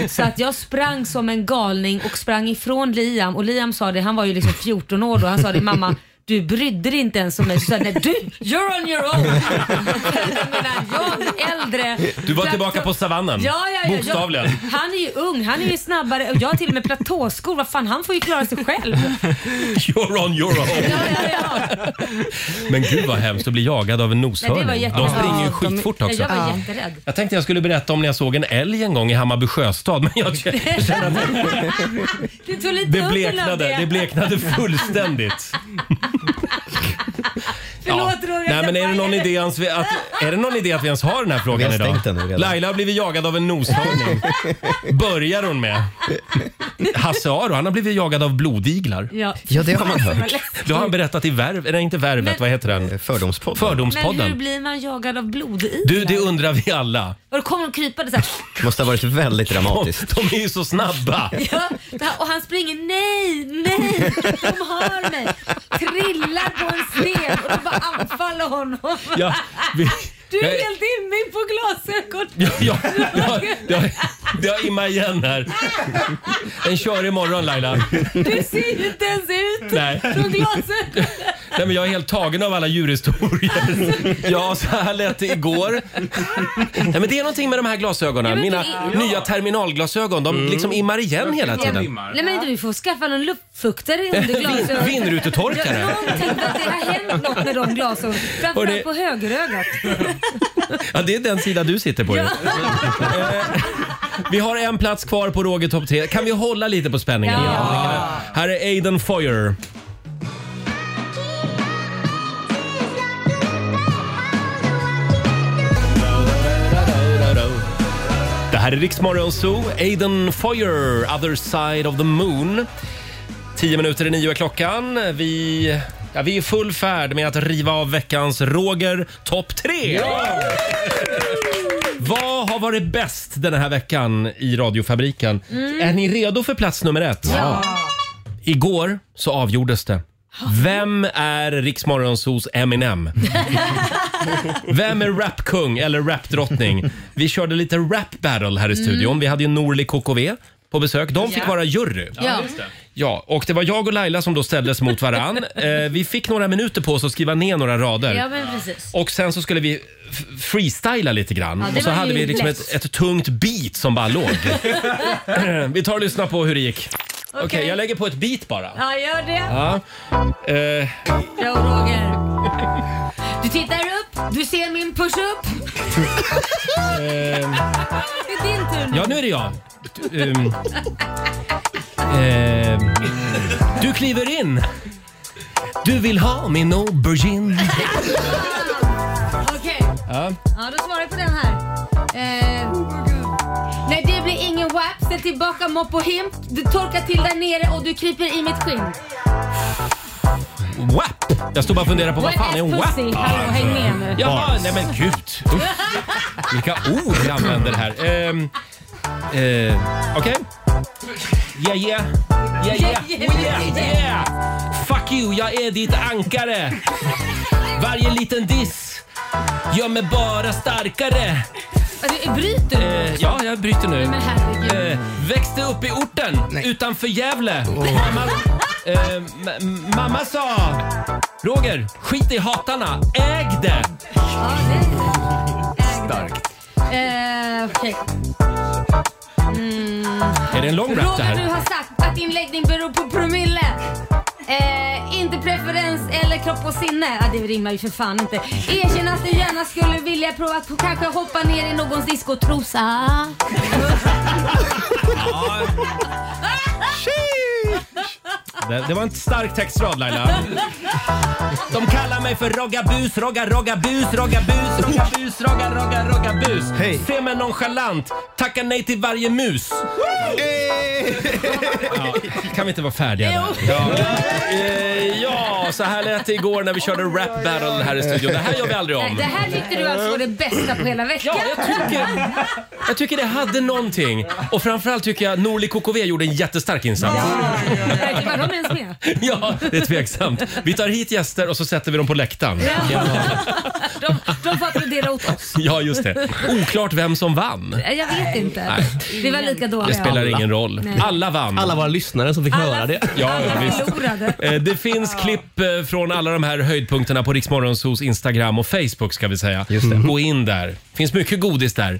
S2: Så att jag sprang som en galning och sprang ifrån Liam och Liam sa det, han var ju liksom 14 år då, han sa det mamma du brydde dig inte ens om mig. Så sa jag, nej, du, you're on your own. jag menar, jag är äldre.
S1: Du var tillbaka på savannen.
S2: Ja, ja, ja,
S1: Bokstavligen.
S2: Jag, han är ju ung, han är ju snabbare och jag har till och med platåskor. Vad fan, han får ju klara sig själv.
S1: [laughs] You're on your own. Men gud vad hemskt att bli jagad av en
S2: Nej, det var
S1: noshörning. De
S2: jättebra.
S1: springer ju
S2: Ja,
S1: skitfort
S2: de-
S1: också.
S2: Jag var jätterädd.
S1: Jag tänkte jag skulle berätta om när jag såg en älg en gång i Hammarby sjöstad, men
S2: [laughs]
S1: jag känner att
S2: Du tog lite
S1: det
S2: udden av
S1: bleknade, det bleknade fullständigt.
S2: [laughs] Förlåt Roger.
S1: Nej, men är det, någon idé ens vi, att, är det någon idé att vi ens har den här frågan
S3: Vi har
S1: idag?
S3: stängt den nu redan.
S1: Laila har blivit jagad av
S2: [laughs]
S1: en noshörning. Börjar hon med. Hasse Aro, han har blivit jagad av blodiglar.
S2: Ja.
S3: Ja, det har man hört.
S1: Det
S2: Mm.
S1: har han berättat i Värv, eller inte Värvet, vad heter den?
S3: Eh, Fördomspodden.
S1: Fördomspodden.
S2: Men hur blir man jagad av blodiglar?
S1: Du, det undrar vi alla.
S2: Och då kommer de krypande så här.
S3: Måste ha varit väldigt dramatiskt.
S1: De, de är ju så snabba.
S2: [laughs] Ja, det här- och han springer, nej, nej, de har mig. Trillar på en sten och de bara anfaller honom.
S1: Ja, vi,
S2: Du
S1: jag,
S2: är helt inne på glasögon.
S1: ja, ja, ja, ja, ja, imma igen här. Den kör imorgon Laila.
S2: Du ser ju inte ens ut
S1: Nej.
S2: från glasögonen.
S1: Nej, men jag är helt tagen av alla djurhistorier.
S2: [laughs]
S1: Ja, så här lät det igår. Nej, men det är någonting med de här glasögonen. Mina nya terminalglasögon, de
S3: Mm.
S1: liksom immar igen hela tiden.
S2: Nej men du får skaffa någon
S1: [laughs]
S2: luftfuktare under glasögonen.
S1: Vindrutetorkare.
S2: Ja, Någonting, för att det har hänt något med de glasögonen. Framförallt
S1: Hörni.
S2: på högerögat.
S1: Ja, det är den sida du sitter på ju. Eh, Vi har en plats kvar på Roger topp 10. Kan vi hålla lite på spänningen?
S14: Ja.
S1: Här är Aiden Foyer. Det här är Riksmorgon Zoo, Aiden Foyer, Other Side of the Moon. Tio minuter i nio är klockan. Vi, ja, vi är i full färd med att riva av veckans Roger topp tre. Vad har varit bäst den här veckan i radiofabriken?
S14: Mm.
S1: Är ni redo för plats nummer ett?
S14: Ja.
S1: Igår så avgjordes det. Vem är Riksmorgonsos Eminem? Vem är rapkung eller rapdrottning? Vi körde lite rap battle här i
S14: Mm.
S1: studion. Vi hade ju Norli KKV på besök. De fick
S14: Ja.
S1: vara jury.
S14: Ja, just det.
S1: Ja, och det var jag och Laila som då ställdes
S14: [laughs]
S1: mot varann. Eh, vi fick några minuter på oss att skriva ner några rader.
S2: Ja, men precis.
S1: Och sen så skulle vi f- freestyla lite grann.
S2: Ja, det
S1: och så
S2: var
S1: hade
S2: ju
S1: vi liksom
S2: lätt.
S1: ett, ett tungt beat som
S2: [laughs]
S1: bara låg. [clears throat] vi tar och lyssnar på hur det gick. Okej, jag lägger på ett beat bara.
S2: Ja, gör det.
S1: Ja. Eh,
S2: Bra Roger. Du tittar upp, du ser min push-up.
S1: eh,
S2: Det är din tur nu.
S1: ja, nu är det jag. Ehm, ehm, du kliver in. Du vill ha min aubergine.
S2: Okej,
S1: Ja.
S2: ja, då svarar jag på den här. Eh, nej, det blir ingen WAP. Ställ tillbaka mopp och himp. Du torkar till där nere och du kryper i mitt skinn.
S1: WAP! Jag stod bara och funderade på vad fan är en WAP?
S2: Pussy, hallå, häng med nu.
S1: Jaha, nej men gud. Uff. Vilka ord vi använder här. Ehm, eh, Okej. Yeah, yeah. Yeah, yeah. Oh, yeah,
S2: [laughs]
S1: yeah. Fuck you, jag är ditt ankare. Varje liten diss gör mig bara starkare.
S2: Alltså, bryter du?
S1: Eh, ja, jag bryter nu.
S2: Men herregud.
S1: Eh, växte upp i orten utanför Gävle. Mamma, eh, ma- m- mamma sa... Roger, skit i hatarna. Äg det!
S2: Ja, det
S1: Starkt.
S2: Eh, okej. Mm.
S1: Är det en lång rap det
S2: Roger, du
S1: här?
S2: har sagt att din läggning beror på promille. Eh, inte preferens eller kropp och sinne. Ja, det rimmar ju för fan inte. Erkänn att du gärna skulle vilja prova att kanske hoppa ner i någons discotrosa.
S1: Det, det var en stark textrad Laila. De kallar mig för Rogga Bus, Rogga Rogga Bus, Rogga Bus, Rogga Bus, Rogga Rogga Rogga Bus. Hey. Se mig nonchalant, tacka nej till varje mus. Ja, kan vi inte vara färdiga där? Ja. Eh, ja, så här lät det igår när vi körde rap battle här i studion. Det här gör vi aldrig
S2: Nej,
S1: om.
S2: det här tyckte du alltså var det bästa på hela veckan.
S1: Ja, jag tycker- Jag tycker det hade någonting. Och framförallt tycker jag Norli KKV gjorde en jättestark insats.
S2: Var de ens med?
S1: Ja, det är tveksamt. Vi tar hit gäster och så sätter vi dem på läktaren.
S2: De, de får applådera åt oss.
S1: Ja, just det. Oklart vem som vann.
S2: Eh, Jag vet inte.
S1: Nej.
S2: Vi var lika dåliga.
S1: Det spelar ingen roll.
S2: Nej.
S1: Alla vann. Alla våra lyssnare som fick höra det. Ja, ja, visst.
S2: Förlorade.
S1: Eh, Det finns klipp eh, från alla de här höjdpunkterna på Riksmorgonsos Instagram och Facebook ska vi säga. Just det. Gå in där. finns mycket godis där.